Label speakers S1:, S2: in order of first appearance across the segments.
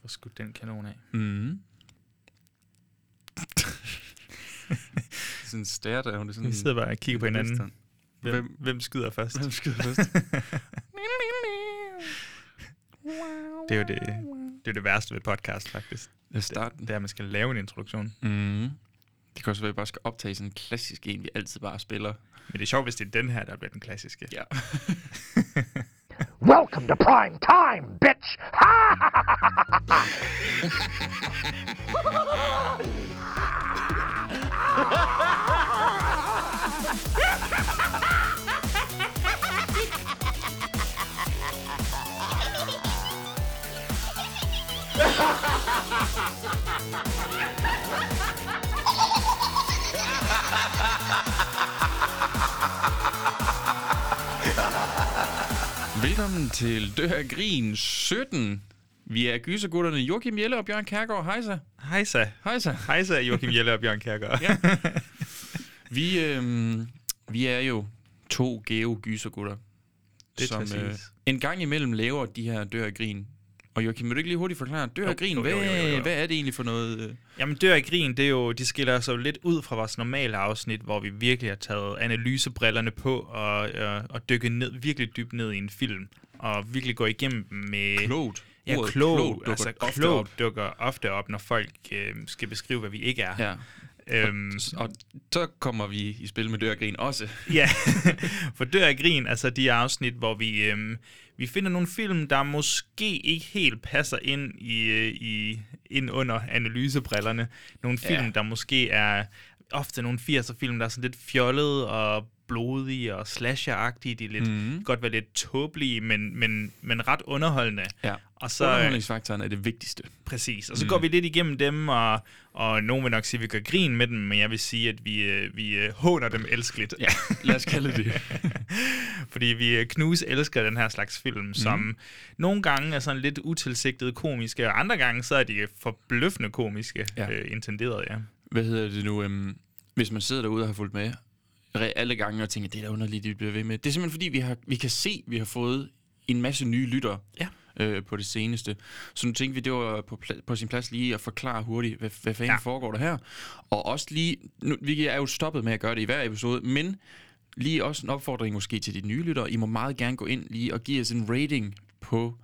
S1: får skudt den kanon af.
S2: Mm. det er sådan en stær, der hun er sådan...
S1: Vi sidder bare og kigger på hinanden.
S2: Vidste
S1: Hvem, hvem skyder først?
S2: han. Hvem skyder først?
S1: Det er jo det, det, er det værste ved podcast, faktisk.
S2: Lad os starte den.
S1: Det er, at man skal lave en introduktion.
S2: Mm. Det kan også være, at vi bare skal optage sådan en klassisk en, vi altid bare spiller.
S1: Men det er sjovt, hvis det er den her, der bliver den klassiske.
S2: Ja.
S3: Welcome to prime time, bitch!
S2: Velkommen til Dør af Grin 17. Vi er gysergutterne Joachim Jelle og Bjørn Kærgaard. Hej så.
S1: Hej så.
S2: Hej så.
S1: Hej så, Joachim Jelle og Bjørn Kjærgaard.
S2: Ja. Vi, øhm, vi er jo to geo-gysergutter,
S1: Det er
S2: som øh,
S1: præcis.
S2: en gang imellem laver de her dør af grin. Og Joachim, vil du ikke lige hurtigt forklare, dør af grin,
S1: jo,
S2: hvad,
S1: jo, jo, jo, jo.
S2: hvad er det egentlig for noget? øh?
S1: Jamen, Dør i Grin, det er jo, de skiller sig jo lidt ud fra vores normale afsnit, hvor vi virkelig har taget analysebrillerne på og, øh, og dykket ned, virkelig dybt ned i en film. Og virkelig gå igennem dem med...
S2: Klogt.
S1: Ja,
S2: Ordet
S1: klog,
S2: klogt
S1: klog
S2: dukker
S1: altså
S2: ofte
S1: klog
S2: op.
S1: dukker ofte op, når folk øh, skal beskrive, hvad vi ikke er.
S2: Ja.
S1: Øhm,
S2: Og så kommer vi i spil med dør af grin også.
S1: Ja, for dør af grin, altså de afsnit, hvor vi, øhm, vi finder nogle film, der måske ikke helt passer ind, i, øh, i, ind under analysebrillerne. Nogle film,
S2: Ja.
S1: ja. der måske er ofte nogle 80'er film, der er sådan lidt fjollede og blodige og slasher-agtige. De er lidt,
S2: Mhm.
S1: mm. godt være lidt tåbelige, men, men, men ret underholdende.
S2: Ja. Mhm.
S1: Og så,
S2: Så, øh, Underholdningsfaktoren er det vigtigste.
S1: Præcis, og så mm. går vi lidt igennem dem, og, og nogen vil nok sige, at vi gør grin med dem, men jeg vil sige, at vi, øh, vi øh, håner dem elskeligt.
S2: Ja, lad os kalde det det.
S1: Fordi vi øh, knus elsker den her slags film,
S2: Mhm.
S1: som nogle gange er sådan lidt utilsigtet komiske, og andre gange så er de forbløffende komiske,
S2: Ja.
S1: ja. øh, intenderet, ja.
S2: hvad hedder det nu, øhm, hvis man sidder derude og har fulgt med re- alle gange og tænker, det er da underligt, de bliver ved med. Det er simpelthen fordi, vi, har, vi kan se, vi har fået en masse nye lyttere
S1: Ja.
S2: øh, på det seneste. Så nu tænkte vi, det var på, pla- på sin plads lige at forklare hurtigt, hvad, hvad fanden ja.
S1: Ja.
S2: foregår der her. Og også lige, nu, vi er jo stoppet med at gøre det i hver episode, men lige også en opfordring måske til de nye lyttere. I må meget gerne gå ind lige og give os en rating på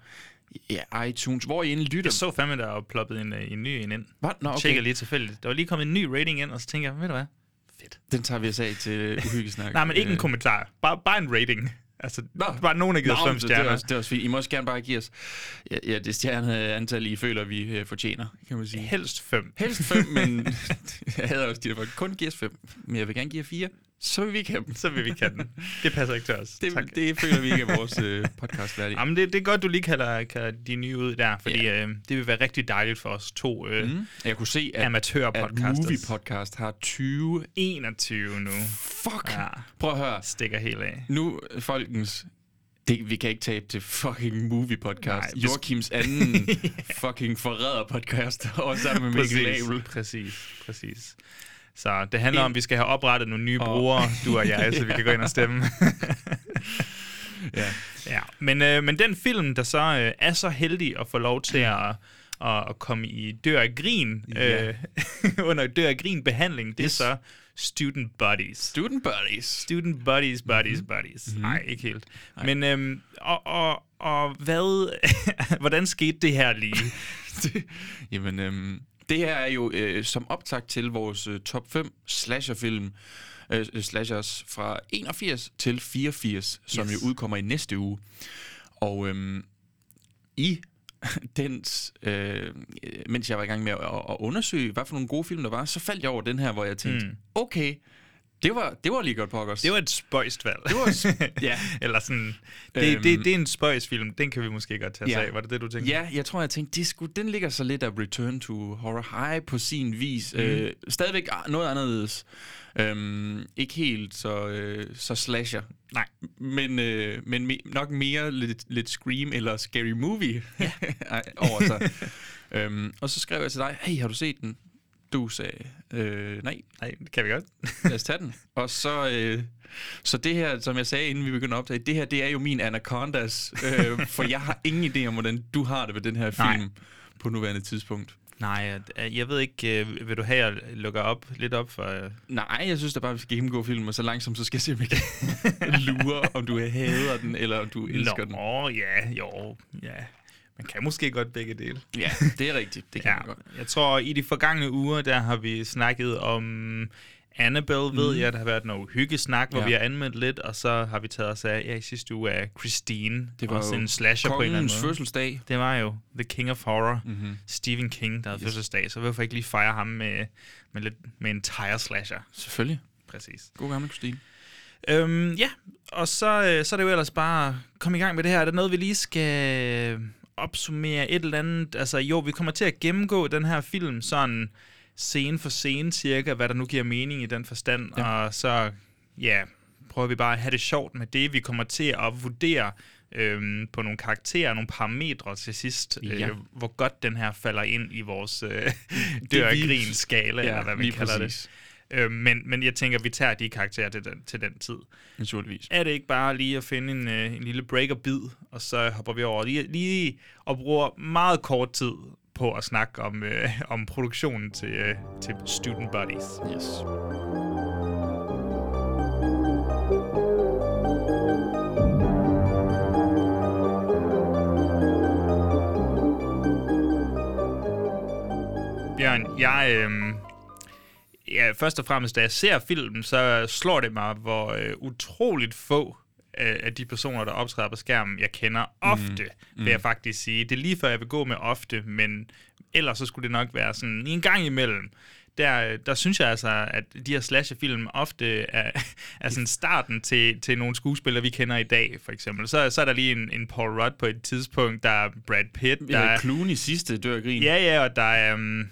S2: ja, iTunes, hvor I end lytter.
S1: Jeg så fandme, der var ploppet en, øh, en ny en ind.
S2: Hvad? Nå,
S1: Okay. Tjekker lige tilfældigt. Der var lige kommet en ny rating ind, og så tænker jeg, ved du hvad? Fedt.
S2: Den tager vi os af til uhyggesnak.
S1: Nej, men ikke en
S2: Øh,
S1: kommentar. Bare, bare en rating. Altså,
S2: Nå.
S1: bare nogen, der givet os
S2: Nå,
S1: fem
S2: det, det, er
S1: stjerner.
S2: også, det er også fint. I må også gerne bare give os ja, ja, det stjerneantal, I føler, vi øh, fortjener, kan man sige.
S1: Helst fem.
S2: Helst fem, men jeg havde også de der, folk, kun giver os fem, men jeg vil gerne give jer fire, så vil vi ikke have dem.
S1: så vil vi kan den. Det passer ikke til os. Det, tak.
S2: Det,
S1: Det,
S2: det føler vi ikke er vores øh, podcast værdig.
S1: Jamen, det, det er godt, du lige kalder, kalder de nye ud der, fordi yeah. øh, det vil være rigtig dejligt for os to øh, mm.
S2: Mm. Jeg kunne se, at, at
S1: amatørpodcasters.
S2: Movie Podcast har 20...
S1: 21 nu
S2: Fuck!
S1: Ja.
S2: Prøv at høre.
S1: stikker helt af.
S2: Nu, øh, folkens... Det, vi kan ikke tabe til fucking movie podcast.
S1: Nej,
S2: Nej,
S1: hvis-
S2: Joachims anden fucking forræder podcast, og sammen med Mikkel Abel.
S1: præcis, præcis. Så det handler om, at vi skal have oprettet nogle nye
S2: Og-
S1: brugere, du og jeg, så vi kan gå ind og stemme.
S2: Ja.
S1: ja. men, øh, men den film, der så øh, er så heldig at få lov til at, at, at komme i dør af grin,
S2: Ja.
S1: øh, under dør af grin behandling, det
S2: Yes.
S1: yes. er så Student Buddies.
S2: Student Buddies.
S1: Student buddies, buddies, mm-hmm. buddies. Nej, mm-hmm. ikke helt. Men øhm, og, og, og hvad, hvordan skete det her lige?
S2: Det- Jamen, øhm, det her er jo øh, som optakt til vores øh, top 5 slasherfilm, øh, slashers fra 81 til 84, som
S1: Yes.
S2: jo udkommer i næste uge. Og øhm, i dens, øh, mens jeg var i gang med at, at undersøge, hvad for nogle gode film der var, så faldt jeg over den her, hvor jeg tænkte, mm. okay, det var, det var lige godt pokkers.
S1: Det var et spøjst valg.
S2: det var s- ja,
S1: Eller sådan, det,
S2: Øhm.
S1: øhm. det, det er en spøjs film, den kan vi måske godt tage os
S2: Ja.
S1: af. Var det det, du tænkte?
S2: Ja, jeg tror, jeg tænkte, det sku, den ligger så lidt af Return to Horror High på sin vis. Mm. Øh, stadigvæk a- noget anderledes. Øhm, ikke helt så, øh, så slasher.
S1: Nej.
S2: Men, øh, men me- nok mere lidt, lidt Scream eller Scary Movie ja. over sig. øhm, og så skrev jeg til dig, hey, har du set den? du sagde, øh, nej,
S1: Nej, det kan vi godt.
S2: lad os tage den. Og så, øh, så det her, som jeg sagde, inden vi begyndte at optage, det her, det er jo min anacondas, øh, for jeg har ingen idé om, hvordan du har det ved den her
S1: Nej.
S2: film på nuværende tidspunkt.
S1: Nej, øh, jeg ved ikke, øh, vil du have, at jeg lukker op, lidt op for... øh,
S2: Nej, jeg synes da bare, vi skal gennemgå filmen, og så langsomt, så skal jeg se, om jeg kan lure, om du hader den, eller om du elsker den.
S1: Nå, ja, jo, ja. Man kan måske godt begge dele.
S2: Ja, det er rigtigt. Det kan
S1: Ja,
S2: ja. jeg godt.
S1: jeg tror, i de forgangne uger, der har vi snakket om Annabelle, ved jeg. Der har været noget hyggesnak, hvor
S2: Ja.
S1: vi har anmeldt lidt, og så har vi taget os af, ja, i sidste uge af Christine.
S2: Det var
S1: også
S2: jo
S1: en slasher på en eller anden
S2: Kongens
S1: måde.
S2: fødselsdag.
S1: Det var jo The King of Horror, mm-hmm. Stephen King, der havde yes. fødselsdag, så hvorfor ikke lige fejre ham med, med, lidt, med en tire slasher?
S2: Selvfølgelig.
S1: Præcis.
S2: God gammel Christine.
S1: Øhm, ja, og så, øh, så er det jo ellers bare at komme i gang med det her. Er der noget, vi lige skal øh, opsummere et eller andet? Altså jo, vi kommer til at gennemgå den her film sådan scene for scene cirka, hvad der nu giver mening i den forstand. Ja. Og så, ja, prøver vi bare at have det sjovt med det. Vi kommer til at vurdere øhm, på nogle karakterer, nogle parametre til sidst, ja.
S2: Ja.
S1: øh, hvor godt den her falder ind i vores øh, dør og
S2: vi-
S1: grin skala, ja, eller hvad vi
S2: lige
S1: kalder præcis. det.
S2: præcis.
S1: Øh, men, men jeg tænker, vi tager de karakterer til den, til den tid.
S2: Naturligvis.
S1: Er det ikke bare lige at finde en, øh, en lille break og bid, og så hopper vi over lige, lige og bruger meget kort tid på at snakke om, øh, om produktionen til, øh, til Student Buddies.
S2: Yes.
S1: Bjørn, jeg... Øh, ja, først og fremmest, da jeg ser filmen, så slår det mig, hvor øh, utroligt få øh, af de personer, der optræder på skærmen, jeg kender ofte, mm. vil jeg faktisk sige. Det er lige før, jeg vil gå med ofte, men ellers så skulle det nok være sådan en gang imellem. Der, øh, der synes jeg altså, at de her slasherfilm ofte er, er sådan starten til, til nogle skuespillere, vi kender i dag, for eksempel. Så, så er der lige en, en Paul Rudd på et tidspunkt, der er Brad Pitt, der
S2: Der
S1: er
S2: er Clooney sidste dør af grin.
S1: Ja, ja, og der er, um,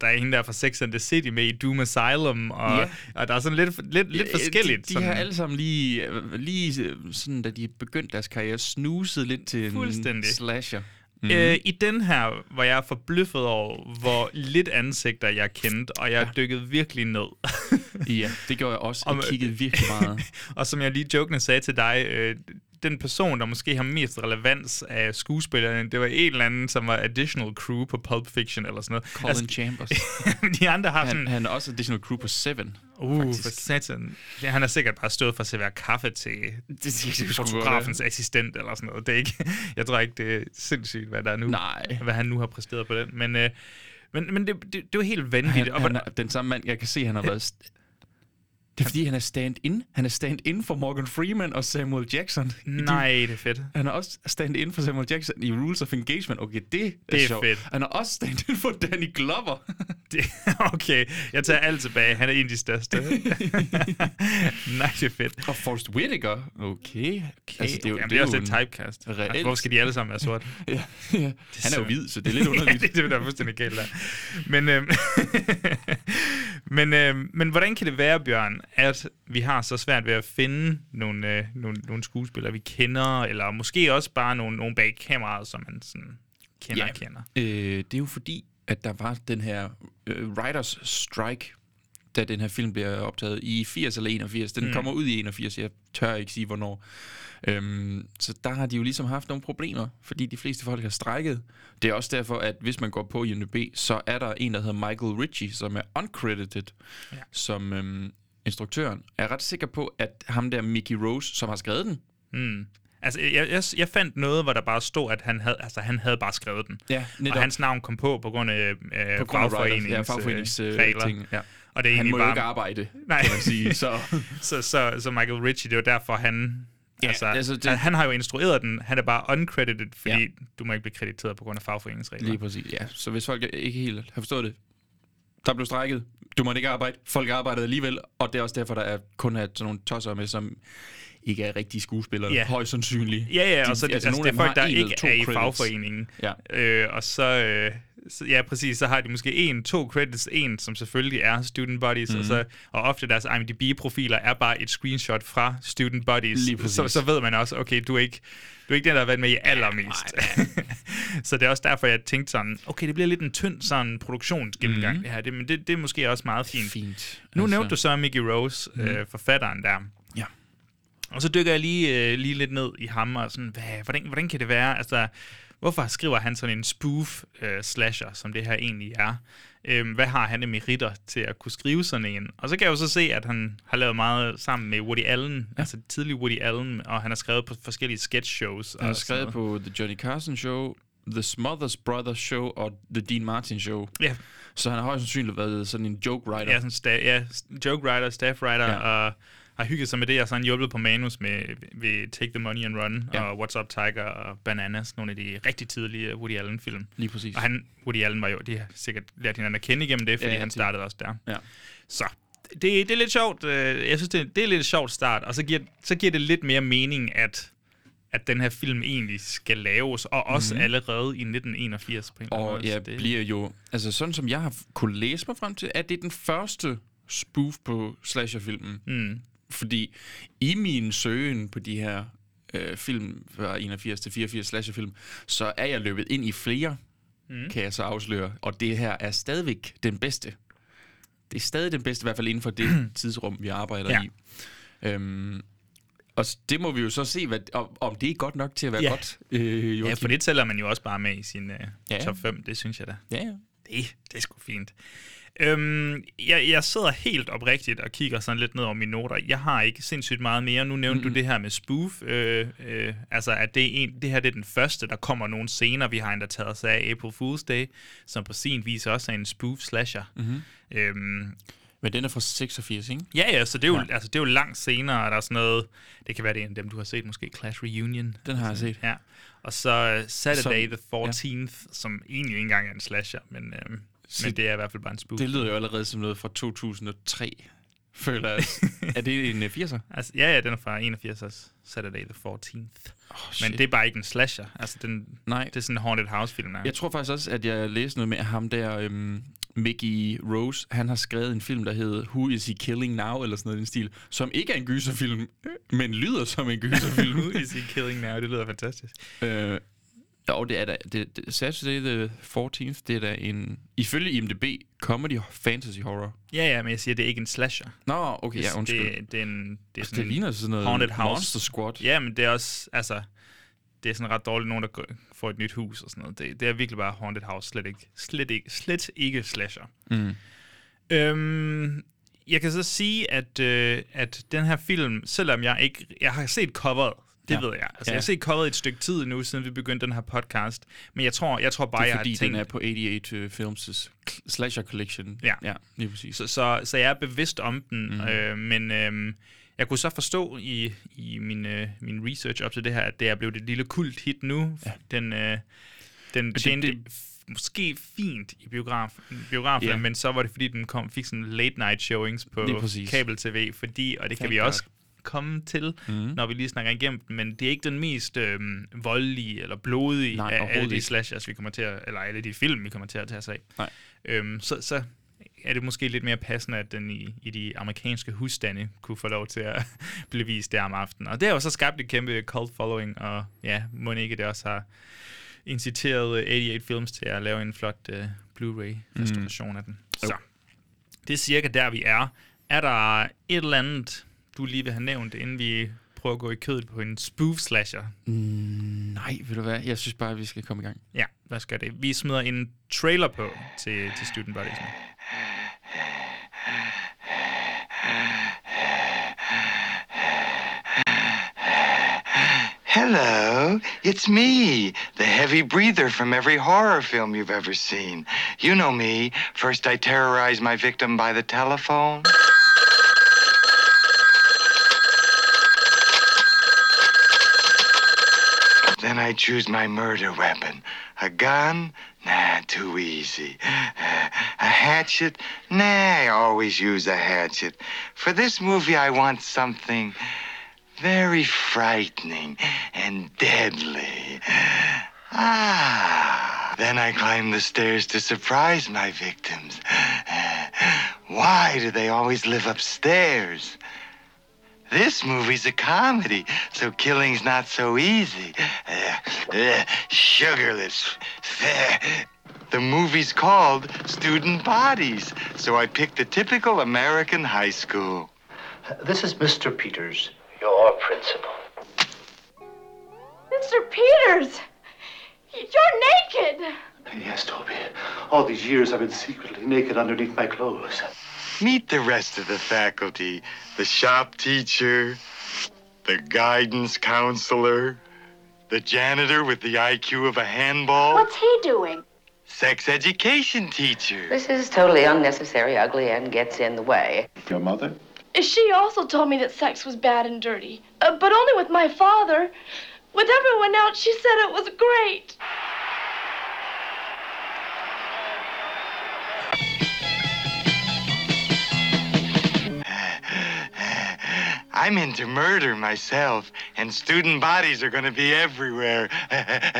S1: der er hende der er fra Sex and the City med i Doom Asylum, og,
S2: Ja.
S1: og der er sådan lidt, lidt, lidt forskelligt.
S2: Øh, De, de
S1: sådan.
S2: har alle sammen lige, lige øh, sådan, da de begyndte deres karriere, snuset lidt til en
S1: Fuldstændig.
S2: slasher.
S1: øh, I den her var jeg forbløffet over, hvor lidt ansigter jeg kendte, og jeg ja. dykkede virkelig ned.
S2: Ja, det gjorde jeg også.
S1: Om,
S2: Jeg
S1: øh,
S2: kiggede virkelig meget.
S1: og som jeg lige jokende sagde til dig, øh, den person, der måske har mest relevans af skuespillerne, det var en eller anden, som var additional crew på Pulp Fiction eller sådan noget.
S2: Colin Chambers.
S1: de andre har Altså, sådan...
S2: Han, han er også additional crew på Seven.
S1: Uh, for satan. Ja, han har sikkert bare stået for at servere kaffe til fotografens assistent eller sådan noget. Det er ikke, jeg tror ikke, det er sindssygt, hvad der er nu.
S2: Nej.
S1: Hvad han nu har præsteret på den. Men, øh, men, men det, det, det var helt vanvittigt.
S2: Han,
S1: Og
S2: han
S1: hvordan-
S2: er den samme mand, jeg kan se, han har været... St- det er fordi, han er stand-in. Han er stand-in for Morgan Freeman og Samuel Jackson. I de-
S1: Nej, det er fedt.
S2: Han er også stand-in for Samuel Jackson i Rules of Engagement. Okay, det er,
S1: Det er
S2: sjovt.
S1: fedt.
S2: Han er også stand-in for Danny Glover.
S1: Det, okay, jeg tager alt tilbage. Han er en af de største. Nej, det er fedt.
S2: og Forrest Whitaker. Okay. okay.
S1: Altså, det er, jo, Jamen, det er også lidt typecast.
S2: reelt-
S1: Altså, hvorfor skal de alle sammen være sorte?
S2: ja, ja. Han er jo
S1: så-
S2: hvid, så det er lidt underligt.
S1: ja, det, det er da fuldstændig galt der. Men, øhm, men, øhm, men hvordan kan det være, Bjørn, at vi har så svært ved at finde nogle, øh, nogle, nogle skuespillere, vi kender, eller måske også bare nogle, nogle bag kameraet, som man sådan kender
S2: Ja.
S1: og kender?
S2: Øh, det er jo fordi, at der var den her øh, writers strike, da den her film bliver optaget i 80 eller 81. Den mm. kommer ud i 81, jeg tør ikke sige hvornår. Øhm, så der har de jo ligesom haft nogle problemer, fordi de fleste folk har strækket. Det er også derfor, at hvis man går på IMDb, så er der en, der hedder Michael Ritchie, som er uncredited, ja. som øhm, instruktøren. Jeg er ret sikker på, at ham der Mickey Rose, som har skrevet den,
S1: Mm. Altså, jeg, jeg, jeg fandt noget, hvor der bare stod, at han havde, altså, han havde bare skrevet den.
S2: Ja, netop.
S1: Og hans navn kom på på grund af, øh,
S2: på grund af writers- ja,
S1: fagforenings, øh,
S2: fagforeningsregler.
S1: regler.
S2: ja.
S1: Og det er
S2: Han
S1: egentlig
S2: må jo
S1: bare...
S2: ikke arbejde,
S1: Nej.
S2: kan man sige, så...
S1: så, så, så Michael Ritchie, det var derfor, han... Ja, altså, altså
S2: altså,
S1: det...
S2: det-
S1: han, han har jo instrueret den, han er bare uncredited, fordi ja.
S2: Ja.
S1: du må ikke blive krediteret på grund af fagforeningsregler.
S2: Lige præcis, ja. Så hvis folk ikke helt har forstået det, der blev strækket, du måtte ikke arbejde, folk arbejdede alligevel, og det er også derfor, der er kun er sådan nogle tosser med, som ikke er rigtige skuespillere,
S1: Ja.
S2: ja. højst sandsynligt.
S1: Ja, ja, og så
S2: De-
S1: altså, altså,
S2: nogle
S1: det
S2: af
S1: er folk,
S2: dem har
S1: der
S2: en eller
S1: ikke
S2: to
S1: er i
S2: credits.
S1: fagforeningen.
S2: Ja.
S1: Øh, og så, øh, så, ja, præcis, så har de måske en, to credits, en, som selvfølgelig er Student Buddies, mm. og,
S2: Mhm.
S1: så, og ofte deres IMDb-profiler er bare et screenshot fra Student
S2: Lige
S1: Buddies,
S2: præcis.
S1: så, så ved man også, okay, du er ikke, du er ikke den, der har været med i allermest. så det er også derfor, jeg tænkte sådan, okay, det bliver lidt en tynd sådan produktionsgennemgang, mm.
S2: Mhm.
S1: det her, det, men det, det er måske også meget fint.
S2: Fint. Altså,
S1: Nu nævnte du så Mickey Rose, mm. øh, forfatteren der.
S2: Mhm. Ja.
S1: Og så dykker jeg lige, øh, lige lidt ned i ham og sådan, hvad, hvordan, hvordan kan det være? Altså, hvorfor skriver han sådan en spoof-slasher, som det her egentlig er? Øhm, hvad har han af meritter til at kunne skrive sådan en? Og så kan jeg jo så se, at han har lavet meget sammen med Woody Allen, ja. altså tidlig Woody Allen, og han har skrevet på forskellige sketch shows.
S2: Han har skrevet på The Johnny Carson Show, The Smothers Brothers Show og The Dean Martin Show.
S1: Ja,
S2: Så han har højst sandsynligt været sådan en joke writer.
S1: ja, sådan sta- ja, joke writer, staff writer,
S2: Ja.
S1: ja. og har hygget sig med det, og så har han hjulpet på manus med ved Take the Money and Run,
S2: Ja.
S1: ja. og What's Up Tiger og Bananas, nogle af de rigtig tidlige uh, Woody Allen-film.
S2: Lige præcis.
S1: Og han, Woody Allen var jo, de har sikkert lært hinanden at kende igennem det, fordi
S2: Ja,
S1: ja,
S2: ja,
S1: han
S2: det-
S1: startede også der.
S2: Ja.
S1: Så det, det er lidt sjovt. øh, Jeg synes, det, det er lidt et sjovt start, og så giver, så giver det lidt mere mening, at at den her film egentlig skal laves, og også mm. allerede i 1981 på en eller anden
S2: Mhm. Og
S1: måde.
S2: ja,
S1: Så det,
S2: bliver jo... Altså sådan som jeg har f- kunne læse mig frem til, at det er den første spoof på slasherfilmen.
S1: mm,
S2: Fordi i min søgen på de her øh, film fra 81 til 84 slasherfilm, så er jeg løbet ind i flere, mm. kan jeg så afsløre. Og det her er stadigvæk den bedste. Det er stadig den bedste, i hvert fald inden for det tidsrum, vi arbejder ja.
S1: Ja.
S2: i. Øhm, og s- det må vi jo så se, hvad, om, om det er godt nok til at være
S1: Ja.
S2: godt. Øh,
S1: ja,
S2: Joachim.
S1: for det tæller man jo også bare med i sin uh,
S2: Ja.
S1: ja. top 5, det synes jeg da.
S2: Ja, ja.
S1: Det, det er sgu fint. Øhm, jeg, jeg sidder helt oprigtigt og kigger sådan lidt ned over mine noter. Jeg har ikke sindssygt meget mere. Nu nævnte mm. du det her med spoof. Øh, øh, altså, at det, er en, det her det er den første, der kommer nogle scener. Vi har endda taget os af April Fool's Day, som på sin vis også er en spoof-slasher. Mm-hmm. Øhm,
S2: Men den er fra 86, ikke?
S1: ja, ja, så det er, jo, ja. Altså, det er jo langt senere, og der er sådan noget... Det kan være, det er en af dem, du har set, måske Clash Reunion.
S2: Den har jeg set.
S1: Ja. Og så øh, Saturday
S2: Som-
S1: the 14th, ja. som egentlig ikke engang er en slasher, men, øhm,
S2: Så-
S1: men det er i hvert fald bare en spoof.
S2: Det lyder jo allerede som noget fra 2003, føler jeg. er det en øh, 80'er?
S1: Altså, ja, ja, den er fra 81 også. Saturday the 14th.
S2: Oh,
S1: Men det er bare ikke en slasher. Altså, den,
S2: Nej.
S1: det er sådan en Haunted House-film, der. er.
S2: Jeg tror faktisk også, at jeg læste noget med at ham der, øhm, Mickey Rose. Han har skrevet en film, der hedder Who Is He Killing Now? Eller sådan noget i den stil. Som ikke er en gyserfilm, øh, men lyder som en gyserfilm.
S1: Who is he killing now? Det lyder fantastisk.
S2: øh, og det er da, det, det, Saturday the 14th, det er da en, ifølge IMDb, comedy fantasy horror.
S1: Ja, ja, men jeg siger, det er ikke en slasher.
S2: Nå, okay, ja, undskyld. Det,
S1: Det, det, er en, det er sådan
S2: det
S1: en-
S2: ligner sådan noget
S1: Haunted House.
S2: Monster Squad.
S1: Ja, men det er også, altså, det er sådan ret dårligt, nogen der går, får et nyt hus og sådan noget. Det, det er virkelig bare Haunted House, slet ikke, slet ikke, slet ikke slasher.
S2: Mm.
S1: Øhm, jeg kan så sige, at, øh, at den her film, selvom jeg ikke, jeg har set coveret, det
S2: Ja.
S1: ja. ved jeg. Altså,
S2: Ja.
S1: ja. Jeg har set coveret et stykke tid nu, siden vi begyndte den her podcast. Men jeg tror, jeg tror bare,
S2: Det
S1: jeg
S2: er
S1: har
S2: fordi,
S1: tænkt...
S2: den er på 88 Films' slasher collection.
S1: Ja.
S2: ja lige præcis.
S1: Så, så, så jeg er bevidst om den,
S2: Mhm.
S1: mm. øh, men øh, jeg kunne så forstå i, i min, øh, min research op til det her, at det er blevet et lille kult hit nu. Ja. Den, øh, den
S2: det-
S1: tjente
S2: det-
S1: det, måske fint i biograf, biografen,
S2: Ja.
S1: yeah. men så var det fordi, den kom, fik sådan late night showings
S2: Lige
S1: på
S2: præcis.
S1: kabel-tv, fordi, og det kan
S2: Thank
S1: vi
S2: God. Mhm.
S1: også komme til, mm. når vi lige snakker igennem den, men det er ikke den mest øh, voldelige eller blodige
S2: Nej,
S1: Nej, af alle
S2: overhovedet
S1: de
S2: ikke.
S1: slashers, vi kommer til at, eller alle de film, vi kommer til at tage os af.
S2: Nej.
S1: Øhm, så, så er det måske lidt mere passende, at den i, i de amerikanske husstande kunne få lov til at blive vist der om aftenen. Og det har jo så skabt et kæmpe cult following, og ja, må ikke det også har inciteret øh, 88 Films til at lave en flot uh, Blu-ray-restauration mm. af den. Så det er cirka der, vi er. Er der et eller andet, du lige vil have nævnt, inden vi prøver at gå i kødet på en spoof-slasher?
S2: Nej, ved du hvad? Jeg synes bare, at vi skal komme i gang.
S1: Ja, lad os gøre det. Vi smider en trailer på til, til Student Buddies nu.
S4: Hello, it's me, the heavy breather from every horror film you've ever seen. You know me. First, I terrorize my victim by the telephone. Then I choose my murder weapon. A gun? Nah, too easy. A hatchet? Nah, I always use a hatchet. For this movie, I want something very frightening and deadly. Ah. Then I climb the stairs to surprise my victims. Why do they always live upstairs? This movie's a comedy, so killing's not so easy. Uh, uh, sugarless. The movie's called Student Bodies, so I picked a typical American high school.
S5: This is Mr. Peters, your principal.
S6: Mr. Peters, you're naked.
S5: Yes, Toby. All these years I've been secretly naked underneath my clothes.
S4: Meet the rest of the faculty the shop teacher, the guidance counselor, the janitor with the IQ of a handball,
S6: What's he doing?
S4: sex education teacher.
S7: This is totally unnecessary, ugly, and gets in the way.
S5: Your mother?
S6: She also told me that sex was bad and dirty, uh, but only with my father. With everyone else, she said it was great.
S4: I'm into murder myself, and student bodies are going to be everywhere.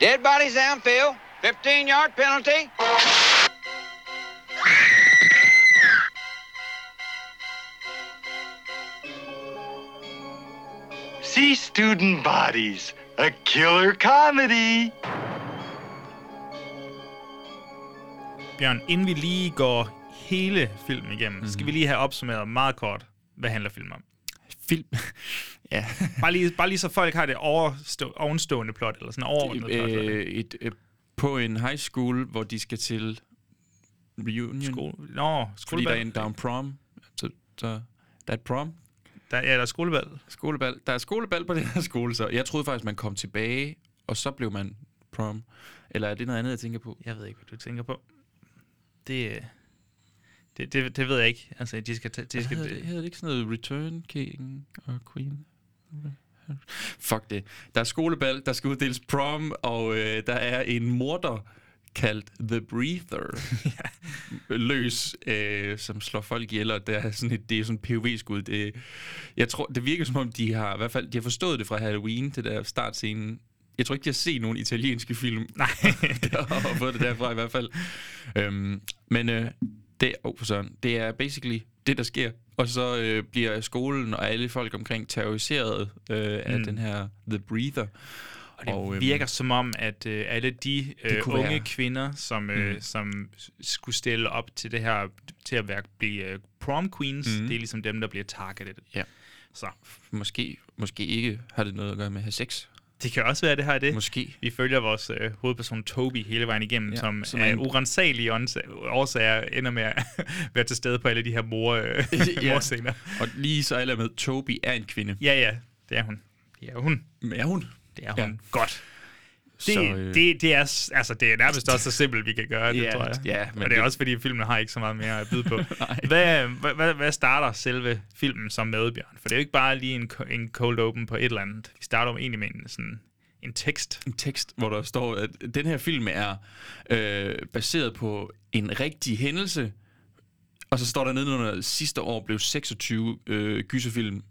S8: Dead bodies downfield. 15 yard penalty.
S4: See Student Bodies, a killer comedy.
S1: Bjørn, inden vi lige går hele filmen igennem, mm-hmm. skal vi lige have opsummeret meget kort, hvad handler filmen om.
S2: Film. ja.
S1: Bare lige, bare lige så folk har det overstå, ovenstående plot, eller sådan overordnet plot. Øh,
S2: Øh, et, øh, på en high school, hvor de skal til reunion.
S1: Skole, nå,
S2: Fordi der er
S1: skolebal.
S2: en
S1: Der,
S2: down prom. Så, så, der er et prom.
S1: der, ja, der er skolebal.
S2: Skolebal. Der er skolebal på den her skole, så. Jeg troede faktisk, man kom tilbage, og så blev man prom. Eller er det noget andet, jeg tænker på?
S1: Jeg ved ikke, hvad du tænker på. Det, øh, det, det, det ved jeg ikke. Altså, de skal... ta- De
S2: Det
S1: skal
S2: skal hedder, det, hedder det ikke sådan noget Return King og Queen? Fuck det. Der er skolebal, der skal uddeles prom, og øh, der er en morder kaldt The Breather, løs, øh, som slår folk ihjel, og det er sådan et, det er sådan et POV-skud. Det, jeg tror, det virker som om, de har, i hvert fald, de har forstået det fra Halloween, det der startscenen. Jeg tror ikke, de har set nogen italienske film. Nej. og fået det derfra i hvert fald. Øhm, men øh, det, oh, for sådan, det er basically det, der sker. Og så øh, bliver skolen og alle folk omkring terroriseret øh, af den her The Breather. Og
S1: Mm. Det
S2: øhm,
S1: virker som om, at øh, alle de øh,
S2: kunne
S1: unge
S2: være-
S1: være. kvinder, som, øh, mm. som s- skulle stille op til det her, til at være, blive øh, prom queens, mm. det er ligesom dem, der bliver targeted.
S2: Ja.
S1: Så
S2: Måske, måske ikke har det noget at gøre med at have sex.
S1: det kan også være, det her er det.
S2: Måske.
S1: Vi følger vores øh, hovedperson Toby hele vejen igennem, ja, som
S2: som er
S1: af
S2: en-
S1: urensagelige åndsa- årsager ender med at være til stede på alle de her mor, øh,
S2: Ja.
S1: morscener.
S2: Og lige så alle er med, Toby er en kvinde.
S1: Ja, ja, det er hun. Det er hun.
S2: Men er hun?
S1: Det er hun.
S2: Ja.
S1: Godt. Det,
S2: Så, øh,
S1: det, det, er, s- altså, det er nærmest også så simpelt, vi kan gøre det,
S2: Ja,
S1: tror jeg.
S2: ja, men
S1: men og det er
S2: det-
S1: også, fordi filmen har ikke så meget mere at byde på. hvad, hvad, hvad, hvad starter selve filmen som med, Bjørn? For det er jo ikke bare lige en, co- en cold open på et eller andet. Vi starter jo egentlig med en, sådan, en tekst.
S2: en tekst, hvor der står, at den her film er øh, baseret på en rigtig hændelse, og så står der nedenunder, at sidste år blev 26 øh, gyserfilm øh,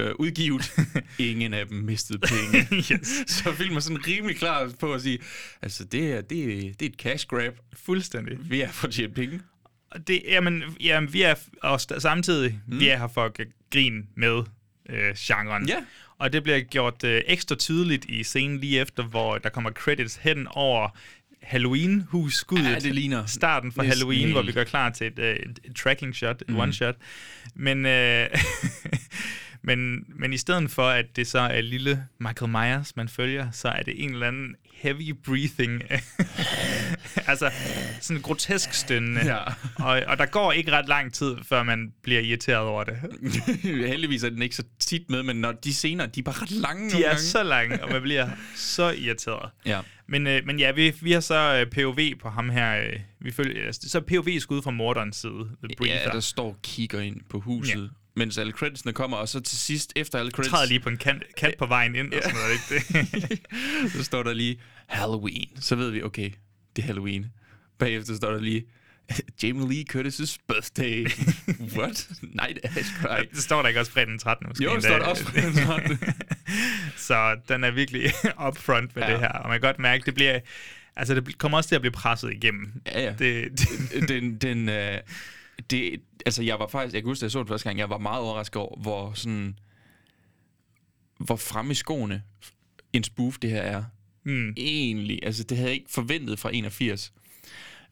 S2: udgivet. Ingen af dem mistede penge.
S1: yes.
S2: så filmen er sådan rimelig klar på at sige, altså det er, det er, det er et cash grab.
S1: Fuldstændig.
S2: Vi er for at tjene penge.
S1: Og det, jamen, jamen, vi er f- og st- samtidig, mm. vi er her for at g- grine med øh, genren.
S2: Ja.
S1: Og det bliver gjort øh, ekstra tydeligt i scenen lige efter, hvor der kommer credits hen over Halloween-husskuddet.
S2: Ja, det ligner
S1: Starten for
S2: næsten
S1: Halloween,
S2: helt.
S1: hvor vi gør klar til et, øh, et, et tracking shot,
S2: Mhm.
S1: et one shot. Men, øh, men, men i stedet for, at det så er lille Michael Myers, man følger, så er det en eller anden heavy breathing. altså sådan grotesk stønnende.
S2: Ja.
S1: Og, og der går ikke ret lang tid, før man bliver irriteret over det.
S2: Heldigvis er den ikke så tit med, men når de scener, de er bare ret lange
S1: De
S2: nogle
S1: er
S2: gange.
S1: så lange, og man bliver så irriteret.
S2: Ja.
S1: Men, øh, men ja, vi, vi har så øh, POV på ham her. Øh, vi følger, altså, så POV skud fra morderens side. The Breather.
S2: Ja, der står og kigger ind på huset, ja. mens alle creditsene kommer, og så til sidst, efter alle credits,
S1: træder lige på en kant, kant på vejen ind og sådan noget, ikke det?
S2: så står der lige Halloween. Så ved vi, okay, det er Halloween. Bagefter står der lige, Jamie Lee Curtis' birthday. What? Nej, det er ikke
S1: det står der ikke også fredag den 13. Måske
S2: Jo,
S1: endda.
S2: det står der også på øh, den hånd.
S1: Så den er virkelig upfront med ja. det her. Og man kan godt mærke, det bliver... Altså, det bl- kommer også til at blive presset igennem.
S2: Ja, ja.
S1: Det, det,
S2: den, den, øh, det, altså jeg var faktisk, jeg kan huske, da jeg så det første gang, jeg var meget overrasket over, hvor sådan, hvor frem i skoene en spoof det her er.
S1: mm.
S2: Egentlig, altså det havde jeg ikke forventet fra 81.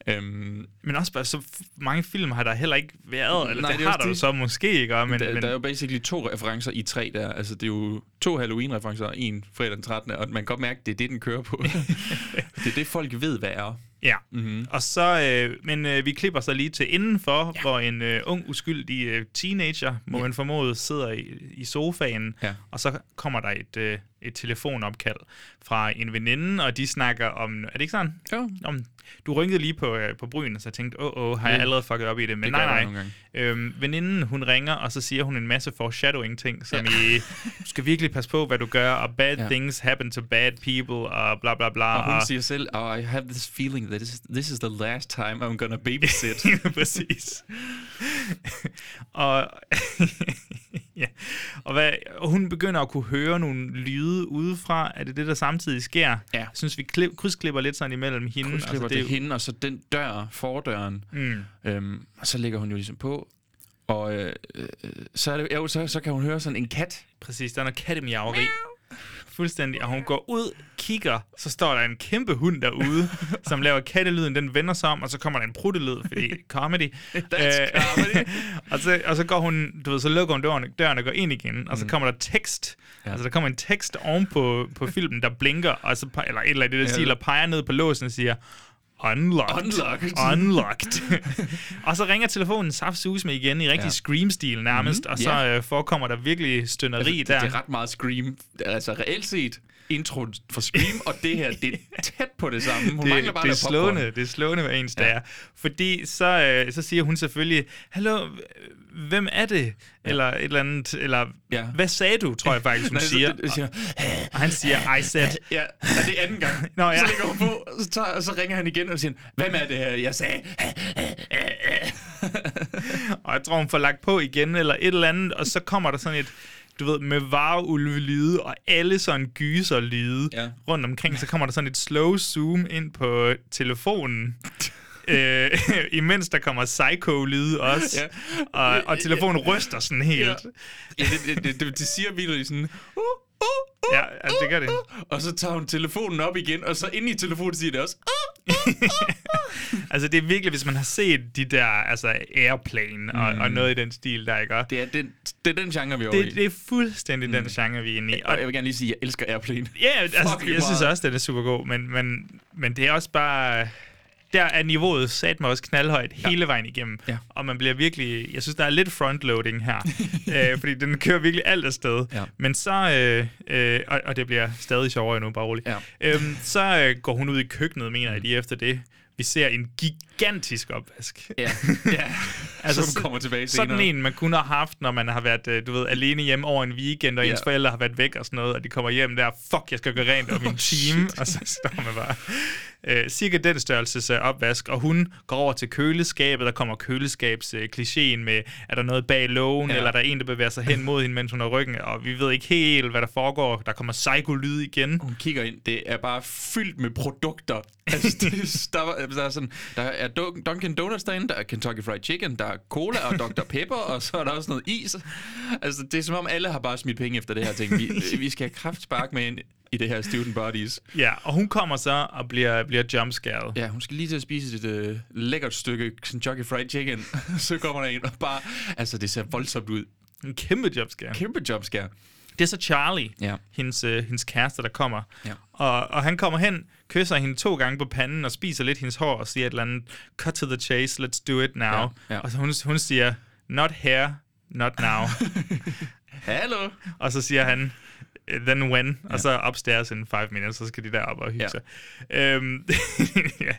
S2: Øhm,
S1: Men også bare, så f- mange film har der heller ikke været. Eller
S2: Mm, Nej,
S1: Nej, det,
S2: det
S1: det
S2: er
S1: har
S2: også
S1: der jo
S2: det.
S1: så måske, ikke? Og- Men,
S2: der,
S1: men,
S2: der er jo basically to referencer i tre der. Altså, det er jo to Halloween-referencer, og en fredag den 13. Og man kan godt mærke, det er det, den kører på. det er det, folk ved, hvad er.
S1: Ja, mm-hmm. og så, øh, men øh, vi klipper så lige til indenfor, ja. hvor en øh, ung, uskyldig øh, teenager, må ja. man formode, sidder i, i sofaen,
S2: Ja.
S1: og så kommer der et, øh, et telefonopkald fra en veninde, og de snakker om, er det ikke sådan?
S2: Jo.
S1: Om, du rynkede lige på, øh, på brynen, så jeg tænkte, åh, åh, har jeg
S2: Ja.
S1: allerede fucket op i det? Men
S2: Mm. Det gør jeg bare
S1: nej,
S2: nogle
S1: nej. Øhm, veninden, hun ringer, og så siger hun en masse foreshadowing-ting, som ja. i, du skal virkelig passe på, hvad du gør, og bad
S2: Ja.
S1: ja. things happen to bad people, og bla bla bla.
S2: Og hun siger selv, oh, I have this feeling that this is, this is the last time I'm gonna babysit.
S1: Præcis. og, ja. og, hvad, og hun begynder at kunne høre nogle lyde udefra. Er det det, der samtidig sker?
S2: Ja.
S1: Jeg synes, vi klip, krydsklipper lidt sådan imellem hende.
S2: Hun skriver altså, det
S1: er
S2: til hende, og så den dør, fordøren.
S1: Mm.
S2: Øhm, og så lægger hun jo ligesom på. Og øh, øh, så, er det, jo, så, så kan hun høre sådan en kat.
S1: Præcis, der er noget kattemiaveri. Fuldstændig. Og hun går ud, kigger, så står der en kæmpe hund derude, som laver kattelyden. Den vender sig om, og så kommer der en pruttelyd, fordi comedy.
S2: That's
S1: Øh,
S2: comedy.
S1: og, så, og så går hun, du ved, så lukker hun døren, døren og går ind igen,
S2: Mm.
S1: og så kommer der tekst. Ja. Altså, der kommer en tekst oven på, på filmen, der blinker, og så, pe- eller et eller andet i den
S2: Ja.
S1: ja. stil, og peger ned på låsen og siger, Unlocked.
S2: Unlocked.
S1: Unlocked. og så ringer telefonen saftsus med igen i rigtig
S2: Ja.
S1: ja. scream-stil nærmest, mm-hmm. og så
S2: Ja.
S1: øh, forekommer der virkelig stønneri
S2: det,
S1: der.
S2: det er ret meget Scream. Altså reelt set, introen for Scream, og det her, det er tæt på det samme. Hun mangler bare
S1: det er
S2: noget popcorn.
S1: slående, det er slående, hvad ens ja. der er. Fordi så, øh, så siger hun selvfølgelig, hallo, hvem er det? Eller et eller andet, eller
S2: Ja.
S1: ja. hvad sagde du, tror jeg faktisk, hun
S2: Nej, så-
S1: siger.
S2: det- det siger- "Ah."
S1: Og, og han siger, I said.
S2: Ja, og det er anden gang.
S1: Nå, ja.
S2: Så lægger hun på, og så, tager, og så ringer han igen og siger, hvem er det her, jeg sagde?
S1: Og jeg tror, hun får lagt på igen, eller et eller andet, og så kommer der sådan et, du ved, med vareulvelyde og alle sådan gyserlyde
S2: Ja.
S1: ja. rundt omkring, så kommer der sådan et slow zoom ind på telefonen. øh, imens der kommer psycho-lyde også,
S2: Ja.
S1: ja. og, og telefonen ryster sådan helt. Ja.
S2: ja, det, det, det, det, det siger virkelig sådan, uh, uh, uh,
S1: Ja, altså, det gør det.
S2: Uh, og så tager hun telefonen op igen, og så ind i telefonen siger det også, uh, uh,
S1: altså, det er virkelig, hvis man har set de der, altså, Airplane og, mm. og noget i den stil, der, ikke? Og
S2: Det er den, det er den genre, vi er over i.
S1: Det, det er fuldstændig mm. den genre, vi er inde i.
S2: Og jeg vil gerne lige sige, at jeg elsker Airplane.
S1: Ja, altså,
S2: Fucking
S1: jeg synes
S2: meget.
S1: også, den er super god, men, men, men det er også bare... Der er niveauet sat mig også knaldhøjt ja. hele vejen igennem.
S2: Ja.
S1: Og man bliver virkelig... Jeg synes, der er lidt frontloading her. øh, fordi den kører virkelig alt afsted.
S2: Ja.
S1: Men så... Øh, øh, og, og det bliver stadig sjovere endnu, bare roligt.
S2: Ja.
S1: Øhm, så øh, går hun ud i køkkenet, mener jeg, lige efter det. Vi ser en gigantisk opvask.
S2: Ja. ja. altså, Som kommer tilbage senere.
S1: Sådan en, man kunne have haft, når man har været, øh, du ved, alene hjemme over en weekend, og
S2: Ja.
S1: ens forældre har været væk og sådan noget, og de kommer hjem der, fuck, jeg skal gøre rent om
S2: Oh,
S1: min time, og så står man bare. Øh, cirka den størrelse øh, opvask, og hun går over til køleskabet, der kommer køleskabsklichéen med, er der noget bag lågen,
S2: Ja.
S1: ja. eller er der en, der bevæger sig hen mod hende, mens hun har ryggen, og vi ved ikke helt, hvad der foregår. Der kommer psyko-lyd igen.
S2: hun kigger ind, det er bare fyldt med produkter. Altså, det, der, var- der, er sådan, der er Dun- Dunkin' Donuts derinde, der er Kentucky Fried Chicken, der er cola og Dr. Pepper, og så er der også noget is. Altså, det er som om alle har bare smidt penge efter det her ting. Vi, vi skal have kraftspark med ind i det her Student Bodies.
S1: Ja, og hun kommer så og bliver, bliver jumpscaret.
S2: Ja, hun skal lige til at spise et øh, lækkert stykke Kentucky Fried Chicken. så kommer der en og bare... Altså, det ser voldsomt ud.
S1: En kæmpe jumpscare.
S2: Kæmpe jumpscare.
S1: Det er så Charlie,
S2: Ja.
S1: hendes, øh, hendes kæreste, der kommer.
S2: Ja.
S1: Og, og han kommer hen, kysser hende to gange på panden og spiser lidt hendes hår og siger et eller andet, cut to the chase, let's do it now.
S2: Ja, ja.
S1: Og så hun, hun siger, not here, not now.
S2: Hallo?
S1: og så siger han, "Eh, then when? Og så upstairs in five minutes, så skal de derop og hygge
S2: Ja.
S1: sig. Øhm, ja.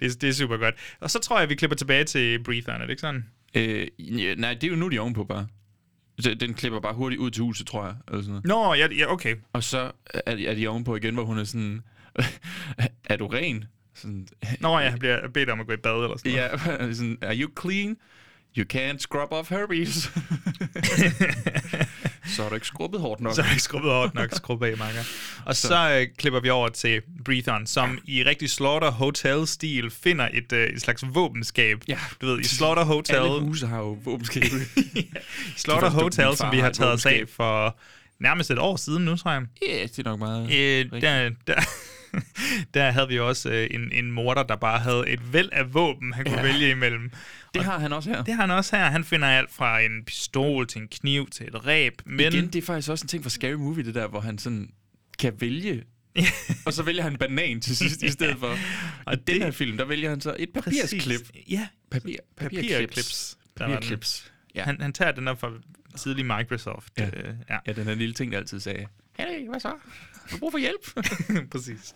S1: Det, er- det er super godt. Og så tror jeg, vi klipper tilbage til Breatheren, er det ikke sådan?
S2: Øh, ja, nej, det er jo nu, de er ovenpå bare. Så Den klipper bare hurtigt ud til huset, tror jeg. Eller sådan noget.
S1: Nå, ja, ja okay.
S2: Og så er, er de ovenpå igen, hvor hun er sådan... er du ren? Sådan,
S1: Nå, jeg bliver bedt om at gå i bad eller sådan noget.
S2: ja, sådan, are you clean? You can't scrub off herpes. Så har du ikke skrubbet hårdt nok.
S1: Så er der ikke skrubbet hårdt nok, skrub af, makker. Og så, så øh, klipper vi over til Breathe On, som i rigtig Slaughter Hotel-stil finder et, øh, et slags våbenskab.
S2: Ja.
S1: Du ved, i Slaughter
S2: Alle
S1: Hotel,
S2: huse har jo våbenskabe.
S1: Slaughter
S2: Det var- min
S1: Hotel
S2: far
S1: som vi
S2: har
S1: har
S2: et
S1: taget os af
S2: våbenskab.
S1: for nærmest et år siden nu, tror jeg.
S2: Ja, yes, det er nok meget...
S1: Øh, der, der, der havde vi også øh, en, en morder, der bare havde et væld af våben, han kunne ja. vælge imellem.
S2: det har han også her.
S1: Det har han også her. Han finder alt fra en pistol til en kniv til et ræb. Men
S2: Igen, det er faktisk også en ting fra Scary Movie, det der, hvor han sådan kan vælge. og så vælger han banan til sidst i stedet for. Og I
S1: Og
S2: den
S1: det-
S2: her film, der vælger han så et papirsklip.
S1: Ja,
S2: Papir,
S1: papirklips. Der var den.
S2: Papirklips. Ja.
S1: Han, han tager den der fra tidlig Microsoft.
S2: Ja.
S1: Øh, ja.
S2: ja, den her lille ting, der altid sagde, hey, hvad så? Du har brug for hjælp.
S1: Præcis.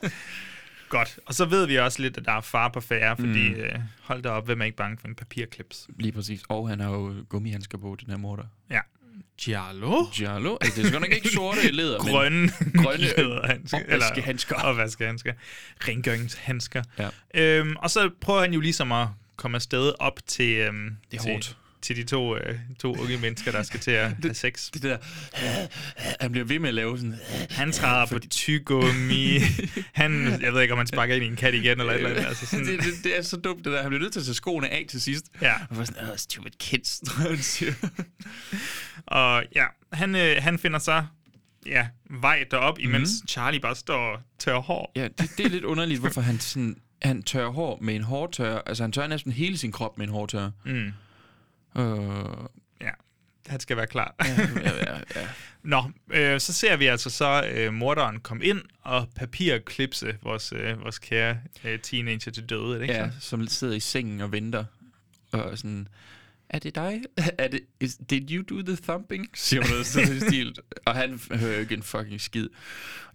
S1: Godt. Og så ved vi også lidt, at der er far på færre, fordi mm. øh, hold da op, hvem er ikke bange for en papirklips?
S2: Lige præcis. Og han har jo gummihandsker på, den her morter.
S1: Ja. Giallo?
S2: Giallo. Altså, det er godt nok ikke sorte leder,
S1: grønne,
S2: grønne
S1: læderhandsker.
S2: opvaskehandsker.
S1: Eller, opvaskehandsker. Rengøringshandsker.
S2: Ja.
S1: Øhm, og så prøver han jo ligesom at komme afsted op til, øhm,
S2: Det er
S1: til,
S2: hårdt.
S1: til de to, øh, to unge mennesker, der skal til at have sex.
S2: Det der, han bliver ved med at lave sådan,
S1: Han træder på tygummi. Han, jeg ved ikke, om han sparker ind i en kat igen eller et eller andet. Altså sådan,
S2: det, det, det, er så dumt, det der. Han bliver nødt til at tage skoene af til sidst.
S1: Ja.
S2: Og var sådan, oh, stupid kids, tror jeg, han siger.
S1: Og ja, han, øh, han finder så ja, vej derop, imens mm. Charlie bare står og tør hår.
S2: Mhm. ja, det, det, er lidt underligt, hvorfor han sådan, han tørrer hår med en hårtørrer. Altså, han tørrer næsten hele sin krop med en hårtørrer.
S1: Mm.
S2: Øh,
S1: Ja, han skal være klar.
S2: ja, ja, ja.
S1: Nå, øh, så ser vi altså så øh, morderen komme ind og papirklipse vores, øh, vores kære øh, teenager til døde, er det ikke
S2: ja,
S1: ja.
S2: som sidder i sengen og venter. Og sådan, er det dig? Er det, is, did you do the thumping? Siger hun noget sådan i stil. Og han f- hører jo ikke en fucking skid.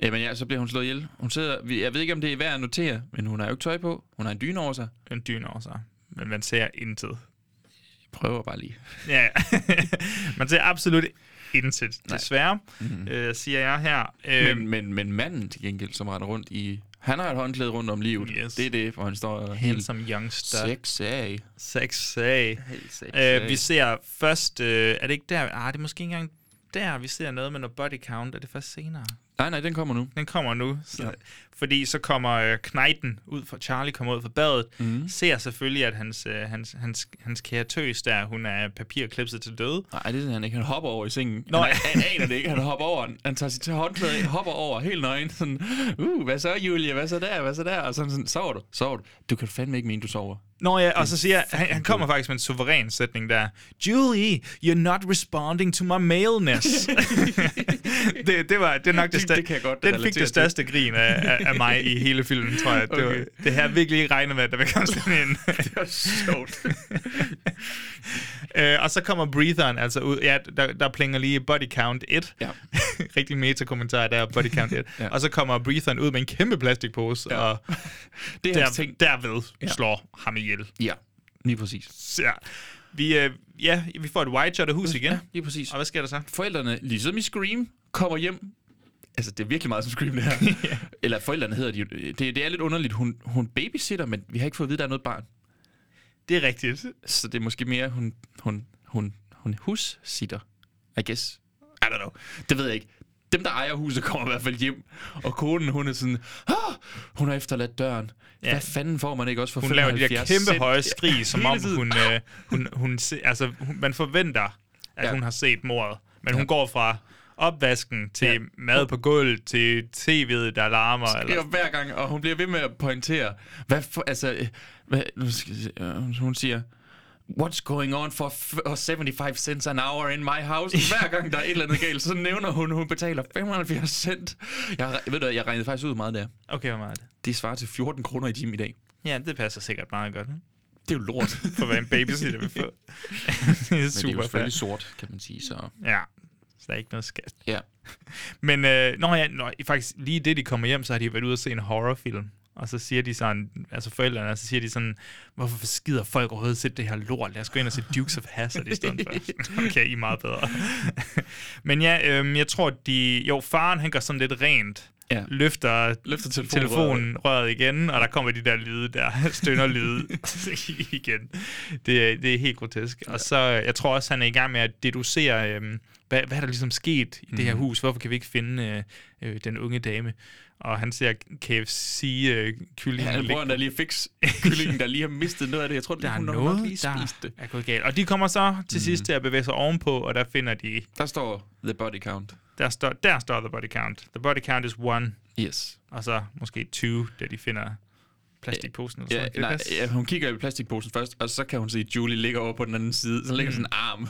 S2: Jamen ja, så bliver hun slået ihjel. Hun sidder, vi- jeg ved ikke, om det er værd at notere, men hun har jo ikke tøj på. Hun har en dyne over sig.
S1: En dyne over sig, men man ser intet.
S2: Jeg prøver bare lige.
S1: Ja, man ser absolut intet, desværre, mm-hmm. øh, siger jeg her. Øhm,
S2: Mhm. Men, men, men manden til gengæld, som render rundt i... Han har et håndklæde rundt om livet.
S1: Yes.
S2: Det er det, hvor han står helt
S1: Handsome youngster.
S2: sexy.
S1: Sexy.
S2: sexy.
S1: Øh, vi ser først, øh, er det ikke der? Ah, det er måske ikke engang der, vi ser noget med noget body count. Er det først senere?
S2: Nej, nej, den kommer nu.
S1: Den kommer nu. Så, ja. Fordi så kommer øh, Knighten ud fra Charlie, kommer ud fra badet, mm. ser selvfølgelig, at hans, øh, hans, hans, hans kære tøs der, hun er papirklipset til døde.
S2: Nej, det er han ikke. Han hopper over i sengen.
S1: Nå,
S2: han, han aner det ikke. Han hopper over. Han- Han tager sit håndklæde af, hopper over helt nøgen. Sådan, uh, hvad så, Julie? Hvad så der? Hvad så der? Og sådan, sådan sover du? Sover du? Du kan fandme ikke mene, du sover.
S1: Nå ja, og så siger han, han kommer faktisk med en suveræn sætning der. Julie, you're not responding to my maleness. det, det, var, det er nok det,
S2: Det- det kan jeg godt
S1: Den
S2: relatere
S1: fik
S2: til.
S1: det største grin af, af, af mig i hele filmen, tror jeg. Det, okay.
S2: Okay.
S1: var, det her virkelig ikke regnet med, at der vil komme sådan en.
S2: Det er sjovt.
S1: øh, og så kommer Breatheren altså ud. Ja, der, der plinger lige body count 1.
S2: Ja.
S1: Rigtig meta-kommentar der, body count 1.
S2: Ja.
S1: ja. Og så kommer Breatheren ud med en kæmpe plastikpose, ja. og
S2: Det er hans
S1: der,
S2: ting.
S1: derved ja. slår ham ihjel.
S2: Ja, lige præcis.
S1: Så, ja. Vi, øh, ja, vi får et wide shot af hus igen. Ja.
S2: Lige præcis.
S1: Og hvad sker der så?
S2: forældrene, ligesom i Scream, kommer hjem. Altså, det er virkelig meget som Scream, det her. Eller forældrene hedder de jo. Det, det er lidt underligt. Hun, hun babysitter, men vi har ikke fået at vide, at der er noget barn.
S1: Det er rigtigt.
S2: Så det er måske mere, hun, hun, hun, hun hussitter, I guess. I don't know. Det ved jeg ikke. Dem, der ejer huset, kommer i hvert fald hjem. Og konen, hun er sådan, ah, hun har efterladt døren. Ja. Hvad fanden får man ikke også for
S1: Hun laver de der
S2: 75
S1: kæmpe
S2: cent?
S1: høje skrig, som
S2: Hele
S1: om
S2: tiden.
S1: hun, øh, hun, hun, se, altså, hun, man forventer, at
S2: Ja.
S1: ja. hun har set mordet. Men hun går fra opvasken til ja. mad på gulvet til tv'et, der larmer.
S2: Det er
S1: Eller,
S2: jo hver gang, og hun bliver ved med at pointere. Hvad for, altså, øh, hvad, nu skal jeg se, øh, hun siger, What's going on for f- for 75 cents an hour in my house? Hver gang der er et eller andet galt, så nævner hun, hun betaler 75 cent. Jeg, re- ved du, hvad, jeg regnede faktisk ud hvor meget der.
S1: okay, hvor meget er det?
S2: Det svarer til 14 kroner i timen i dag.
S1: Ja, det passer sikkert meget godt. hm?
S2: Det er jo lort.
S1: For hvad en babysitter vil få. det er super fair.
S2: sort, kan man sige. Så.
S1: Ja, så der er ikke noget skat.
S2: Ja.
S1: Men øh, når, jeg, når, faktisk lige det, de kommer hjem, så har de været ude og se en horrorfilm. Og så siger de sådan, altså forældrene, og så siger de sådan, hvorfor skider folk overhovedet se det her lort? Lad os gå ind og se Dukes of Hazzard i stedet for. Okay, I er meget bedre. Men ja, øhm, jeg tror, de... Jo, faren han gør sådan lidt rent.
S2: Ja.
S1: løfter,
S2: Løfter telefonrøret.
S1: telefonrøret igen, og der kommer de der lyde der, stønder lyde igen. Det, er- det er helt grotesk. Og så, jeg tror også, han er i gang med at deducere, øhm, hvad, hvad er der ligesom sket i det
S2: Mhm.
S1: her hus? Hvorfor kan vi ikke finde øh, øh, den unge dame? Og han ser øh, KFC-kyllingen
S2: Han bruger da lige fix kyllingen, der lige har mistet noget af det. Jeg tror,
S1: der er
S2: hun nok
S1: noget,
S2: lige
S1: der
S2: spiste det. Mhm.
S1: er gået galt. Og de kommer så til sidst til at bevæge sig ovenpå, og der finder de,
S2: Der står the body count.
S1: der står, der står the body count. The body count is one,
S2: Yes.
S1: og så måske 20, da de finder plastikposen. Eller
S2: Ja,
S1: sådan.
S2: nej,
S1: noget. Det er
S2: ja, hun kigger i plastikposen først, og så kan hun se, at Julie ligger over på den anden side. Så ligger mm. sådan en arm.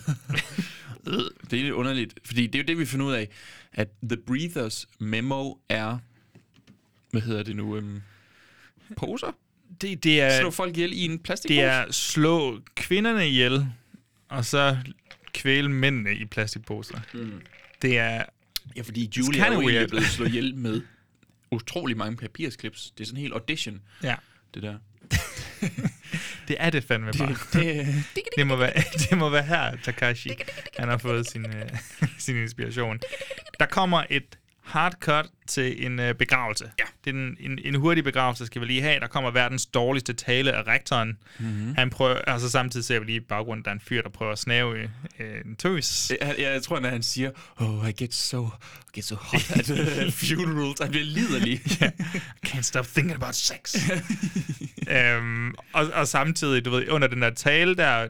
S2: Øh, det er lidt underligt, fordi det er jo det, vi finder ud af, at The Breathers memo er, hvad hedder det nu, øhm, poser?
S1: vist- Det, det,
S2: Slå
S1: er,
S2: folk ihjel i en plastikpose?
S1: det er slå kvinderne ihjel, og så kvæle mændene i plastikposer. Mm. Det er...
S2: Ja, fordi
S1: It's
S2: Julie er
S1: kinda
S2: jo
S1: weird.
S2: egentlig blevet slået ihjel med utrolig mange papirsklips. Det er sådan en hel audition,
S1: Ja,
S2: det der.
S1: det er det fandme bare.
S2: Det,
S1: Det må være, det må være her, Takashi, han har fået sin, øh, sin inspiration. Der kommer et hardcut til en øh, begravelse. Ja. Det er en, en, en hurtig begravelse, skal vi lige have. Der kommer verdens dårligste tale af rektoren. Mm-hmm. Han prøver, og så samtidig ser vi lige i baggrunden, der er en fyr, der prøver at snave øh, en tøs.
S2: Jeg, jeg, jeg tror, når han siger, oh, I get so, I get so hot at uh, funerals, han bliver liderlig. ja.
S1: Can't stop thinking about sex. øhm, og, og samtidig, du ved, under den der tale der,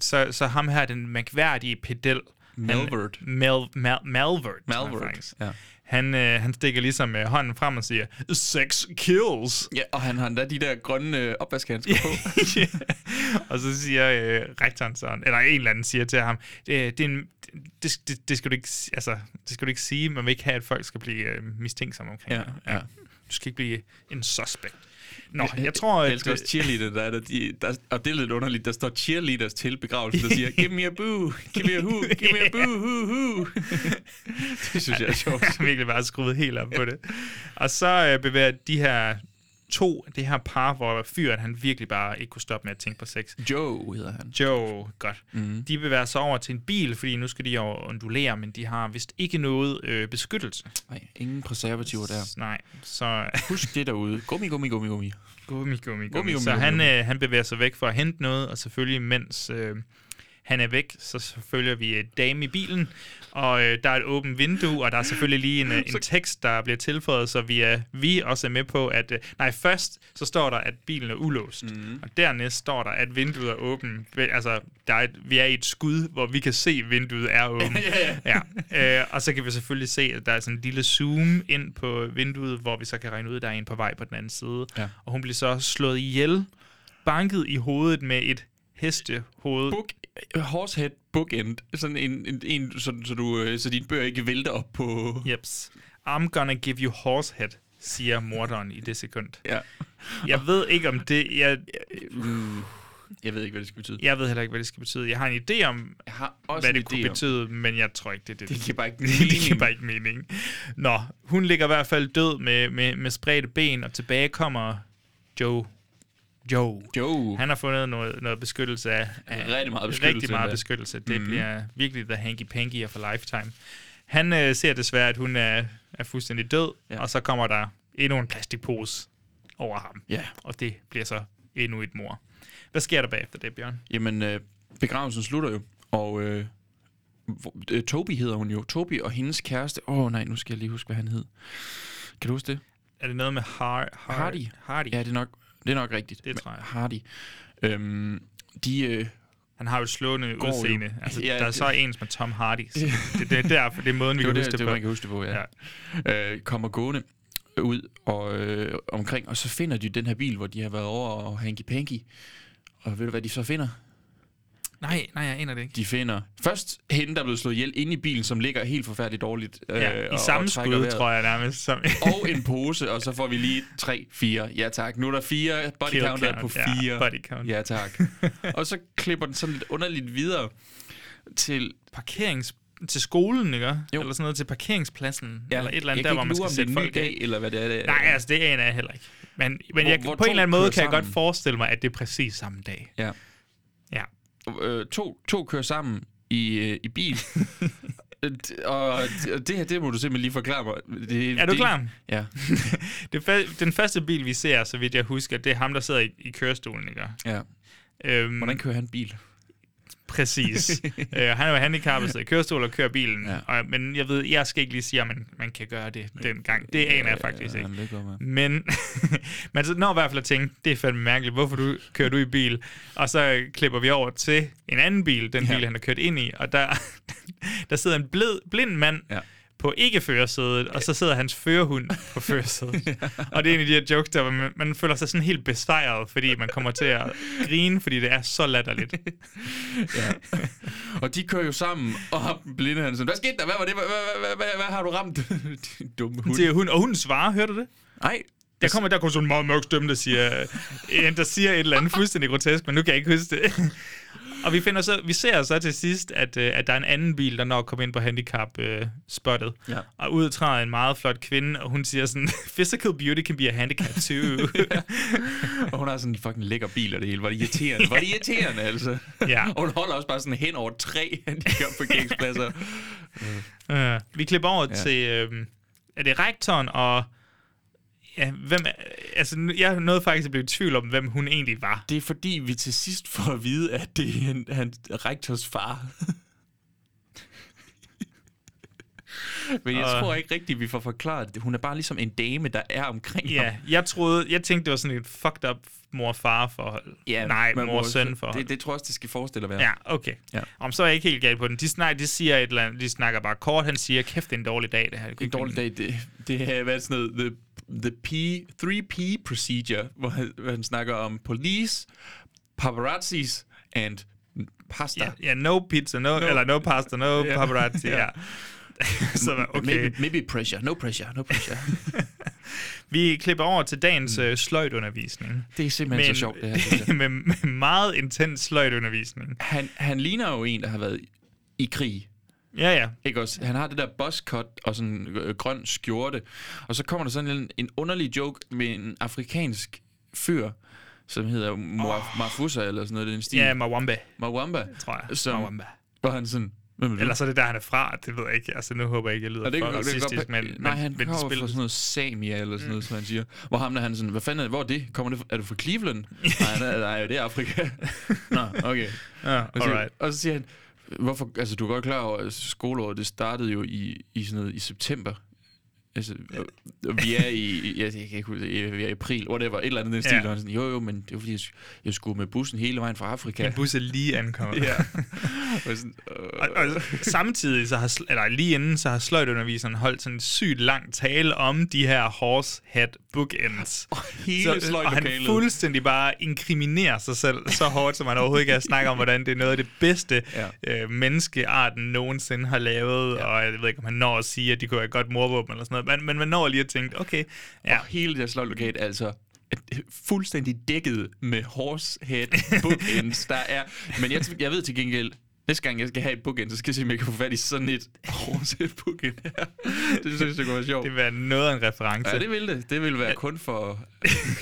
S1: så, så ham her, den mærkværdige pedel. han-
S2: Melvert.
S1: Mel, Mel, Melvert. tror jeg
S2: Malvert.
S1: faktisk.
S2: Ja.
S1: Han, øh, han stikker ligesom øh, hånden frem og siger, sex kills.
S2: ja, og han har endda de der grønne øh, opvaskehandsker på.
S1: og så siger øh, rektoren sådan, eller en eller anden siger til ham, det, det, er en, det, det, det, skal du ikke, si- altså, det skal du ikke sige, man vil ikke have, at folk skal blive øh, mistænksomme omkring
S2: Ja,
S1: det.
S2: ja.
S1: Du skal ikke blive en suspect. Nå, jeg tror,
S2: Jeg
S1: at... øh,
S2: elsker også cheerleader, der er der, de, der, og det er lidt underligt, der står cheerleaders til begravelsen, der siger, give me a boo, give me a who, give me a boo, who, who. det synes jeg er sjovt.
S1: har virkelig bare skruet helt op på det. Og så øh, bevæger de her to, det her par, hvor fyren han virkelig bare ikke kunne stoppe med at tænke på sex.
S2: Joe hedder han.
S1: Joe, godt.
S2: Mm-hmm.
S1: Mm. De bevæger sig over til en bil, fordi nu skal de jo undulere, men de har vist ikke noget øh, beskyttelse.
S2: Nej, ingen preservativer der.
S1: Nej, så
S2: Husk det derude. Gummi, gummi, gummi, gummi.
S1: gummi, gummi, gummi.
S2: gummi,
S1: Så
S2: gummi.
S1: han, øh, han bevæger sig væk for at hente noget, og selvfølgelig mens øh, han er væk, så så følger vi øh, dame i bilen, og øh, der er et åbent vindue, og der er selvfølgelig lige en, øh, en tekst, der bliver tilføjet, så vi, er, vi også er med på, at... Øh, nej, først så står der, at bilen er ulåst, mm. og dernæst står der, at vinduet er åbent. Vel, Altså, der er et, vi er i et skud, hvor vi kan se, at vinduet er åbent. ja, ja. Øh, og så kan vi selvfølgelig se, at der er sådan en lille zoom ind på vinduet, hvor vi så kan regne ud, at der er en på vej på den anden side.
S2: Ja.
S1: Og hun bliver så slået ihjel, banket i hovedet med et hestehoved.
S2: book, horsehead bookend, sådan en, en, en sådan, så, du, øh, så dine bøger ikke vælter op på...
S1: Jeps. I'm gonna give you horse head, siger morderen i det sekund.
S2: Ja. Uh.
S1: Jeg ved ikke om det... Jeg,
S2: Jeg ved ikke, hvad det skal betyde.
S1: jeg ved heller ikke, hvad det skal betyde. Jeg har en idé om,
S2: Jeg har også
S1: hvad det
S2: en idé
S1: kunne
S2: om-
S1: betyde, men jeg tror ikke, det er det.
S2: Det giver bare ikke
S1: det giver
S2: mening.
S1: bare ikke mening. Nå, hun ligger i hvert fald død med, med, med spredte ben, og tilbage kommer Joe. Joe.
S2: Joe.
S1: Han har fundet noget, noget beskyttelse af, af...
S2: Rigtig meget beskyttelse, Mhm.
S1: Rigtig meget
S2: endda.
S1: beskyttelse. Det mm. bliver virkelig the hanky-panky for lifetime. Han øh, ser desværre, at hun er, er fuldstændig død, ja.
S2: Ja.
S1: og så kommer der endnu en plastikpose over ham.
S2: Ja.
S1: Og det bliver så endnu et mor. Hvad sker der bagefter det, Bjørn?
S2: Jamen, øh, begravelsen slutter jo, og øh, hvor- øh, Toby hedder hun jo. Toby og hendes kæreste. Åh oh, nej, nu skal jeg lige huske, hvad han hed. Kan du huske det?
S1: Er det noget med har, har,
S2: Hardy.
S1: øh, Hardy?
S2: Ja, det er nok, det er nok rigtigt.
S1: Det tror jeg.
S2: Hardy. Øhm, de, øh,
S1: Han har jo et slående
S2: Går jo.
S1: udseende. Altså, ja,
S2: Ja,
S1: der er
S2: det-
S1: så ens med Tom Hardy. så Det, det er derfor, det er måden, vi
S2: det
S1: kan
S2: var
S1: huske
S2: det,
S1: det,
S2: det,
S1: på.
S2: man kan huske det på, ja. ja. Øh, kommer gående ud og øh, omkring, og så finder de den her bil, hvor de har været over og hanky-panky. Og ved du, hvad de så finder?
S1: Nej, nej, jeg aner det ikke.
S2: De finder først hende, der er blevet slået ihjel inde i bilen, som ligger helt forfærdeligt dårligt. Øh,
S1: Ja, I
S2: og-
S1: samme
S2: og trækker
S1: skud,
S2: vejret.
S1: tror jeg nærmest. Som,
S2: Og en pose, og så får vi lige tre, fire. Ja tak, nu er der fire. Body
S1: Kill
S2: count er på
S1: count, ja,
S2: fire.
S1: body count.
S2: Ja tak. og så klipper den sådan lidt underligt videre til
S1: parkerings til skolen, ikke? Jo.
S2: Jo.
S1: Eller sådan noget til parkeringspladsen,
S2: Ja,
S1: ja, eller et eller andet der,
S2: jeg kan
S1: hvor
S2: ikke
S1: man
S2: lure,
S1: skal
S2: om
S1: sætte
S2: det er en ny
S1: folk
S2: dag,
S1: af.
S2: eller hvad det er. Det er.
S1: Nej, altså det aner jeg heller ikke. Men, men
S2: Hvor-
S1: jeg,
S2: hvor
S1: på en
S2: to
S1: eller anden måde
S2: kører
S1: kan jeg godt
S2: sammen.
S1: forestille mig, at det er præcis samme dag.
S2: Ja.
S1: Ja.
S2: Øh, to, to kører sammen i, øh, i bil, Øh, d- Og og det her, det må du simpelthen lige forklare mig. Det,
S1: Er du
S2: det,
S1: klar?
S2: Ja.
S1: det fa- den første bil, vi ser, så vidt jeg husker, det er ham, der sidder i, i kørestolen, ikke?
S2: ja.
S1: Øhm,
S2: Hvordan kører han bil?
S1: Præcis. øh, han er jo handicappet, sidder i kørestol og kører bilen.
S2: Ja.
S1: Ja. Og, men jeg ved, jeg skal ikke lige sige, at man, man kan gøre det dengang. Det aner jeg faktisk
S2: Ja,
S1: ikke.
S2: jamen, det går, man.
S1: Men man så når i hvert fald at tænke, det er fandme mærkeligt, hvorfor du, kører du i bil? Og så klipper vi over til en anden bil, den
S2: Ja.
S1: ja. bil, han har kørt ind i, og der, der sidder en blid, blind mand
S2: Ja.
S1: ja. på ikke-førersædet, og så sidder hans førerhund på førersædet. Og det er en af de her jokes, der hvor man, man føler sig sådan helt besejret, fordi man kommer til at grine, fordi det er så latterligt.
S2: Og de kører jo sammen, og ham blinde han sådan, hvad skete der? Hvad var det? Hvad, hvad, hvad, hvad, hvad har du ramt? Din dumme hund.
S1: Til hun, og hun svarer, hørte du det?
S2: Nej.
S1: Der kommer der kun sådan en meget mørk stemme, der siger, øh, en, der siger et eller andet fuldstændig grotesk, men nu kan jeg ikke huske det. Og vi, finder så, vi ser så til sidst, at, øh, at der er en anden bil, der når at komme ind på handicap-spottet.
S2: Øh, Ja.
S1: Og ud træder en meget flot kvinde, og hun siger sådan, physical beauty can be a handicap too.
S2: Og hun har sådan en fucking lækker bil og det hele. Var det irriterende? Var det irriterende, altså?
S1: Ja.
S2: Og hun holder også bare sådan hen over tre handicapparkeringspladser.
S1: ja. Øh, Vi klipper over
S2: Ja.
S1: ja. til, øh, er det rektoren og... Ja, hvem, er- altså, nu- jeg nåede faktisk at blive i tvivl om, hvem hun egentlig var.
S2: Det er fordi, vi til sidst får at vide, at det er en, han, rektors far. Men jeg
S1: Og-
S2: tror ikke rigtigt, vi får forklaret det. Hun er bare ligesom en dame, der er omkring ham.
S1: Ja, jeg troede, jeg tænkte, det var sådan et fucked up mor-far-forhold. Nej,
S2: men vores-
S1: mor-søn-forhold.
S2: Det, det tror jeg også, det skal forestille at være.
S1: Ja, okay.
S2: Ja.
S1: Ja. Om så er jeg ikke helt gal på den. De, snak, de siger et eller andet, de snakker bare kort. Han siger, kæft, det er en dårlig dag, det her.
S2: En dårlig dag, det, det har været sådan noget, the, the P, 3P procedure, hvor han, hvor han snakker om police, paparazzis and pasta.
S1: Ja, ja no pizza, no, no. eller no pasta, no
S2: Ja.
S1: paparazzi.
S2: Ja.
S1: ja. så okay.
S2: Maybe, maybe pressure, no pressure, no pressure.
S1: Vi klipper over til dagens mm. sløjtundervisning.
S2: det er simpelthen Men, så sjovt, det her. synes jeg.
S1: med, med meget intens sløjtundervisning.
S2: Han, han ligner jo en, der har været i krig.
S1: Ja, ja.
S2: Ikke også? Han har det der buzzcut og sådan en øh, grøn skjorte. Og så kommer der sådan en, en underlig joke med en afrikansk fyr, som hedder Moaf- Mafusa eller sådan noget, i den stil.
S1: Ja, Mawambe,
S2: Mawamba.
S1: tror jeg.
S2: Som,
S1: Mawamba.
S2: Hvor han sådan... Hvem er du?
S1: Eller så er det der, han er fra. Det ved jeg ikke. Altså, nu håber jeg ikke, jeg lyder
S2: Og det,
S1: for
S2: det, det,
S1: racistisk,
S2: det,
S1: men,
S2: men, nej, han
S1: men,
S2: men
S1: men
S2: kommer
S1: det Mm.
S2: fra
S1: spiller
S2: sådan noget Samia eller sådan noget, som han siger. Hvor ham der, han er sådan, hvad fanden er det? Hvor er det? Kommer det, fra- er du fra Cleveland? nej, nej, nej, det er Afrika. Nå, okay.
S1: Ja,
S2: Og så,
S1: alright.
S2: og så siger han, hvorfor, altså du er godt klar over, at skoleåret, det startede jo i, i sådan noget, i september. Altså, og- og vi er i, i- jeg, jeg kan ikke huske, det, vi er i april, whatever, et eller andet i den stil.
S1: Ja.
S2: Og han sådan, jo, jo, men det var fordi, jeg, sk- jeg skulle med bussen hele vejen fra Afrika.
S1: Min bus er lige ankommet.
S2: Ja. Og sådan, øh,
S1: Og, og samtidig, så har, sl- eller lige inden, så har sløjtunderviseren holdt sådan en sygt lang tale om de her horse head bookends. Og
S2: hele
S1: og han
S2: sløjdlokalet.
S1: fuldstændig bare inkriminerer sig selv så hårdt, som han overhovedet kan snakke om, hvordan det er noget af det bedste,
S2: Ja.
S1: ja. øh, menneskearten nogensinde har lavet. Ja. Og jeg ved ikke, om han når at sige, at de kunne være et godt morvåben eller sådan noget. Men, men man når lige at tænke, okay, ja,
S2: Og hele deres sløjlokat er altså fuldstændig dækket med horsehead bookends. Der er, men jeg, jeg ved til gengæld, næste gang jeg skal have et bookend, så skal jeg se, om jeg kan få fat i sådan et horsehead bookend. her. det synes jeg kunne være sjovt.
S1: det vil være noget af en reference.
S2: Ja, det ville det. Det ville være kun for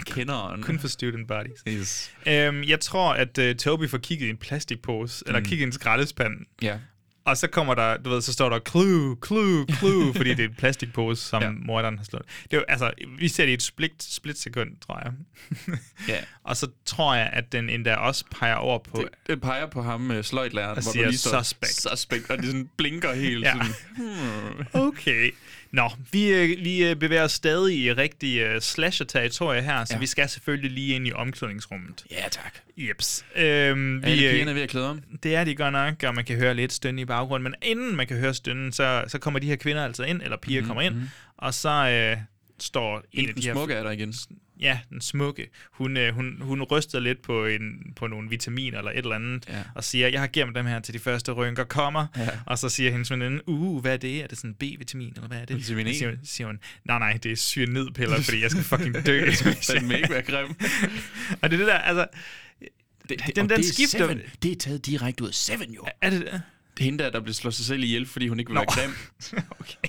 S2: kenderen.
S1: Kun for student bodies.
S2: Yes.
S1: Øhm, jeg tror, at øh, Toby får kigget i en plastikpose,
S2: Mm.
S1: eller kigget i en skraldespand,
S2: Ja.
S1: Og så kommer der, du ved, så står der clue, clue, clue, fordi det er en plastikpose, som
S2: Ja.
S1: ja. morderen har slået. Det er jo, altså, vi ser det i et split, split sekund, tror jeg.
S2: Ja.
S1: Og så tror jeg, at den endda også peger over på...
S2: Det, det peger på ham med sløjtlæreren, hvor
S1: siger
S2: der lige står
S1: suspect.
S2: suspect, og det sådan blinker helt.
S1: Ja.
S2: ja. sådan.
S1: Okay. Nå, vi, øh, vi øh, bevæger os stadig i rigtig øh, slasher-territorie her, så
S2: Ja.
S1: ja. vi skal selvfølgelig lige ind i omklædningsrummet.
S2: Ja, tak.
S1: Jeps. Øhm,
S2: Alle
S1: vi, øh,
S2: pigerne er ved at klæde om.
S1: det er de godt nok, og man kan høre lidt stønne i baggrunden. Men inden man kan høre stønnen, så, så kommer de her kvinder altså ind, eller piger mm-hmm. kommer ind, og så øh, står en af
S2: Mhm, Den
S1: de her
S2: smukke er der igen.
S1: Ja, den smukke. Hun, øh, hun, hun ryster lidt på, en, på nogle vitaminer eller et eller andet,
S2: Ja.
S1: ja. og siger, jeg har gemt dem her til de første rynker kommer. Ja. Og så siger hendes veninde, uh, hvad er det? Er det sådan B-vitamin, eller hvad er det?
S2: Vitamin E?
S1: Så Siger, siger hun, nej, nej, det er syrenidpiller, fordi jeg skal fucking dø.
S2: Den må ikke være grim.
S1: og det er det der, altså,
S2: Det,
S1: Den-
S2: og
S1: den
S2: det er
S1: skifter-
S2: Seven. Det er taget direkte ud af Seven, jo.
S1: er det der?
S2: Hende der, der blev slået sig selv ihjel, fordi hun ikke ville være grim.
S1: okay.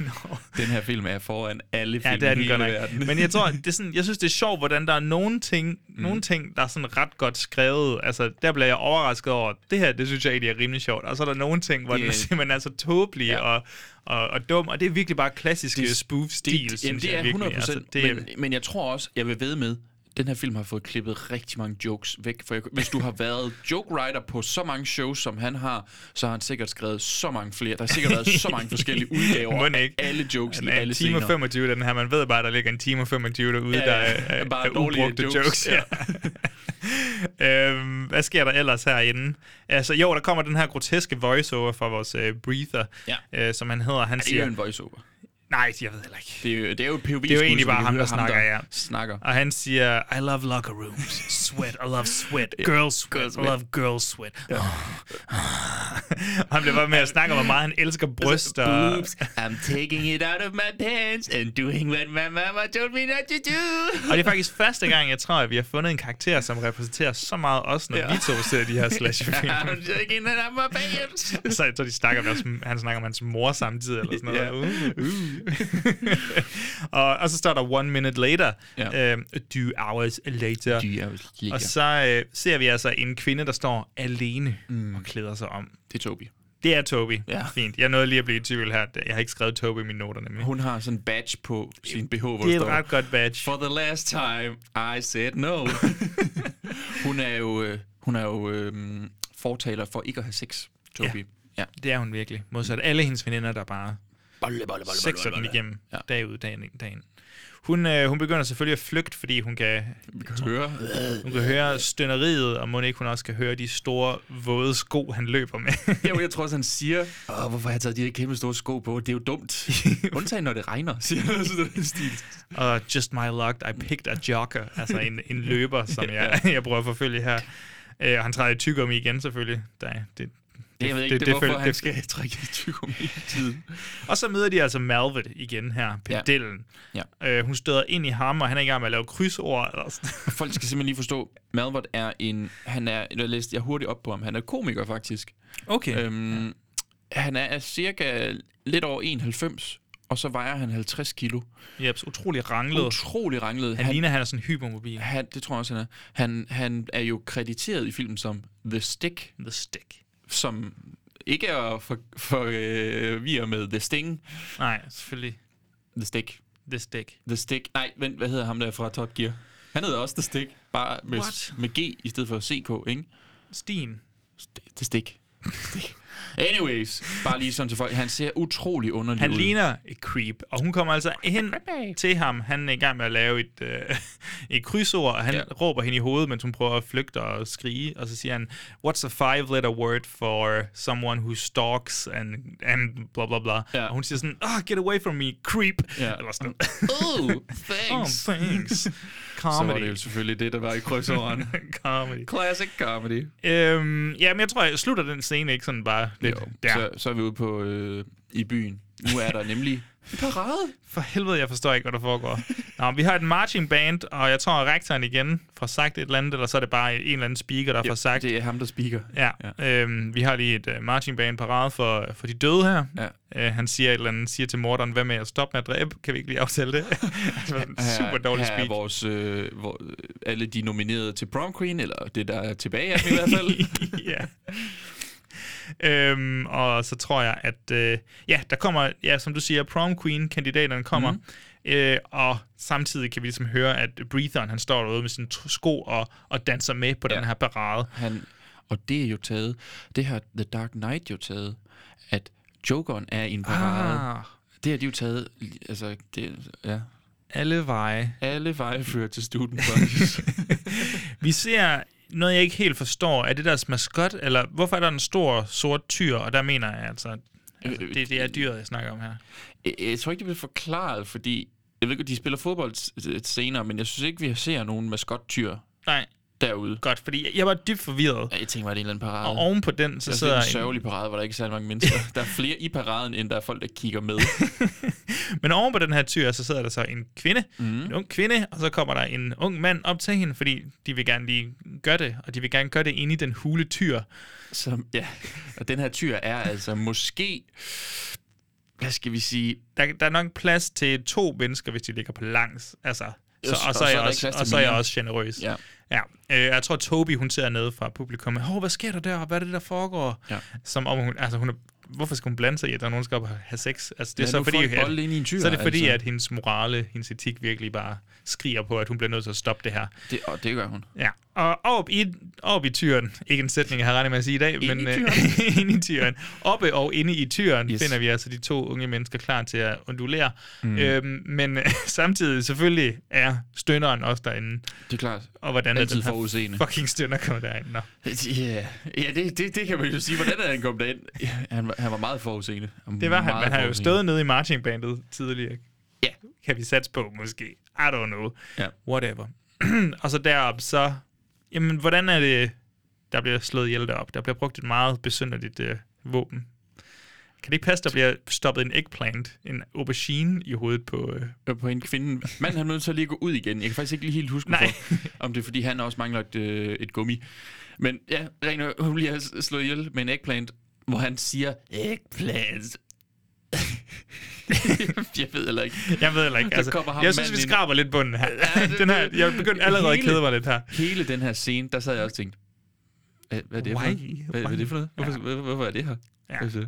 S1: Nå.
S2: Den her film er foran alle film
S1: Ja, det er
S2: i
S1: den
S2: hele
S1: godt nok.
S2: verden.
S1: Men jeg tror, det er sådan, jeg synes, det er sjovt, hvordan der er nogle ting, mm. nogle ting, der er sådan ret godt skrevet. Altså, der bliver jeg overrasket over, det her, det synes jeg egentlig er rimelig sjovt. Og så er der nogle ting, hvor
S2: Det-
S1: yeah. den simpelthen er så tåbelig
S2: Ja.
S1: ja. og, og, og dum. Og det er virkelig bare klassisk
S2: Det-
S1: spoof-stil,
S2: det,
S1: synes
S2: jamen, det
S1: jeg
S2: er
S1: virkelig.
S2: 100
S1: Altså,
S2: procent.
S1: det,
S2: men, men jeg tror også, jeg vil ved med, den her film har fået klippet rigtig mange jokes væk. For jeg, hvis du har været joke writer på så mange shows, som han har, så har han sikkert skrevet så mange flere. Der har sikkert været så mange forskellige udgaver
S1: Må den ikke?
S2: af alle jokes i
S1: Den er en
S2: alle
S1: time og
S2: scener.
S1: 25, den her. Man ved bare, der ligger en time og 25 derude,
S2: Ja,
S1: ja, der
S2: ja.
S1: er, er,
S2: Bare
S1: bare er
S2: dårlige
S1: ubrugte
S2: jokes.
S1: jokes. jokes ja. øhm, hvad sker der ellers herinde? Altså, jo, der kommer den her groteske voiceover fra vores øh, breather,
S2: Ja.
S1: øh, som han hedder. Han
S2: Det er
S1: siger,
S2: jo en voiceover.
S1: Nej, jeg ved heller ikke.
S2: Det er jo, det er jo et POV
S1: Det er jo egentlig bare ham, der snakker, ja.
S2: snakker.
S1: Og han siger, I love locker rooms. Sweat, I love sweat. Girl sweat, I love girl sweat. Og han bliver bare med at snakke om, hvor meget han elsker bryster.
S2: Altså, Boobs, I'm taking it out of my pants and doing what my mama told me not to do.
S1: Og det er faktisk første gang, jeg tror, at vi har fundet en karakter, som repræsenterer så meget os, når
S2: Ja.
S1: ja. vi to ser de her slasherfilm.
S2: I'm taking it out of my pants.
S1: så, så de snakker om deres, han snakker om hans mor samtidig, eller sådan noget.
S2: Ja.
S1: Uh. og, og så står der one minute later,
S2: Ja.
S1: ja. øhm, two hours later.
S2: De er jo lækker.
S1: Og så øh, ser vi altså en kvinde, der står alene mm. og klæder sig om.
S2: Det er Tobi.
S1: Det er Toby.
S2: Ja.
S1: Ja. Fint. Jeg nåede lige at blive i tvivl her. Jeg har ikke skrevet Toby i mine noter nemlig.
S2: Hun har sådan en badge på sin BH, hvor
S1: det er
S2: der
S1: et
S2: står,
S1: ret godt badge.
S2: For the last time, I said no. hun er jo, øh, hun er jo øh, fortaler for ikke at have sex, Tobi. Ja.
S1: Det er hun virkelig. Modsat alle hendes veninder, der bare
S2: Bolle, bolle, bolle, bolle,
S1: sexer den igennem
S2: Ja.
S1: ja. dag ud, dag ind, dag ind. Hun, øh, hun begynder selvfølgelig at flygte, fordi hun kan,
S2: Høre.
S1: hun kan høre stønneriet, og må ikke hun også kan høre de store, våde sko, han løber med.
S2: Ja, men jeg tror også, han siger, Åh, hvorfor har jeg taget de her kæmpe store sko på? Det er jo dumt. Undtagen, når det regner, siger han. Så det er den stil.
S1: og just my luck, I picked a jogger, altså en, en løber, som jeg, jeg prøver at forfølge her. Øh, og han træder i tyggegummi igen selvfølgelig. Der, er- det,
S2: Jeg ved ikke, det,
S1: Det-
S2: det,
S1: det
S2: hvorfor
S1: føl-
S2: han
S1: det-
S2: skal trække i tyggegummi i tiden.
S1: Og så møder de altså Malvet igen her, pedellen.
S2: Ja.
S1: Øh, hun støder ind i ham, og han er i gang med at lave krydsord. Eller sådan.
S2: Folk skal simpelthen lige forstå, Malvert er en... Han er, jeg læste jeg hurtigt op på ham, han er komiker faktisk.
S1: Okay.
S2: Øhm, Han er cirka lidt over 91, og så vejer han 50 kilo.
S1: Jeps, utrolig ranglet.
S2: Utrolig ranglet.
S1: han, han ligner, han er sådan hypermobil.
S2: han, det tror jeg også, han er. Han, han er jo krediteret i filmen som The Stick,
S1: The stick.
S2: som ikke er at for, for øh, vi er med The Sting.
S1: Nej, selvfølgelig.
S2: The Stick.
S1: The stick.
S2: The Stick. Nej, vent, hvad hedder ham der fra Top Gear? Han hedder også The Stick, bare med,
S1: What?
S2: med G i stedet for CK, ikke?
S1: Stien.
S2: St- The Stick. Stick. Anyways, bare lige sådan til folk. Han ser utrolig underlig
S1: Han
S2: ud.
S1: ligner et creep, og hun kommer altså hen til ham. Han er i gang med at lave et, øh, et krydsord, og han
S2: Ja.
S1: ja. råber hende i hovedet, mens hun prøver at flygte og skrige. Og så siger han, what's a five-letter word for someone who stalks and, and bla bla bla.
S2: Ja.
S1: Ja. Og hun siger sådan, ah, oh, get away from me, creep.
S2: Ja.
S1: Eller sådan.
S2: Oh,
S1: oh,
S2: thanks.
S1: thanks.
S2: Så var det
S1: Comedy.
S2: jo selvfølgelig det, der var i krydsåren.
S1: Comedy.
S2: Classic comedy.
S1: Øhm, ja, men jeg tror, jeg slutter den scene ikke sådan bare lidt
S2: Jo,
S1: der.
S2: Så, så er vi ude på øh, i byen. Nu er der nemlig parade.
S1: For helvede, jeg forstår ikke, hvad der foregår. Nå, vi har et marching band, og jeg tror, at rektoren igen får sagt et eller andet, eller så er det bare en eller anden speaker, der får sagt.
S2: Det er ham, der speaker.
S1: Ja, øhm, vi har lige et uh, marching band parade for, for de døde her.
S2: Ja.
S1: Øh, han siger et eller andet, siger til morderen, hvad med at stoppe med at dræbe? Kan vi ikke lige aftale det? Det var en Super dårlig
S2: her, her er
S1: speak.
S2: vores, øh, hvor, alle de nominerede til prom queen, eller det, der er tilbage af dem i hvert fald.
S1: ja. Øhm, og så tror jeg, at øh, ja, der kommer, ja, som du siger, prom queen, kandidaterne kommer,
S2: Mhm.
S1: mm. øh, og samtidig kan vi ligesom høre, at Breatheren, han står derude med sine tr- sko og, og danser med på ja. den her parade.
S2: Han, og det er jo taget, det har The Dark Knight jo taget, at Jokeren er i en parade. Ah. Det har de jo taget, altså, det, ja.
S1: alle veje.
S2: Alle veje fører til student bodies.
S1: Vi ser noget, jeg ikke helt forstår. Er det deres maskot, eller hvorfor er der en stor sort tyr? Og der mener jeg altså, altså
S2: Øh,
S1: det, det er dyret, jeg snakker om her.
S2: Jeg, jeg tror ikke, det bliver forklaret, fordi... Jeg ved ikke, de spiller fodbold s- s- senere, men jeg synes ikke, vi ser nogen maskottyr
S1: Nej,
S2: derude.
S1: godt, fordi jeg, jeg var dybt forvirret.
S2: Jeg tænker, var det en eller anden parade.
S1: Og oven på den, så
S2: det er
S1: sidder
S2: en sørgelig parade, hvor der ikke er særlig mange mennesker. der er flere i paraden, end der er folk, der kigger med.
S1: Men oven på den her tyr, så sidder der så en kvinde,
S2: Mhm.
S1: mm. en ung kvinde, og så kommer der en ung mand op til hende, fordi de vil gerne lige gøre det, og de vil gerne gøre det inde i den hule tyr.
S2: Som, ja. Og den her tyr er altså måske hvad skal vi sige,
S1: der, der er nok plads til to mennesker, hvis de ligger på langs. Altså, så,
S2: Yes,
S1: og, så er jeg
S2: der ikke
S1: også,
S2: plads til
S1: og så er jeg
S2: mere.
S1: også generøs.
S2: Ja.
S1: Ja. Øh, jeg tror, Toby, hun ser nede fra publikum. Hov, hvad sker der der? Hvad er det, der foregår?
S2: Ja.
S1: Som om hun, altså, hun er, hvorfor skal hun blande sig i, at der er nogen, der skal op og have sex? Altså, det er
S2: Ja,
S1: så
S2: nu
S1: fordi,
S2: får en
S1: at-
S2: bold ind i en tyr,
S1: så er det fordi,
S2: altså.
S1: at hendes morale, hendes etik virkelig bare skriger på, at hun bliver nødt til at stoppe det her.
S2: det, og det gør hun.
S1: Ja, og op i, op i tyren, ikke en sætning, jeg havde regnet med at sige i dag, men
S2: i
S1: øh, inde i tyren, oppe og inde i tyren, yes.
S2: Yes.
S1: finder vi altså de to unge mennesker klar til at undulere. Mm. Øhm, men øh, samtidig selvfølgelig er stønneren også derinde,
S2: Det er klart.
S1: og hvordan er
S2: Altid
S1: den her
S2: forudseende.
S1: fucking stønner kommer derind. Nå.
S2: Yeah. Ja, det, det, det kan man jo sige. Hvordan er han kommet ind? Han, var- han var meget forudseende.
S1: Det var han,
S2: Meget
S1: man har jo
S2: forudseende.
S1: stået nede i marchingbandet tidligere.
S2: Ja.
S1: Kan vi satse på, måske. I don't know.
S2: Ja.
S1: Whatever. og så derop, så... Jamen, hvordan er det, der bliver slået ihjel derop? Der bliver brugt et meget besynderligt øh, våben. Kan det ikke passe, der bliver stoppet en eggplant, en aubergine i hovedet på... Øh,
S2: på en kvinde. Manden han er nødt til at lige gå ud igen. Jeg kan faktisk ikke lige helt huske,
S1: Nej.
S2: hvorfor, om det er, fordi han også mangler et, øh, et gummi. Men ja, Rene, hun bliver s- slået ihjel med en eggplant, hvor han siger, eggplant. jeg ved heller ikke.
S1: jeg ved heller ikke.
S2: Der
S1: Altså,
S2: kommer ham
S1: jeg synes, vi
S2: manden ind.
S1: skraber lidt bunden her.
S2: Ja, det-
S1: den her
S2: det-
S1: jeg begyndte allerede at
S2: hele-
S1: kede mig lidt her.
S2: Hele den her scene, der sad jeg også og tænkte, hvad, hvad er det for
S1: Why?
S2: noget? Hvad, hvad er det for noget? Hvorfor, hvor, hvorfor er det her?
S1: Ja.
S2: Altså,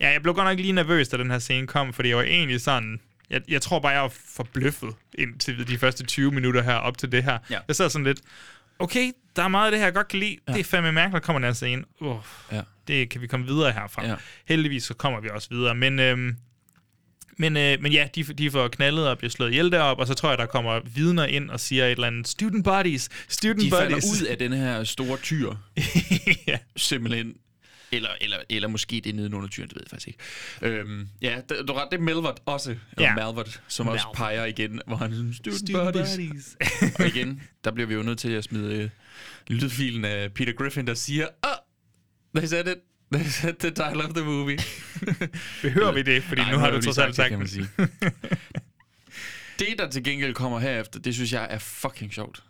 S1: Ja, jeg blev godt nok lige nervøs, da den her scene kom, fordi jeg var egentlig sådan... Jeg, jeg tror bare, jeg var forbløffet indtil de første 20 minutter her op til det her.
S2: Ja.
S1: Jeg sad sådan lidt, okay, der er meget af det her, jeg godt kan lide. Ja. Det er fandme mærkeligt, der kommer den her scene. Uff,
S2: Ja.
S1: Det kan vi komme videre herfra.
S2: Ja.
S1: Heldigvis så kommer vi også videre, men... Øhm, men, øh, men ja, de, de får knaldet og bliver slået ihjel deroppe, og så tror jeg, der kommer vidner ind og siger et eller andet, student bodies, student
S2: de falder
S1: bodies.
S2: ud af den her store tyr,
S1: ja.
S2: simpelthen. Eller, eller, eller måske det er nede under tyren, det ved jeg faktisk ikke. Øhm, ja, det, du har ret, det er Melvert også. Eller
S1: Ja.
S2: ja. Malvert, som Malvert.
S1: Malvert.
S2: også peger igen, hvor han er student,
S1: Student
S2: student buddies.
S1: buddies.
S2: Og igen, der bliver vi jo nødt til at smide øh, lydfilen af Peter Griffin, der siger, oh, they said it, they said the title of the movie.
S1: Behøver vi det? Fordi nu har
S2: jeg
S1: du
S2: jo lige
S1: trods alt
S2: det,
S1: sagt
S2: kan man
S1: det.
S2: sige. Det, der til gengæld kommer herefter, det synes jeg er fucking sjovt.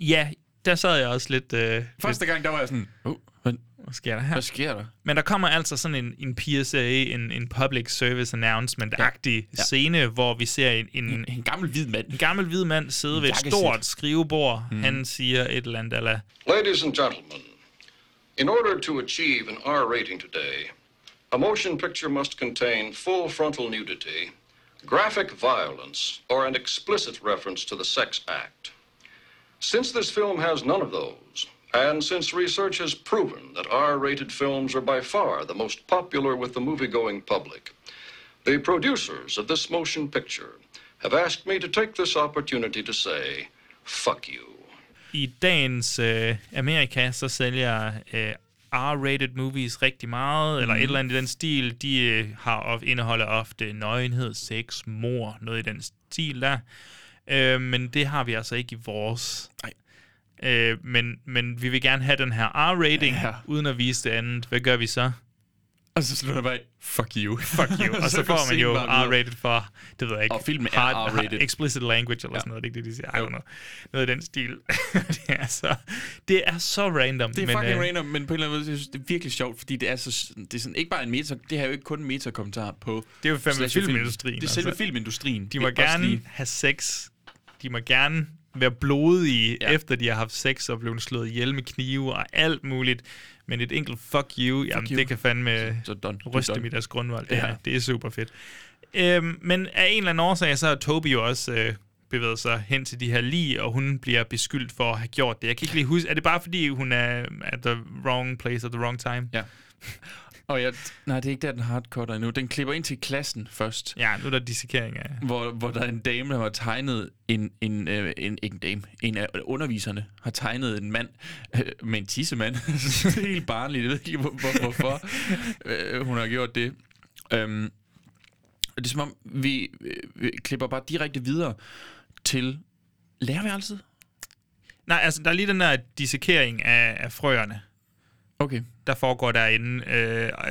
S1: Ja, der sad jeg også lidt... Øh,
S2: Første gang, der var jeg sådan, oh, hvad,
S1: Hvad sker der her?
S2: hvad sker der?
S1: Men der kommer altså sådan en, en PSA, en, en Public Service Announcement-agtig ja. Mm.
S2: Ja.
S1: scene, hvor vi ser en, en,
S2: En gammel hvid mand.
S1: en gammel hvid mand sidde ved et
S2: Jakkesæt.
S1: stort skrivebord. Mm. Han siger et eller andet, eller...
S9: Ladies and gentlemen, in order to achieve an R rating today, a motion picture must contain full frontal nudity, graphic violence, or an explicit reference to the sex act. Since this film has none of those, and since research has proven that R rated films are by far the most popular with the movie going public, the producers of this motion picture have asked me to take this opportunity to say, fuck you.
S1: I dagens øh, Amerika, så sælger øh, R-rated movies rigtig meget, mm. eller et eller andet i den stil. De øh, har of, indeholder ofte nøgenhed, sex, mor, noget i den stil der. Øh, men det har vi altså ikke i vores.
S2: Nej.
S1: Øh, men, men vi vil gerne have den her R-rating, ja.
S2: Ja.
S1: uden at vise det andet. Hvad gør vi så?
S2: Og så slutter jeg bare, af, fuck you.
S1: Fuck you. Og så
S2: går
S1: får man jo
S2: scenen bare videre.
S1: R-rated for, det ved jeg ikke.
S2: Og filmen er R-rated.
S1: Explicit language eller ja. sådan noget, det er ikke det, de siger. I don't know. Noget i den stil. det, er så, det er så random.
S2: Det er
S1: men,
S2: fucking
S1: øh,
S2: random, men på en eller anden måde, jeg synes, det er virkelig sjovt, fordi det er, så, det er sådan, ikke bare en meta, det her er jo ikke kun en metakommentar på...
S1: Det er jo fandme
S2: slash- film.
S1: filmindustrien,
S2: Det er selve
S1: altså.
S2: filmindustrien.
S1: De
S2: Det
S1: må
S2: er også
S1: gerne
S2: lige-
S1: have sex. De må gerne være blodige, ja.
S2: Ja.
S1: efter de har haft sex og blevet slået ihjel med knive og alt muligt. Men et enkelt fuck you, fuck jamen you.
S2: you.
S1: det kan fandme
S2: Så done. Du er
S1: ryste
S2: done.
S1: mit deres grundvold. Det, ja.
S2: Ja.
S1: det er super fedt. Øhm, men af en eller anden årsag, så har Toby jo også øh, bevæget sig hen til de her lige, og hun bliver beskyldt for at have gjort det. Jeg kan ikke lige huske, er det bare fordi, hun er at the wrong place at the wrong time?
S2: Ja. Og jeg, nej, det er ikke der, den hardcutter endnu. Den klipper ind til klassen først.
S1: Ja, nu er der dissekering af...
S2: hvor, hvor der er en dame, der har tegnet en, en, øh, en, ikke en dame, en af underviserne har tegnet en mand øh, med en tissemand. det er helt barnligt, jeg ved ikke hvor, hvor, hvorfor øh, hun har gjort det. Øhm, og det er som om, vi, øh, vi klipper bare direkte videre til lærerværelset.
S1: Nej, altså, der er lige den der dissekering af, af frøerne.
S2: Okay.
S1: der foregår derinde. Øh, og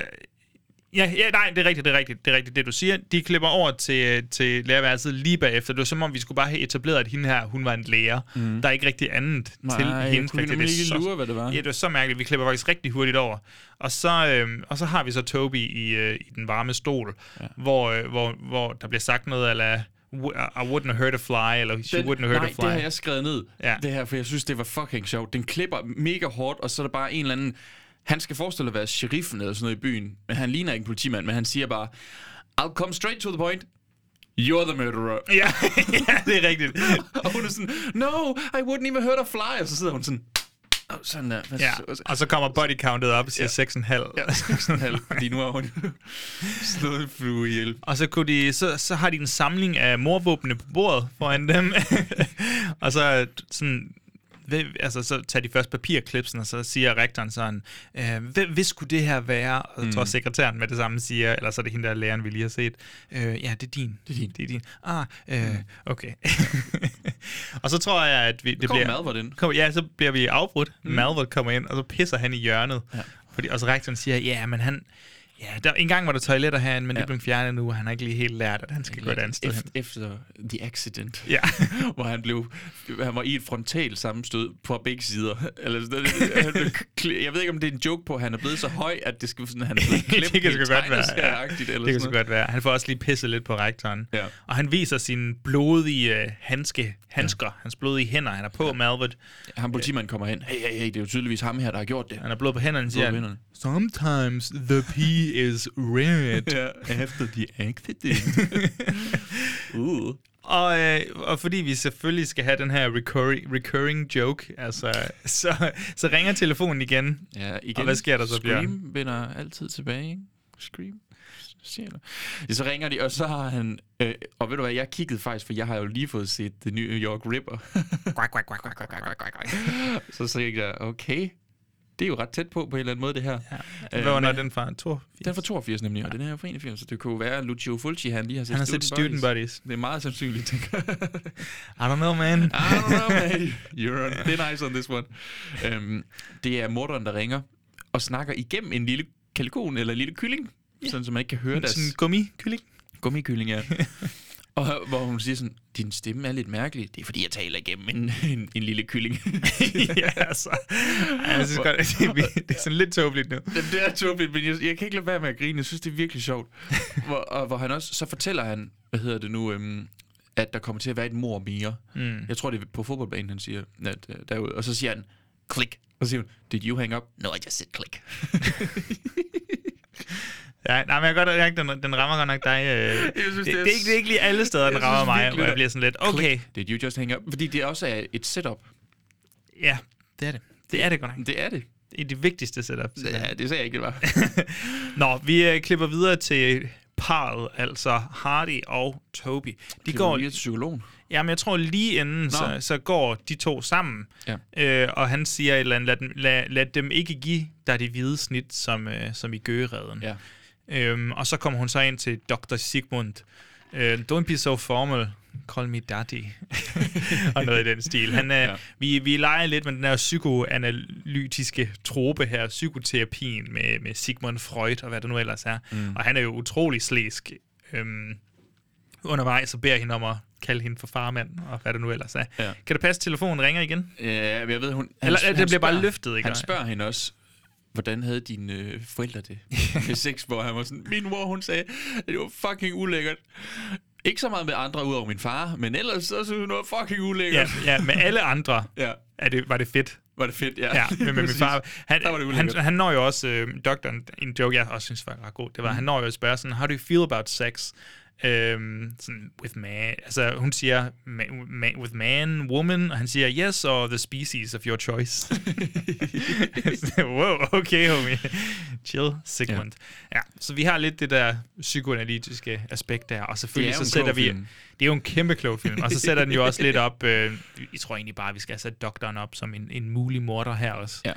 S1: Ja, ja, nej, det er rigtigt, det er rigtigt, det er rigtigt, det du siger. De klipper over til, øh, til lærerværelset lige bagefter. Det var som om, vi skulle bare have etableret, at hende her, hun var en lærer. Mm. Der er ikke rigtig andet
S2: Nej,
S1: til
S2: jeg
S1: hende.
S2: kunne
S1: faktisk.
S2: nemlig
S1: Det er
S2: ikke
S1: så-
S2: lure, hvad det var.
S1: Ja, det var så mærkeligt. Vi klipper faktisk rigtig hurtigt over. Og så, øhm, og så har vi så Toby i, øh, i den varme stol, ja. hvor, øh, hvor, hvor der bliver sagt noget, eller I wouldn't have hurt a fly, eller she wouldn't have heard
S2: nej,
S1: a fly.
S2: det har jeg skrevet ned,
S1: Ja.
S2: ja. det her, for jeg synes, det var fucking sjovt. Den klipper mega hårdt, og så er der bare en eller anden... Han skal forestille at være sheriffen eller sådan noget i byen, men han ligner ikke en politimand, men han siger bare, I'll come straight to the point, you're the murderer.
S1: Ja, ja, det er rigtigt.
S2: og hun er sådan, no, I wouldn't even heard a fly. Og så sidder hun sådan, oh, sådan der. Hvad
S1: Ja.
S2: så-
S1: Og så kommer body countet op og siger 6,5.
S2: Ja, sådan halv, fordi nu har hun slået en flue ihjel.
S1: Og så, kunne de, så, så har de en samling af morvåbne på bordet foran dem. og så sådan... Hvem, altså, så tager de først papirklipsen, og så siger rektoren sådan, øh, hvem, hvis skulle det her være? Og jeg tror sekretæren med det samme siger, eller så er det hende, der er læreren, vi lige har set. Øh, ja, det er din. Det er din. Det er din. Ah, øh, okay. og så tror jeg, at vi, det
S2: kommer
S1: bliver...
S2: Malvert ind.
S1: Kom, ja, så bliver vi afbrudt. Mm. Malvert kommer ind, og så pisser han i hjørnet. Ja. Fordi, og så rektoren siger, ja, men han... Ja, der, en gang var der toiletter herinde, men ja. det blev fjernet nu, og han har ikke lige helt lært, at han skal gå et andet sted hen.
S2: Efter, efter The Accident.
S1: Ja.
S2: hvor han blev han var i et frontal sammenstød på begge sider. Eller, sådan noget. han blev, kli- jeg ved ikke, om det er en joke på, at han er blevet så høj, at det skal sådan, han er blevet klemt
S1: det kan
S2: i
S1: sgu
S2: en
S1: godt være. Ja.
S2: tegneserieagtigt eller
S1: Det kan
S2: sådan
S1: sgu
S2: noget.
S1: godt være. Han får også lige pisset lidt på rektoren.
S2: Ja.
S1: Og han viser sine blodige øh, handske, handsker, ja. hans blodige hænder, han er på, ja. Malvert.
S2: Han politimanden kommer hen. Hey, hey, hey, det er jo tydeligvis ham her, der har gjort det.
S1: Han er blod på hænderne, siger
S2: på
S1: han, Sometimes the pee is red.
S2: Ja, efter The Accident. uh.
S1: Og, øh, og fordi vi selvfølgelig skal have den her recurring, recurring joke, altså, så, så ringer telefonen igen.
S2: Ja, igen.
S1: Og hvad sker der så, Bjørn?
S2: Scream vender altid tilbage, ikke? Scream. Siger du? Så ringer de, og så har han... Øh, og ved du hvad, jeg kiggede faktisk, for jeg har jo lige fået set The New York Ripper.
S1: Quack, quack, quack, quack, quack, quack, quack, quack.
S2: så tænkte jeg, okay, det er jo ret tæt på på en eller anden måde, det her. Øh,
S1: Hvad var nok den fra? 82?
S2: Den er fra 82 nemlig, og den her er fra 81, så det kunne jo være, at Lucio Fulci, han lige har set,
S1: Han har set Student Buddies.
S2: Det er meget sandsynligt, tænker jeg.
S1: I don't know, man.
S2: I don't know, man. Ah, You're on thin ice on this one. Øhm, det er morderen, der ringer og snakker igennem en lille kalkun eller en lille kylling, sådan så man ikke kan høre deres
S1: Sådan en gummikylling.
S2: gummikylling er. Og hvor hun siger sådan, din stemme er lidt mærkelig. Det er fordi, jeg taler igennem en, en, en lille kylling.
S1: ja, altså. Ej, Jeg synes godt, at det, vi- det er sådan lidt tåbeligt nu.
S2: Jamen, det er tåbeligt, men jeg, jeg kan ikke lade være med at grine. Jeg synes, det er virkelig sjovt. Hvor, og hvor han også, så fortæller han, hvad hedder det nu, øhm, at der kommer til at være et mor mere. Mm. Jeg tror, det er på fodboldbanen, han siger at, øh, derude. Og så siger han, klik. Og så siger hun, did you hang up? No, I just said click.
S1: Ja, nej, men jeg kan godt mærke, den, den rammer godt nok dig. Øh.
S2: synes,
S1: det,
S2: det
S1: det,
S2: er
S1: er ikke, det er ikke lige alle steder, den
S2: Jeg
S1: rammer
S2: synes
S1: mig,
S2: virkelig,
S1: hvor jeg
S2: det-
S1: bliver sådan lidt,
S2: Click.
S1: okay,
S2: Did you just hang up? Fordi det også er et setup.
S1: ja, det er det. Det er det godt nok.
S2: Det er det.
S1: Det er det vigtigste setup. simpelthen.
S2: Ja, det sagde jeg ikke, det var.
S1: Nå, vi øh, klipper videre til parret, altså Hardy og Toby. De
S2: Det går
S1: går,
S2: lige til psykologen.
S1: jamen jeg tror lige inden, så, så går de to sammen,
S2: Ja.
S1: øh, og han siger et eller andet, lad, dem- lad, lad dem ikke give dig det hvide snit, som, øh, som i gøreden.
S2: Ja.
S1: Øhm, og så kommer hun så ind til Dr. Sigmund. Øh, Don't be so formal. Call me daddy. og noget i den stil. Han er, ja. vi, vi leger lidt med den her psykoanalytiske trope her, psykoterapien med, med Sigmund Freud og hvad det nu ellers er. Mm. Og han er jo utrolig slæsk. Øhm, undervejs og beder hende om at kalde hende for farmand og hvad det nu ellers er.
S2: Ja.
S1: Kan det passe, at telefonen ringer igen?
S2: Ja, Øh, men jeg ved, hun... Han,
S1: Eller, det bliver bare
S2: spørger-
S1: løftet, ikke?
S2: Han spørger hende også, hvordan havde dine øh, forældre det med sex, hvor han var sådan, min mor, hun sagde, at det var fucking ulækkert. Ikke så meget med andre udover min far, men ellers så synes hun, det var fucking
S1: Ja,
S2: ulækkert.
S1: ja, med alle andre
S2: ja.
S1: er det, var det fedt.
S2: Var det fedt, ja.
S1: Ja, men med min
S2: Præcis.
S1: far. Han,
S2: Der var det
S1: han,
S2: ulækkert.
S1: han når jo også, øh, doktoren, en joke, jeg også synes var ret god, det var, mm. han når jo at spørge sådan, how do you feel about sex? Øhm, sådan, with man, altså hun siger, man, man, with man, woman, og han siger, yes, or the species of your choice. wow, okay, homie. Chill, Sigmund. Ja. ja, så vi har lidt det der psykoanalytiske aspekt der, og selvfølgelig
S2: Det er jo
S1: så
S2: en
S1: sætter
S2: klog
S1: vi...
S2: film.
S1: Det er jo en kæmpe klog film, og så sætter den jo også lidt op... Øh, jeg tror egentlig bare, at vi skal sætte doktoren op som en, en mulig morder her også.
S2: Ja.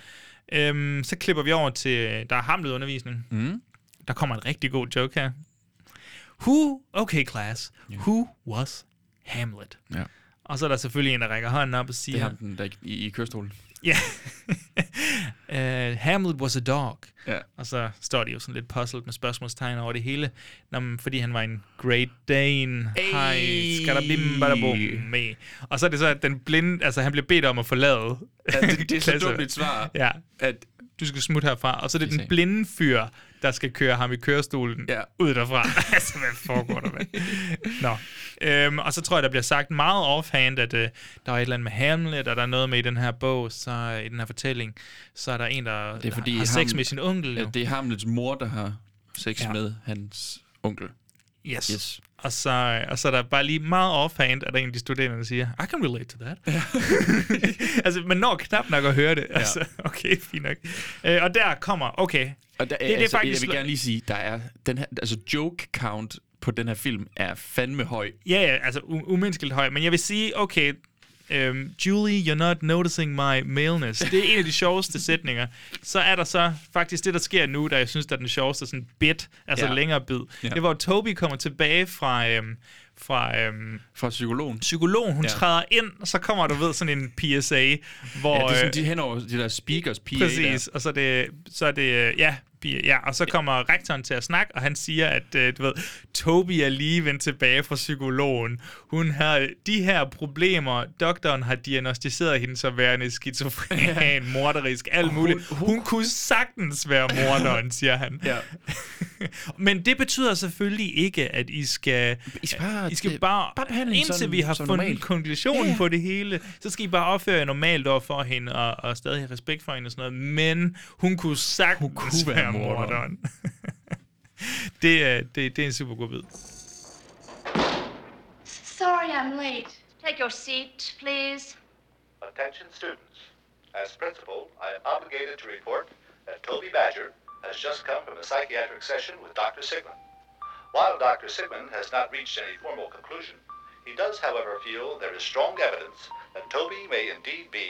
S1: Øhm, så klipper vi over til... Der er hamlet undervisning. Mm. Der kommer en rigtig god joke her. Who... Okay, class. Who was Hamlet?
S2: Ja.
S1: Og så er der selvfølgelig en, der rækker hånden op og
S2: Det er
S1: siger...
S2: ham, den, der i, i kørestolen.
S1: Ja. uh, Hamlet was a dog.
S2: Ja.
S1: Og så står de jo sådan lidt puzzled med spørgsmålstegn over det hele. Nå, men fordi han var en Great Dane. Hej, skal der bim, bada bum, me. Og så er det så, at den blinde, altså han bliver bedt om at forlade.
S2: Ja, det, det er så
S1: klasse.
S2: dumt et svar,
S1: Ja,
S2: at
S1: du skal smutte herfra. Og så er det
S2: Det er
S1: den
S2: sagen.
S1: blinde fyr, der skal køre ham i kørestolen
S2: Ja.
S1: ud derfra. altså, hvad foregår der, mand? Nå. Øhm, og så tror jeg, der bliver sagt meget offhand, at øh, der er et eller andet med Hamlet, og der er noget med i den her bog, så øh, i den her fortælling, så er der en, der
S2: det er fordi
S1: har sex
S2: ham-
S1: med sin onkel.
S2: Ja,
S1: jo.
S2: det er Hamlets mor, der har sex
S1: Ja.
S2: ja. med hans onkel.
S1: Yes.
S2: Yes.
S1: Og, så, øh, og så er der bare lige meget offhand, at der er en af de studerende, der siger, I can relate to that. altså, man når knap nok at høre det. Ja. Altså, okay, fint nok. Øh, og der kommer, okay.
S2: Og der, det,
S1: det
S2: altså,
S1: er
S2: det er
S1: faktisk-
S2: Jeg vil gerne lige sige, der er den her, altså joke count på den her film er fandme høj.
S1: Ja, ja, altså u- umenneskeligt høj. Men jeg vil sige, okay, øhm, Julie, you're not noticing my maleness. Det er en af de sjoveste sætninger. Så er der så faktisk det, der sker nu, der jeg synes, der er den sjoveste sådan bit, altså ja.
S2: Ja.
S1: længere bid. Ja.
S2: Ja.
S1: Det var, at Toby kommer tilbage fra... Øhm, fra øhm,
S2: Fra psykologen.
S1: psykolog, hun ja.
S2: Ja.
S1: træder ind, og så kommer, du ved, sådan en PSA, hvor...
S2: Ja, det er
S1: øh,
S2: sådan, de hen over de der speakers, PA
S1: Præcis,
S2: Der.
S1: og så er det, så er det øh, ja, bi- ja, og så kommer rektoren til at snakke, og han siger, at øh, du ved, Toby er lige vendt tilbage fra psykologen. Hun har de her problemer, doktoren har diagnostiseret hende som værende skizofren, morderisk, alt muligt. Hun,
S2: hun-
S1: kunne sagtens være morderen, siger han.
S2: Ja.
S1: Men det betyder selvfølgelig ikke, at I skal...
S2: I skal bare-
S1: I skal
S2: det-
S1: bare,
S2: bare behandle hende
S1: indtil
S2: som-
S1: vi har
S2: som
S1: fundet normalt.
S2: normalt.
S1: konklusionen yeah. på det hele, så skal I bare opføre jer normalt over for hende, og, og stadig have respekt for hende og sådan noget. Men hun kunne sagtens hun
S2: kunne være
S1: være
S2: morderen.
S1: morderen. det, er, det, det er en super god bid.
S6: Sorry I'm late.
S10: Take your seat, please.
S5: Attention students. As principal, I am obligated to report that Toby Badger has just come from a psychiatric session with Dr. Sigmund. While Dr. Sigmund has not reached any formal conclusion, he does, however, feel there is strong evidence that Toby may indeed be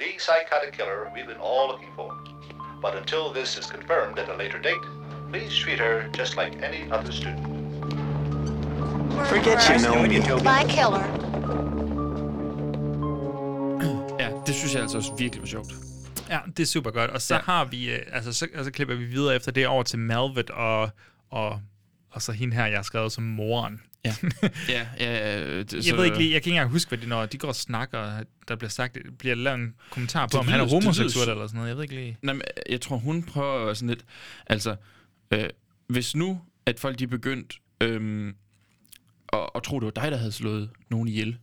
S5: the psychotic killer we've been all looking for. But until this is confirmed at a later date, please treat her just like any other student.
S10: Forget you know me. My killer.
S2: ja, det synes jeg altså også virkelig var sjovt.
S1: Ja, det er super godt. Og så ja.
S2: Ja.
S1: har vi, øh, altså så, og så klipper vi videre efter det over til Malvet og, og, og så hende her, jeg har skrevet som moren.
S2: Ja, ja, ja. øh, Det,
S1: Jeg ved ikke lige, jeg kan ikke engang huske, hvad det når de går og snakker, og der bliver sagt, bliver lavet en kommentar på,
S2: Det
S1: om han er
S2: lyder- det lyder
S1: homoseksuel
S2: s-
S1: eller sådan noget. Jeg ved ikke lige.
S2: Nej, men øh, jeg tror, hun prøver sådan lidt... Altså, øh, hvis nu, at folk de er begyndt øhm, at, at tro, det var dig, der havde slået nogen ihjel,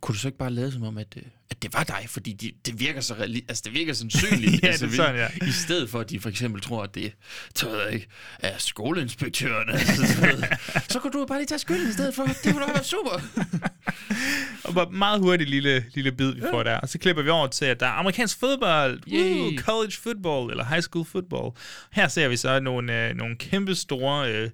S2: kunne du så ikke bare lade som om, at, øh, at det var dig? Fordi de, det virker så reali- altså, det virker sandsynligt.
S1: Ja,
S2: altså,
S1: det er sådan, ja.
S2: I stedet for, at de for eksempel tror, at det det ved jeg ikke, er skoleinspektøren. Altså, så, ved jeg. så kunne du jo bare lige tage skylden i stedet for. Det kunne da være super.
S1: Og bare meget hurtig lille, lille bid, vi får der. Og så klipper vi over til, at der er amerikansk fodbold. Woo,
S2: Yay.
S1: college football, eller high school football. Her ser vi så nogle, øh, nogle kæmpe store øh,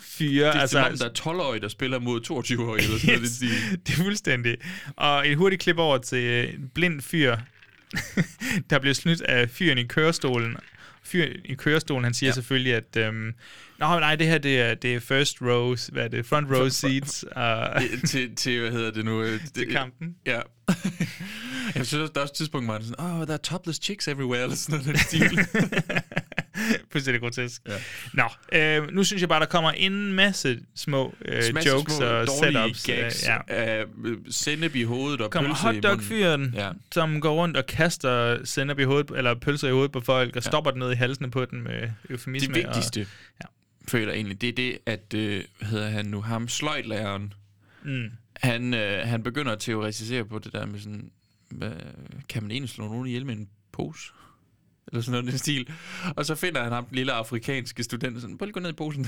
S1: fyre.
S2: Det er altså, som om, der
S1: altså,
S2: er 12-årige, der spiller mod 22-årige. Eller sådan
S1: yes,
S2: yes. noget, det
S1: det er fuldstændig. Og et hurtigt klip over til øh, en blind fyr, der bliver snydt af fyren i kørestolen. Fyren i kørestolen, han siger ja. selvfølgelig, at... Øhm, Nå, nej, det her, det er, det er first rows, hvad er det, front row seats. Og,
S2: siger. til, til, hvad hedder det nu? øh, Det,
S1: til kampen.
S2: Ja. jeg synes, også, der er også et tidspunkt, hvor han er sådan, oh, der er topless chicks everywhere, eller sådan noget i den stil.
S1: Fuldstændig grotesk. Ja.
S2: Ja.
S1: Nå, øh, nu synes jeg bare, der kommer en masse små øh,
S2: Masse
S1: jokes
S2: små,
S1: og
S2: dårlige
S1: setups.
S2: Gags,
S1: Øh, ja.
S2: ja. uh, sennep i hovedet og
S1: Kommer
S2: pølse i munden.
S1: hotdog-fyren, ja.
S2: Ja.
S1: som går rundt og kaster sennep i hovedet, eller pølser i hovedet på folk, og stopper den ned i halsene på den med eufemisme.
S2: Det vigtigste,
S1: Ja.
S2: ja. føler jeg egentlig, det er det, at, øh, hvad hedder han nu, ham sløjtlæreren,
S1: Mm.
S2: han, øh, han begynder at teoretisere på det der med sådan, hvad, kan man egentlig slå nogen ihjel med en pose? Eller sådan noget i den stil. Og så finder han ham, den lille afrikanske student, sådan, prøv lige at gå ned i posen.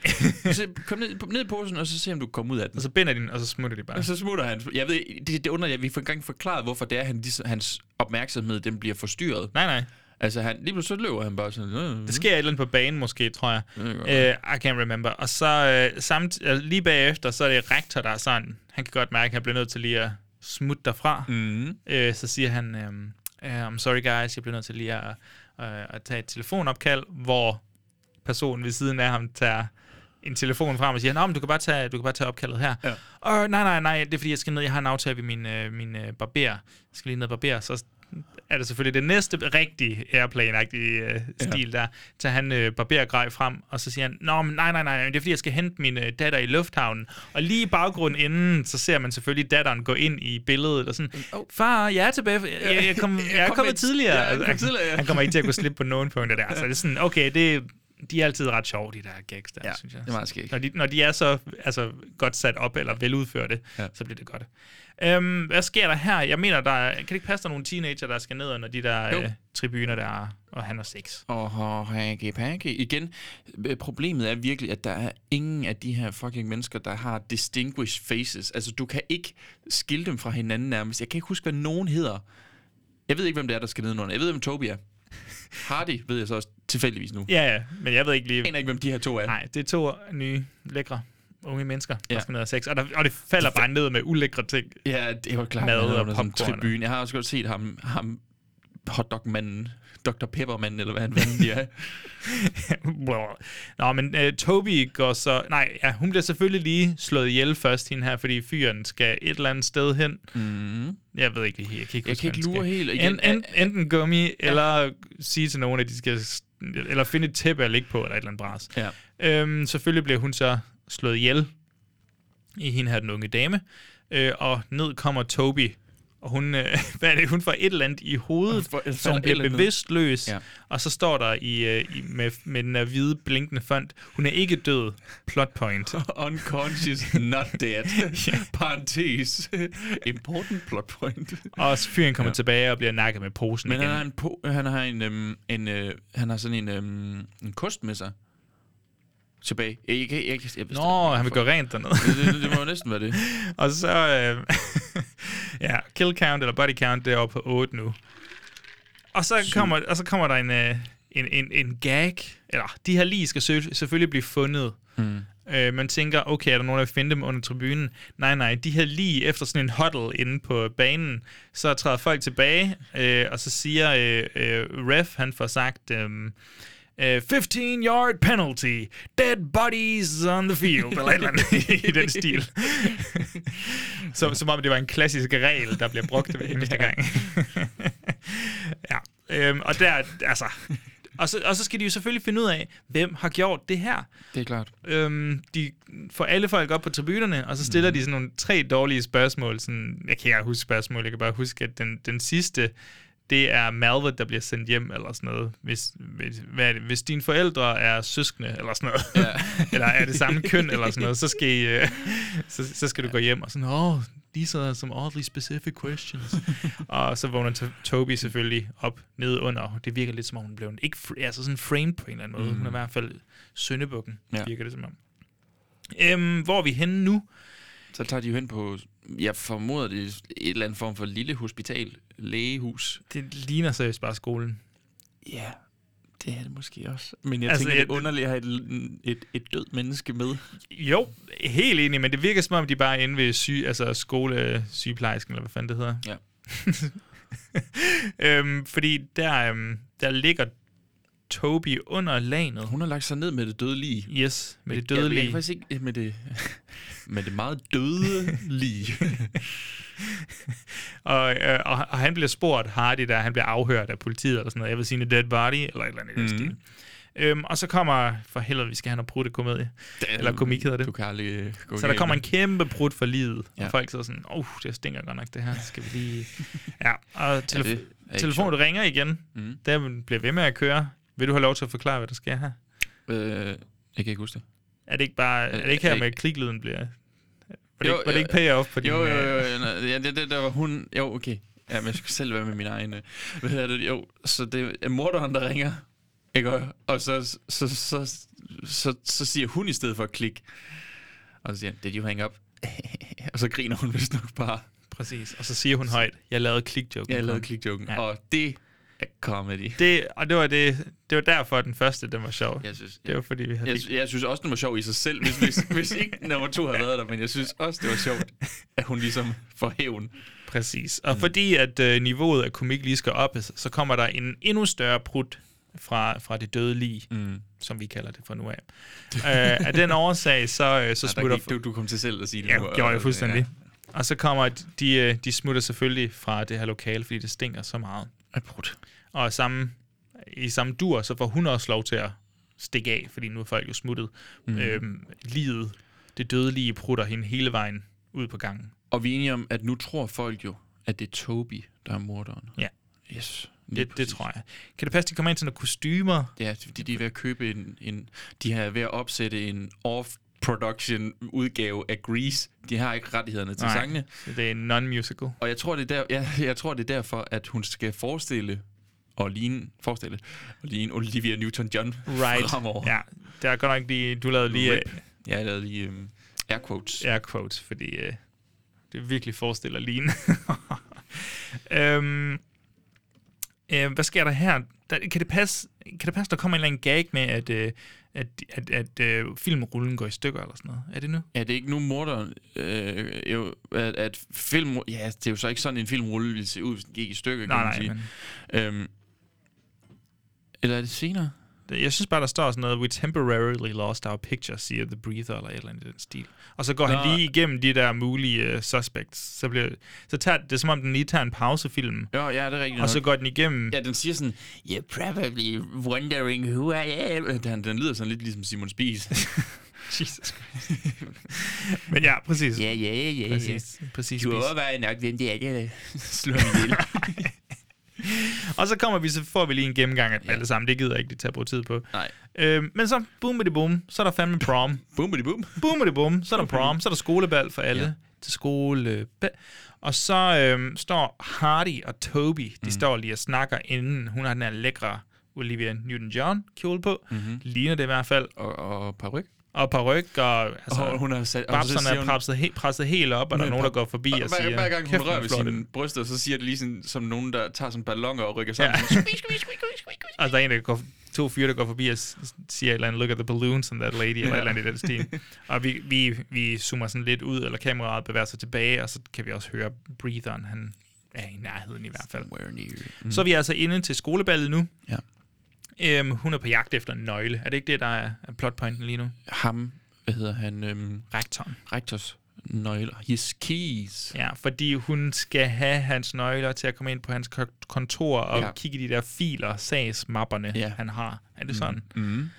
S2: så kom ned, ned i posen, og så se, om du kommer ud af den.
S1: Og så binder de den, og så smutter de bare.
S2: Og så smutter han. Jeg ved, det, det undrer jeg, vi får engang forklaret, hvorfor det er, han, lige- hans opmærksomhed den bliver forstyrret.
S1: Nej, nej.
S2: Altså, han, lige pludselig så løber han bare sådan. Øh,
S1: Der sker et eller andet på banen måske, tror jeg.
S2: Det kan godt
S1: Uh, I can't remember. Og så uh, samt, uh, lige bagefter, så er det rektor, der er sådan, han kan godt mærke, at han bliver nødt til lige at smutte derfra. Mm. Uh, så siger han, um, uh, I'm sorry guys, jeg bliver nødt til lige at, uh, at tage et telefonopkald, hvor personen ved siden af ham tager en telefon frem og siger, Nå, men du kan bare tage, du kan bare tage opkaldet her. Ja. Og nej, nej, nej, det er fordi, jeg skal ned, jeg har en aftale ved min, øh, min øh, barber. Jeg skal lige ned og barbere. Så er det selvfølgelig det næste rigtige airplane-agtige øh, stil der. Så han øh, barberer grej frem, og så siger han, Nå, men nej, nej, nej, det er fordi, jeg skal hente min øh, datter i lufthavnen. Og lige i baggrunden inden, så ser man selvfølgelig datteren gå ind i billedet, og sådan, far, jeg er tilbage, jeg, jeg, kom, jeg, er
S2: kom
S1: kommet
S2: lidt-
S1: tidligere.
S2: ja, jeg kom
S1: Han-
S2: tidligere, ja.
S1: Han kommer ikke til at kunne slippe på nogen punkter der. Så det er sådan, okay, det, de er altid ret sjove, de der gags der,
S2: Ja,
S1: synes jeg.
S2: det er meget skægt.
S1: Når de, når de er så altså, godt sat op eller veludførte,
S2: Ja.
S1: ja. så bliver det godt. Øhm, hvad sker der her? Jeg mener, der er, kan det ikke passe, der er nogle teenager, der skal ned under de der
S2: Jo.
S1: øh, tribuner der, og han har sex.
S2: Og oh, hanky panky. Igen, øh, problemet er virkelig, at der er ingen af de her fucking mennesker, der har distinguished faces. Altså, du kan ikke skille dem fra hinanden nærmest. Jeg kan ikke huske, hvad nogen hedder. Jeg ved ikke, hvem det er, der skal nedenunder. Jeg ved, hvem Toby er. Hardy ved jeg så også tilfældigvis nu. Jeg
S1: Ja, ja, men jeg ved ikke lige...
S2: aner ikke, hvem de her to er.
S1: Nej, det er to nye, lækre, unge mennesker, der
S2: Ja.
S1: ja. skal ned og have sex. Og, der, og det falder bare ned med ulækre ting.
S2: Ja, det var klart.
S1: Mad
S2: han er
S1: og
S2: under sådan en
S1: popcorn.
S2: Tribune. Jeg har også godt set ham, ham hotdog-manden, Dr. Peppermanden, eller hvad han vand de er.
S1: Blablabla. Nå, men uh, Toby går så... Nej, ja, hun bliver selvfølgelig lige slået ihjel først, hende her, fordi fyren skal et eller andet sted hen. Mm. Jeg ved ikke lige helt. Jeg kan ikke,
S2: Mm-hmm.
S1: huske,
S2: Jeg kan ikke
S1: hvad han
S2: lure
S1: skal.
S2: helt igen.
S1: En, en, enten gummi, ja. eller sige til nogen, at de skal... s- Eller finde et tæppe at ligge på, eller et eller andet bras.
S2: Ja.
S1: Øhm, selvfølgelig bliver hun så slået ihjel i hende her, den unge dame. Øh, og ned kommer Toby, og hun, øh, hvad er det, hun får et eller andet i hovedet,
S2: Hun får-
S1: så
S2: falder
S1: hun
S2: et
S1: bliver
S2: eller andet.
S1: bevidstløs,
S2: Ja.
S1: ja. og så står der i, øh, i med, med den her hvide blinkende font, hun er ikke død, plot point.
S2: Unconscious, not dead. Parentes. Important plot point.
S1: Og så fyren kommer ja. tilbage og bliver nakket med posen
S2: Men
S1: igen.
S2: han har en, po- han har en, øhm, en øh, han har sådan en, øhm, en kost med sig tilbage. Jeg, jeg, jeg, jeg, jeg, jeg
S1: Nå, han vil gøre rent dernede.
S2: det, det, det, må jo næsten være det.
S1: og så, øh, ja, kill count eller body count, det er oppe på 8 nu. Og så, kommer, og så kommer der en, øh, en, en, en gag, eller de her lige skal sø- selvfølgelig blive fundet. Mm. Øh, man tænker, okay, er der nogen, der vil finde dem under tribunen? Nej, nej, de her lige efter sådan en huddle inde på banen, så træder folk tilbage, øh, og så siger øh, øh, ref, han får sagt, øh, øh, 15-yard penalty, dead bodies on the field, eller et eller andet i den stil. som, som om det var en klassisk regel, der bliver brugt hver eneste gang. ja. Øhm, og der, altså... Og så, og så skal de jo selvfølgelig finde ud af, hvem har gjort det her.
S2: Det er klart.
S1: Øhm, de får alle folk op på tribunerne, og så stiller mm. de sådan nogle tre dårlige spørgsmål. Sådan, jeg kan ikke engang huske spørgsmål, jeg kan bare huske, at den, den sidste, det er Malvet, der bliver sendt hjem, eller sådan noget. Hvis, hvis, hvad er det? hvis dine forældre er søskende, eller sådan noget, ja. eller er det samme køn, eller sådan noget, så skal, I, øh, så, så skal du gå hjem og sådan, åh, oh, these are some oddly specific questions. og så vågner To- Toby selvfølgelig op nede under. Det virker lidt som om, hun blev en- ikke fr- altså sådan framed på en eller anden måde. Mm. Hun er i hvert fald søndebukken,
S2: Ja.
S1: ja. virker det som om. Øhm, hvor er vi henne nu?
S2: Så tager de jo hen på, jeg formoder det er et eller andet form for lille hospital, lægehus.
S1: Det ligner seriøst bare skolen.
S2: Ja, det er det måske også. Men jeg altså,
S1: Altså,
S2: tænker, det er
S1: jeg-
S2: underligt at have et, et, et dødt menneske med.
S1: Jo, helt enig, men det virker som om, de bare er inde ved syge, altså skolesygeplejersken, eller hvad fanden det hedder.
S2: Ja.
S1: øhm, fordi der, øhm, der ligger Toby under lanet.
S2: Hun har lagt sig ned med det dødelige.
S1: Yes, med det
S2: Jeg, jeg
S1: dødelige.
S2: kan faktisk ikke med det, med det meget dødelige.
S1: og, øh, og, og han bliver spurgt, Hardy der, han bliver afhørt af politiet eller sådan noget. Jeg vil sige, en dead body, eller et eller andet mm.
S2: Mhm.
S1: stil. Øhm, og så kommer, for helvede, vi skal have noget brudt komedie. Eller komik hedder det.
S2: Du kan aldrig øh, gå
S1: Så der
S2: galt
S1: kommer en
S2: med-
S1: kæmpe brud for livet. Ja.
S2: Ja.
S1: Og folk sidder sådan, åh, oh, det stinker godt nok det her. Skal vi lige... Ja, og telef-
S2: det Mhm. er
S1: ja,
S2: ikke
S1: telefonen ringer igen. Mm. Den bliver ved med at køre. Vil du have lov til at forklare, hvad der sker her?
S2: Øh, jeg kan ikke huske det.
S1: Er det ikke bare... Er det ikke
S2: er
S1: her
S2: det
S1: med at kliklyden bliver... Var det,
S2: Jo,
S1: ikke, var det
S2: jo,
S1: ikke payoff på din...
S2: Jo, jo,
S1: øh,
S2: jo. jo, nej, Ja, det, det, der var hun. Jo, okay. Ja, men jeg skulle selv være med min egen... øh, Hvad hedder det? Jo, så det er morderen, der ringer. Ikke? Og- Og så, så, så, så, så, så siger hun i stedet for klik. Og så siger han, did you hang up? og så griner hun vist nok bare.
S1: Præcis. Og så siger hun højt, jeg lavede klikjoken.
S2: Jeg lavede
S1: Kom.
S2: klikjoken. Ja.
S1: Ja.
S2: Og det er comedy.
S1: Det, og det var, det, det var derfor, at den første, den var sjov.
S2: Jeg synes-
S1: det var, fordi vi havde
S2: Jeg, sy- jeg synes også, den var sjov i sig selv, hvis, hvis, hvis ikke nummer to havde været der, men jeg synes også, det var sjovt, at hun ligesom får hævn.
S1: Præcis. Og mm. fordi at øh, niveauet af komik lige skal op, så kommer der en endnu større prut fra, fra det dødelige, mm. som vi kalder det fra nu af. øh, af den årsag, så, øh, så
S2: Ja, der
S1: smutter...
S2: gik, du, du kom til selv at sige det.
S1: Ja,
S2: nu, og-
S1: gjorde jeg
S2: og-
S1: fuldstændig. Og så kommer de, øh, de smutter selvfølgelig fra det her lokale, fordi det stinker så meget.
S2: Abort.
S1: Og samme, i samme dur, så får hun også lov til at stikke af, fordi nu er folk jo smuttet. Mm. Øhm, livet, det dødelige, prutter hende hele vejen ud på gangen.
S2: Og vi er enige om, at nu tror folk jo, at det er Toby, der er morderen.
S1: Ja,
S2: Yes. lige
S1: det, det
S2: præcis.
S1: tror jeg. Kan det passe, de kommer ind til nogle kostymer?
S2: Ja, fordi de er ved at købe en, en de har ved at opsætte en off-production udgave af Grease. De har ikke rettighederne til Nej. sangene.
S1: Det er en non-musical.
S2: Og jeg tror, det er der, ja, jeg tror, det er derfor, at hun skal forestille og ligne, forestille, og ligne Olivia Newton-John
S1: Right.
S2: fremover.
S1: Ja, der er godt nok lige, du lavede lige
S2: Rip. Ja, jeg lavede lige um, air quotes.
S1: øh, air quotes, fordi øh, det virkelig forestiller Line. øhm, øh, hvad sker der her? Der, kan, det passe, kan det passe, der kommer en eller anden gag med, at, øh, at, at, at øh, filmrullen går i stykker eller sådan noget? Er det nu?
S2: Er det ikke nu morderen, øh, jo, at, at film... Ja, det er jo så ikke sådan, en filmrulle ville se ud, hvis den gik i stykker,
S1: Nej,
S2: kan man
S1: nej,
S2: sige. Øhm, eller er det senere?
S1: Det- Jeg synes bare, der står sådan noget, we temporarily lost our picture, siger The Breather, eller et eller andet i den stil. Og så går Nå.
S2: Nå.
S1: han lige igennem de der mulige uh, suspects. Så, bliver, så tager, det er som om, den lige tager en pausefilm,
S2: Jo, ja, det er rigtigt
S1: og så
S2: nok.
S1: går den igennem.
S2: Ja, den siger sådan, you're probably wondering who I am. Den, den lyder sådan lidt ligesom Simon Spies.
S1: Jesus Christ. Men ja, præcis.
S2: Ja, ja, ja, ja.
S1: Præcis, præcis.
S2: Du
S1: Bis.
S2: overvejer nok, hvem det er, der slår mig ihjel.
S1: Og så kommer vi, så får vi lige en gennemgang af dem alle sammen. Det gider jeg ikke lige tage bruge tid på.
S2: Nej.
S1: Øhm, men så boom det boom, så er der fandme prom.
S2: Bum, bidi, bum.
S1: boom det boom, så er der prom, så er der skolebal for alle.
S2: Ja.
S1: Til skolebal. Og så øhm, står Hardy og Toby,
S2: Mhm.
S1: de mm. står lige og snakker inden. Hun har den her lækre Olivia Newton-John kjole på.
S2: Mhm.
S1: Mm-hmm. Ligner det i hvert fald.
S2: Og, og paryk.
S1: Og paryk, og altså,
S2: Og hun har sat- og så
S1: babserne
S2: siger
S1: er
S2: hun-
S1: presset, he, presset helt op, og der er nogen, der går forbi og,
S2: hver,
S1: siger,
S2: hver gang hun
S1: "Kæft, hvor
S2: rører ved
S1: flot er den."
S2: sine bryster, så siger det lige sådan, som nogen, der tager sådan ballonger og rykker sammen.
S1: Ja. Og Altså, der er en, der går, to fyre, der går forbi og s- s- siger et eller andet, look at the balloons and that lady, eller et eller andet i den stil. Og vi, vi, vi zoomer sådan lidt ud, eller kameraet bevæger sig tilbage, og så kan vi også høre breatheren, han er i nærheden i hvert fald. Mm. Så er vi altså inde til skoleballet nu.
S2: Ja.
S1: Øhm, hun er på jagt efter en nøgle. Er det ikke det, der er er plotpointen lige nu?
S2: Ham, hvad hedder han? Øhm,
S1: Rektoren.
S2: rektors nøgler. His keys.
S1: Ja, fordi hun skal have hans nøgler til at komme ind på hans ko- kontor og ja.
S2: Ja.
S1: kigge i de der filer, sagsmapperne, ja.
S2: Ja.
S1: han har. Er det sådan?
S2: Mm.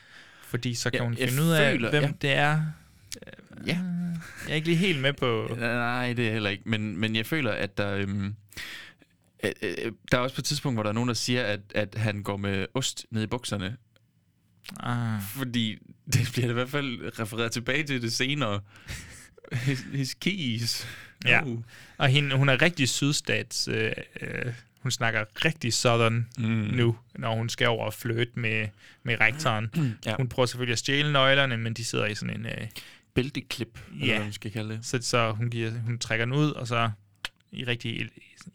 S1: Fordi så kan
S2: Ja,
S1: hun
S2: jeg
S1: finde ud af,
S2: føler-
S1: hvem
S2: ja.
S1: det er.
S2: Ja.
S1: Jeg er ikke lige helt med på...
S2: Nej, det er heller ikke. Men, men jeg føler, at der... Øhm, øh, øh, der er også på et tidspunkt, hvor der er nogen, der siger, at, at han går med ost ned i bukserne.
S1: Ah,
S2: Fordi det bliver i hvert fald refereret tilbage til det senere. His, his keys.
S1: ja.
S2: Uh.
S1: Og hende, hun er rigtig sydstats... Øh, øh, hun snakker rigtig southern mm. nu, når hun skal over og flytte med, med rektoren. ja.
S2: Ja.
S1: Hun prøver selvfølgelig at stjæle nøglerne, men de sidder i sådan en... Øh,
S2: Bælteklip, eller
S1: Ja.
S2: hvad man skal kalde det.
S1: så så hun, giver, hun trækker den ud, og så i rigtig el-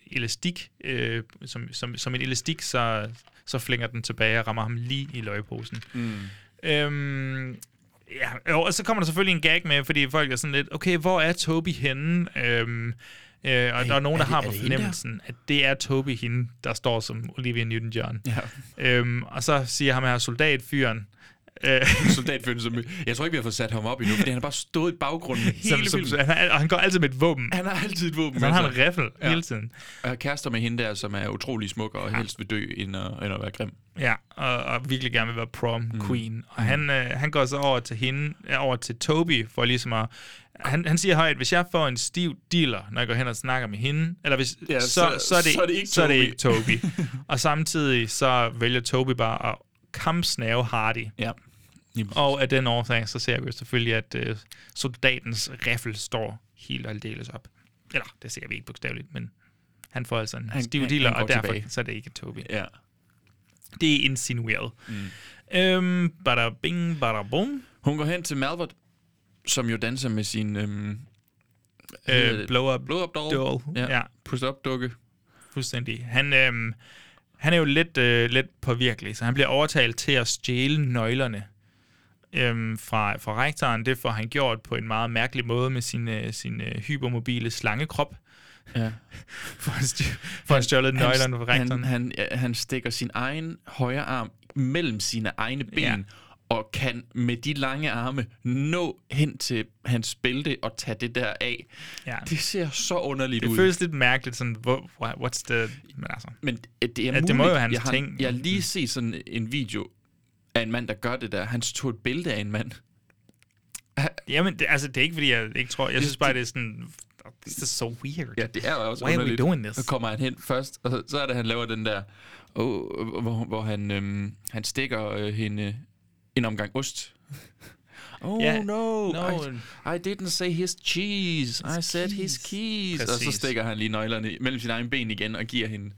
S1: elastik, øh, som, som, som en elastik, så, så flænger den tilbage og rammer ham lige i løgposen. Mm. Øhm, ja, jo, og så kommer der selvfølgelig en gag med, fordi folk er sådan lidt, okay, hvor er Toby henne? Øhm, øh, og der er nogen, der
S2: det-
S1: har
S2: er
S1: på
S2: det hende der?
S1: fornemmelsen, at det er Toby hende, der står som Olivia Newton-John.
S2: Ja.
S1: Øhm, og så siger ham her soldatfyren, øh,
S2: Soldatføden, som... Jeg tror ikke, vi har fået sat ham op endnu, fordi han har bare stået i baggrunden
S1: som,
S2: hele
S1: som,
S2: filmen.
S1: han, har- og han går altid med et våben.
S2: Han har altid et våben
S1: Så han har
S2: med
S1: en
S2: sig.
S1: riffel ja.
S2: Altså. Ja.
S1: hele tiden.
S2: Og er kærester med hende der, som er utrolig smuk og helst vil dø, end at, end at være grim.
S1: Ja, og, og virkelig gerne vil være prom queen. Mm. Og han, øh, han går så over til hende, øh, over til Toby, for ligesom at... Han, han siger højt, hvis jeg får en stiv dealer, når jeg går hen og snakker med hende, eller hvis, ja, så, så, så, er det, så, er det ikke så er det ikke Toby. og samtidig så vælger Toby bare at kampsnave Hardy.
S2: Ja.
S1: Og af den årsag, så ser vi jo selvfølgelig, at øh, soldatens riffel står helt og aldeles op. Eller, det ser vi ikke bogstaveligt, men han får altså en han,
S2: Han-
S1: stiv
S2: han-
S1: dealer,
S2: han går
S1: og derfor
S2: tilbage.
S1: så er det ikke Toby.
S2: Ja.
S1: Det er insinueret. Mm. Øhm, bada bing, bada bum.
S2: Hun går hen til Malvert, som jo danser med sin øhm,
S1: Øh, blow up,
S2: blow-up doll.
S1: doll. Ja.
S2: Ja.
S1: ja,
S2: push-up dukke.
S1: fuldstændig. Han, øhm, han er jo lidt, øh, lidt påvirkelig, så han bliver overtalt til at stjæle nøglerne øhm, fra, fra rektoren. Det får han gjort på en meget mærkelig måde med sin, øh, sin øh, hypermobile slangekrop.
S2: Ja.
S1: For han stj- for han stjålet nøglerne fra rektoren.
S2: han, han, ja, han stikker sin egen højre arm mellem sine egne ben
S1: Ja.
S2: ja. og kan med de lange arme nå hen til hans bælte og tage det der af.
S1: Ja.
S2: Det ser så underligt
S1: Det
S2: ud.
S1: føles lidt mærkeligt, sådan, hvor, wha- what's the... Men altså,
S2: Men at det er
S1: Ja,
S2: muligt.
S1: det må jo være hans
S2: jeg har,
S1: ting.
S2: Jeg har lige set sådan en video af en mand, der gør det der. Han tog et bælte af en mand.
S1: jamen, det, altså, det er ikke, fordi jeg ikke tror... Jeg synes bare, det er sådan... This is so weird.
S2: Ja, det er jo også
S1: Why are we
S2: underligt.
S1: doing this?
S2: Så kommer han hen først, og så, så er det, han laver den der, oh, hvor, hvor han, øhm, han stikker øh, hende en omgang ost. Oh
S1: Ja,
S2: yeah. no,
S1: no.
S2: I, I didn't say his cheese, I said his keys. Præcis. Og
S1: Præcis.
S2: så stikker han lige nøglerne i- mellem sine egne ben igen og giver hende...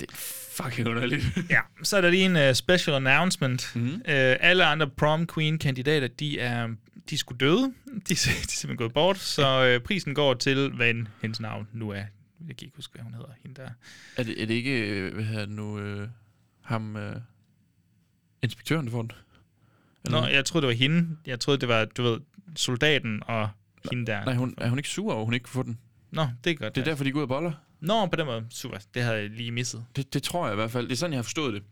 S2: Det er fucking underligt.
S1: Ja, så er der lige en uh, special announcement. Mm-hmm. Uh, alle andre prom queen kandidater, de er de er sgu døde. De, er- de er simpelthen gået bort, så uh, prisen går til, hvad end hendes navn nu er. Jeg kan ikke huske, hvad hun hedder. Hende der.
S2: er, det, er det ikke, øh, hvad hedder det nu, øh, ham, øh, inspektøren, der får den?
S1: Nå, jeg troede, det var hende. Jeg troede, det var, du ved, soldaten og hende der.
S2: Nej, hun, er hun ikke sur over, hun ikke kan få den?
S1: Nå, det er godt.
S2: Det er derfor, de går ud og boller.
S1: Nå, på den måde. Super. Det havde jeg lige misset.
S2: Det, det tror jeg i hvert fald. Det er sådan, jeg har forstået det.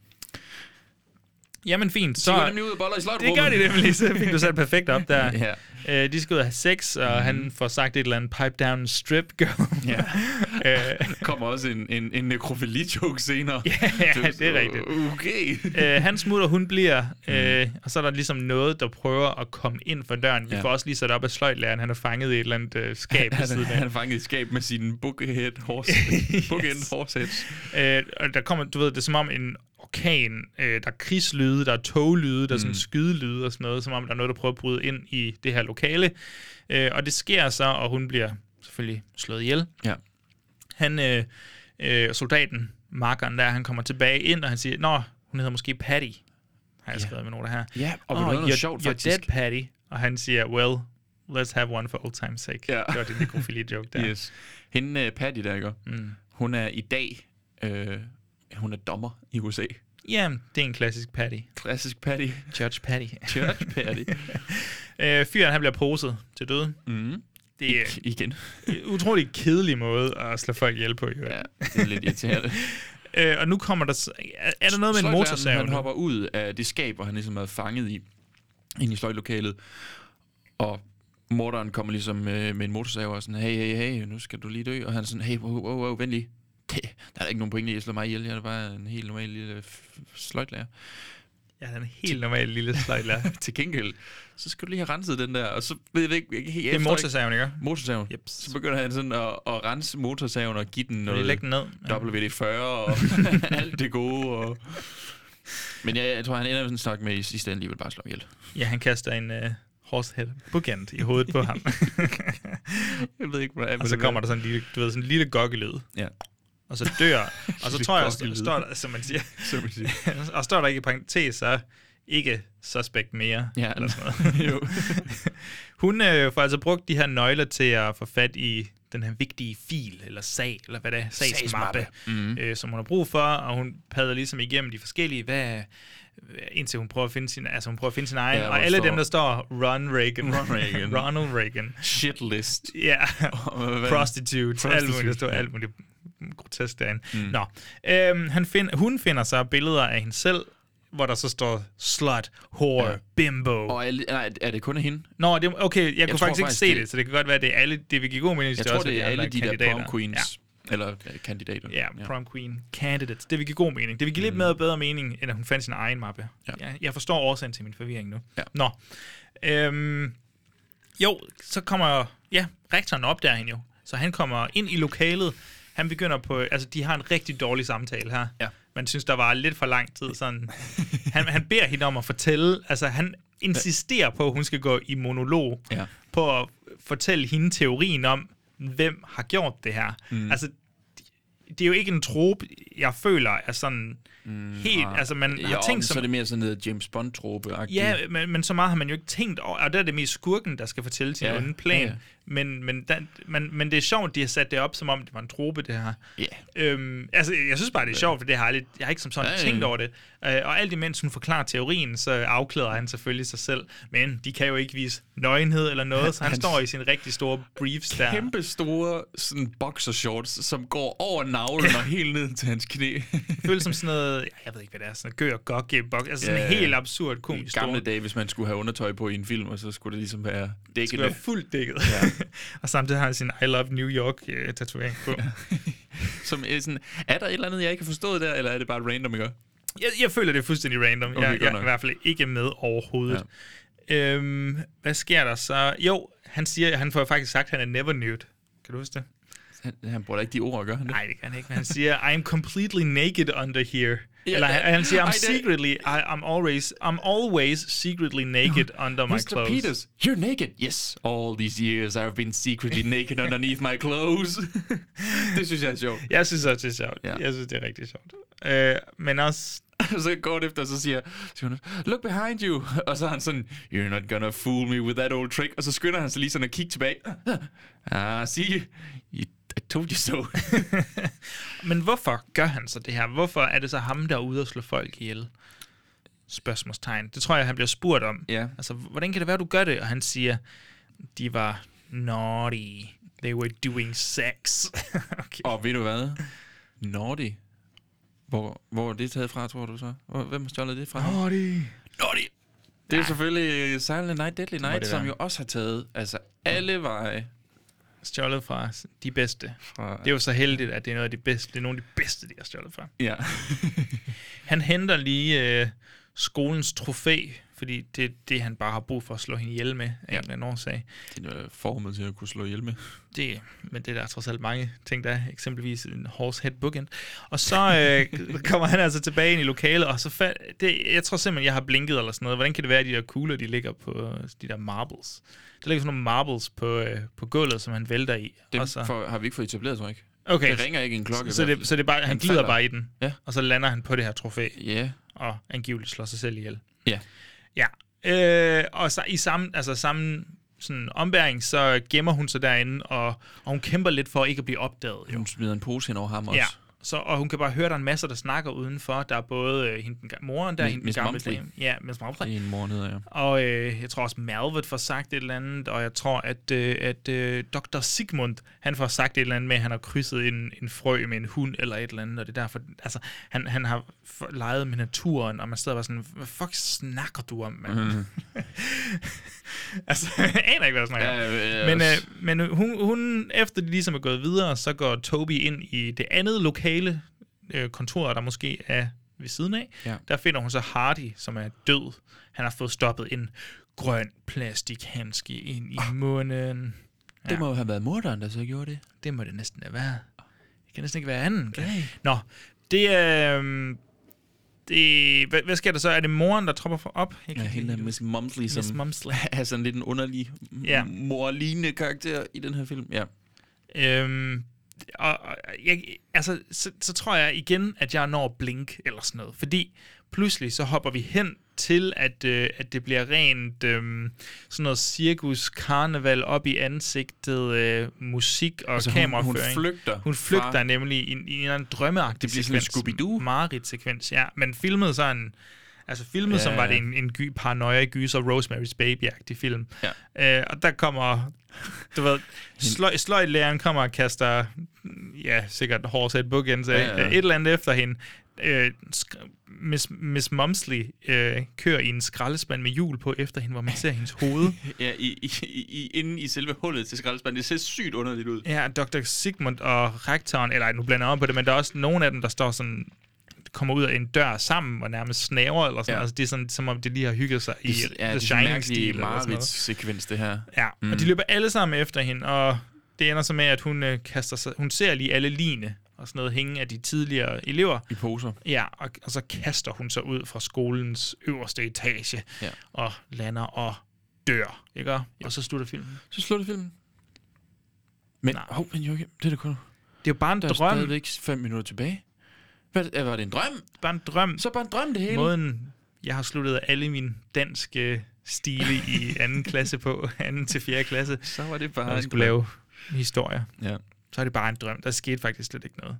S1: Jamen fint,
S2: De
S1: så...
S2: går nemlig ud og boller i
S1: Det
S2: sløjtrummet.
S1: gør de nemlig, så fik du sat perfekt op der.
S2: Ja. Mhm.
S1: Øh, de skal ud og have sex, og mm. han får sagt et eller andet pipe down strip girl.
S2: Ja.
S1: øh,
S2: Der kommer også en, en, en nekrofili-joke senere.
S1: ja, det er rigtigt.
S2: Okay.
S1: øh, han smutter, hun bliver,
S2: Mhm.
S1: øh, og så er der ligesom noget, der prøver at komme ind for døren. Vi
S2: Ja.
S1: får også lige sat op af sløjtlæreren, han er fanget i et eller andet øh, skab ved
S2: Han,
S1: siden
S2: er- han
S1: af.
S2: er fanget i et skab med sin bookhead horse, bookend horseheads.
S1: Øh, og der kommer, du ved, det er som om en orkan, øh, der er krigslyde, der er toglyde, der er sådan
S2: Mhm.
S1: skydelyde og sådan noget, som om der er noget, der prøver at bryde ind i det her lokale. Øh, og det sker så, og hun bliver selvfølgelig slået ihjel.
S2: Ja.
S1: han, øh, øh, soldaten, markeren der, han kommer tilbage ind, og han siger, Nå, hun hedder måske Patty, har jeg skrevet med nogle her.
S2: Ja, og ved
S1: "Åh,
S2: du hvad, noget
S1: you're-
S2: sjovt,
S1: you're
S2: faktisk?"
S1: dead, Patty. Og han siger, well, let's have one for old time's sake.
S2: Ja.
S1: Det var det nekrofili joke der.
S2: Yes. Hende uh, Patty, der ikke? Mm. Hun er i dag, øh, hun er dommer i USA.
S1: Jamen, det er en klassisk Patty.
S2: Klassisk Patty.
S1: Judge Patty.
S2: Church Patty.
S1: øh, fyren, han bliver poset til døde. Mm.
S2: Mm-hmm.
S1: Det er
S2: Igen.
S1: en utrolig kedelig måde at slå folk ihjel på. Ja.
S2: Ja, det er lidt irriterende.
S1: Øh, og nu kommer der... s- Er, er der noget med en
S2: Sløjtlæreren,
S1: motorsav?
S2: Han
S1: nu?
S2: hopper ud af det skab, hvor han ligesom er fanget i, ind i sløjtlokalet. Og morderen kommer ligesom øh, med en motorsav og sådan, hey, hey, hey, nu skal du lige dø. Og han er sådan, hey, wow, wow, wow, vent lige. Det, der er da ikke nogen pointe i at slå mig ihjel. Jeg er da bare en helt normal lille f- sløjtlærer.
S1: Ja, den er en helt normal lille sløjtlærer.
S2: Til gengæld, så skal du lige have renset den der. Og så ved jeg ikke, jeg kan helt
S1: det er
S2: efter-
S1: motorsaven, ikke?
S2: Motorsaven.
S1: Yep.
S2: Så begynder han sådan at, at rense motorsaven og give den
S1: Fordi
S2: noget
S1: læg den ned. Ja.
S2: WD-40 og alt det gode. Og... Men jeg, jeg tror, han ender med sådan en snak med, at i sidste ende alligevel bare slår ihjel.
S1: Ja, han kaster en uh, horsehead bookend i hovedet på ham.
S2: Jeg ved ikke, hvordan
S1: og så kommer der sådan en lille, du ved, sådan en lille gokkelyd.
S2: Ja.
S1: Og så dør, og så
S2: Lille
S1: tror jeg,
S2: gokkelyd.
S1: st- står der, som man siger,
S2: Som man siger.
S1: og står der ikke i parentes, så ikke suspect mere.
S2: Ja,
S1: eller sådan noget.
S2: jo.
S1: Hun øh, får altså brugt de her nøgler til at få fat i den her vigtige fil, eller sag, eller hvad det er, sagsmappe,
S2: Mm-hmm.
S1: mm. øh, som hun har brug for, og hun padder ligesom igennem de forskellige, hvad, indtil hun prøver at finde sin, altså hun prøver at finde sin egen,
S2: Ja,
S1: ja,
S2: hvor
S1: og alle
S2: står-
S1: dem, der står Ron Reagan,
S2: Ron Reagan.
S1: Ronald Reagan,
S2: Shitlist.
S1: ja,
S2: Og hvad-
S1: prostitute, prostitute, alt muligt, der står
S2: ja.
S1: alt muligt grotesk derinde. Mm. Nå, øhm, han find, hun finder så billeder af hende selv, hvor der så står slut, whore,
S2: Ja.
S1: ja. bimbo.
S2: Og er, nej, er det kun af hende?
S1: Nå, det, okay, jeg, kunne
S2: tror
S1: faktisk ikke
S2: faktisk,
S1: se
S2: det-
S1: det, så det kan godt være, at det er alle, det vil give god mening, hvis
S2: Jeg
S1: det
S2: tror,
S1: også
S2: det er
S1: er
S2: alle de der
S1: kandidater.
S2: prom queens. Ja. Eller øh, kandidater.
S1: Ja, ja, prom queen candidates. Det vil give god mening. Det vil give lidt mere bedre mening, end at hun fandt sin egen mappe.
S2: Ja.
S1: Ja. Jeg, jeg forstår årsagen til min forvirring nu.
S2: Ja.
S1: Nå. Øhm, jo, så kommer... Ja, rektoren opdager hende jo. Så han kommer ind i lokalet. Han begynder på... Altså, de har en rigtig dårlig samtale her.
S2: Ja.
S1: Man synes, der var lidt for lang tid sådan... Han, han beder hende om at fortælle... Altså, han insisterer på, at hun skal gå i monolog.
S2: Ja.
S1: På at fortælle hende teorien om, hvem har gjort det her. Mm. Altså, det er jo ikke en trope, jeg føler er sådan mm, helt... Altså, man
S2: Ja,
S1: har
S2: og
S1: tænkt
S2: så er
S1: som...
S2: det mere sådan noget James Bond-trope.
S1: Ja, men, men så meget har man jo ikke tænkt over, og der er det mest skurken, der skal fortælle sin
S2: Ja,
S1: ja, anden plan.
S2: ja,
S1: Ja,
S2: ja.
S1: Men, men, der, man, men det er sjovt, at de har sat det op, som om det var en trope, det her.
S2: Ja.
S1: Øhm, altså, jeg synes bare, det er sjovt, for det har jeg, lidt, jeg har ikke som sådan
S2: Ja,
S1: ja,
S2: ja.
S1: tænkt over det. Øh, og alt imens hun forklarer teorien, så afklæder han selvfølgelig sig selv. Men de kan jo ikke vise nøgenhed eller noget, så han,
S2: Han-
S1: han står i sin rigtig store briefs der.
S2: Kæmpe store sådan boxershorts, som går over navlen og helt ned til hans hans knæ.
S1: Det føles som sådan noget, jeg ved ikke, hvad det er, sådan noget gør godt gebok. Altså sådan
S2: Ja,
S1: en
S2: ja.
S1: helt absurd
S2: I
S1: komisk
S2: gamle dage, hvis man skulle have undertøj på i en film, og så skulle det ligesom være
S1: Det skulle være
S2: dækkende.
S1: fuldt dækket. Ja. og samtidig har han sin I Love New York-tatovering på.
S2: Som, øh, sådan, er der et eller andet, jeg ikke har forstået der, eller er det bare random, ikke?
S1: Jeg, jeg føler, det er fuldstændig random. Okay,
S2: Okay,
S1: jeg,
S2: godt
S1: jeg er
S2: nok.
S1: i hvert fald ikke med overhovedet. Ja. Øhm, hvad sker der så? Jo, han siger, han får faktisk sagt, at han er never nude. Kan du huske det?
S2: Han, han bruger da ikke de ord, gør han det?
S1: Nej, det kan han ikke. Men han siger, I'm completely naked under here.
S2: Ja,
S1: Eller han, han siger, I'm
S2: ej, det-
S1: secretly, I, I'm always, I'm always secretly naked under my
S2: Mr.
S1: clothes.
S2: Peters, you're naked. Yes, all these years I've been secretly naked underneath my clothes. det synes jeg er sjovt.
S1: Jeg synes også, det er sjovt.
S2: Ja.
S1: Jeg synes, det er rigtig sjovt. Øh, men også,
S2: så kort efter, så siger, siger hun, look behind you. Og så er han sådan, you're not gonna fool me with that old trick. Og så skynder han sig lige sådan at kigge tilbage. Ah, uh, see, you, I told you so.
S1: men hvorfor gør han så det her? Hvorfor er det så ham, der er ude og slå folk ihjel? Spørgsmålstegn. Det tror jeg, han bliver spurgt om.
S2: Ja.
S1: Altså, hvordan kan det være, du gør det? Og han siger, de var naughty. They were doing sex. okay.
S2: og ved du hvad? Naughty. Hvor, hvor er det taget fra, tror du så? Hvor, hvem har stjålet det fra?
S1: Naughty.
S2: Naughty! Det er ja. selvfølgelig Silent Night, Deadly Night,
S1: det
S2: som
S1: være.
S2: jo også har taget altså alle veje.
S1: Stjålet fra de bedste.
S2: Fra-
S1: Det er jo så heldigt, at det er noget af de bedste. Det er nogle af de bedste, de har stjålet fra.
S2: Ja.
S1: Han henter lige øh, skolens trofæ, fordi det er det, han bare har brug for at slå hende ihjel med, af ja. en eller anden årsag.
S2: Den er formet til at kunne slå ihjel med.
S1: Det, men det er der trods alt mange ting, der er. Eksempelvis en horse head bookend. Og så øh, kommer han altså tilbage ind i lokalet, og så fa- det, jeg tror simpelthen, jeg har blinket eller sådan noget. Hvordan kan det være, at de der kugler, de ligger på øh, de der marbles? Der ligger sådan nogle marbles på, øh, på gulvet, som han vælter i.
S2: Dem
S1: og så,
S2: for, har vi ikke fået etableret, tror jeg ikke.
S1: okay,
S2: Det ringer ikke en klokke. i
S1: så,
S2: hvert
S1: det, så det er bare, han,
S2: Han
S1: han glider
S2: falder.
S1: bare i den,
S2: Ja.
S1: og så lander han på det her trofæ,
S2: fald. Ja.
S1: og angiveligt slår sig selv ihjel.
S2: Ja.
S1: Ja. Øh, og så i samme, altså samme sådan ombæring, så gemmer hun sig derinde, og, og hun kæmper lidt for ikke at blive opdaget. Jo.
S2: Hun smider en pose hen over ham også.
S1: Ja. Så, og hun kan bare høre, at der er en masse, der snakker udenfor. Der er både øh, hende, den ga- moren der,
S2: Mi-
S1: hende den
S2: Miss
S1: gamle
S2: Mumfrey.
S1: dame. Ja, Miss Mumfrey.
S2: Det er en mor nede, ja.
S1: Og øh, jeg tror også, Malvet får sagt et eller andet, og jeg tror, at, øh, at øh, Dr. Sigmund, han får sagt et eller andet med, at han har krydset en, en frø med en hund eller et eller andet, og det er derfor, altså, han, han har f- leget med naturen, og man sidder bare sådan, hvad fuck snakker du om, mand?
S2: Mhm.
S1: Mm. altså, jeg aner ikke, hvad jeg snakker om.
S2: ja,
S1: Men,
S2: også-
S1: øh, men hun, hun, efter de ligesom er gået videre, så går Toby ind i det andet lokale øh, kontor, der måske er ved siden af.
S2: Ja.
S1: Der finder hun så Hardy, som er død. Han har fået stoppet en grøn plastikhandske ind i
S2: Ah.
S1: munden.
S2: Det må jo have været morderen, der så gjorde det.
S1: Det må det næsten da være. Det kan næsten ikke være anden. Kan? Nå, det er... Øh, det, hvad, hvad sker der så? Er det moren, der tropper for op? Jeg
S2: Ja,
S1: ikke
S2: hende der
S1: helt-
S2: Miss Mumsley, som
S1: Miss Mumsley.
S2: er sådan lidt en underlig, m-
S1: Ja.
S2: morlignende karakter i den her film. Ja.
S1: Øhm, og, og jeg, altså, så, så tror jeg igen, at jeg når blink eller sådan noget. Fordi pludselig så hopper vi hen til, at, øh, at det bliver rent øh, sådan noget cirkus, karneval op i ansigtet, øh, musik og altså,
S2: hun- hun
S1: kameraføring.
S2: flygter
S1: Hun flygter
S2: fra-
S1: nemlig i, en- i en eller anden drømmeagtig
S2: Det bliver sådan en Scooby-Doo.
S1: Marit-sekvens, ja. Men filmet sådan... Altså filmet, ja.
S2: Ja.
S1: som var det en, en gy, paranoia gyser Rosemary's Baby-agtig film. Ja. Øh, og der kommer, du ved, sløj, sløjtlæreren kommer og kaster, ja, sikkert hårdsæt bookends af, ja,
S2: Ja,
S1: ja.
S2: ja.
S1: et eller andet efter hende. Øh, sk- Miss, Miss Mumsley øh, kører i en skraldespand med hjul på efter hende, hvor man ser hendes hoved.
S2: ja i, i, i, inde i selve hullet til skraldespanden. Det ser sygt underligt ud.
S1: Ja, Dr. Sigmund og rektoren, eller ej, nu blander jeg om på det, men der er også nogle af dem, der står sådan kommer ud af en dør sammen og nærmest snaver eller sådan. Ja.
S2: Ja.
S1: Altså, det er sådan, som om de lige har hygget sig i
S2: ja,
S1: The
S2: det er en
S1: Shining-stil.
S2: mærkelig
S1: eller sådan noget.
S2: Marits-sekvens, det her.
S1: Ja, mm. og de løber alle sammen efter hende, og det ender så med, at hun øh, kaster sig, hun ser lige alle line og sådan noget hænge af de tidligere elever.
S2: I poser.
S1: Ja, og, og så kaster hun sig ud fra skolens øverste etage
S2: Ja.
S1: og lander og dør, ikke? Og så slutter filmen.
S2: Så slutter filmen. Men,
S1: Nej.
S2: hov, men Joachim, det er da kun... Der
S1: Det er jo bare en
S2: er
S1: drøm.
S2: stadigvæk fem minutter tilbage. Hvad, er- var det en drøm?
S1: Bare en drøm.
S2: Så bare en drøm, det hele.
S1: Måden, jeg har sluttet alle mine danske stile i anden klasse på, anden til fjerde klasse,
S2: Så var det bare
S1: når jeg
S2: en
S1: skulle
S2: drøm.
S1: lave historier.
S2: Ja.
S1: så er det bare en drøm. Der skete faktisk slet ikke noget.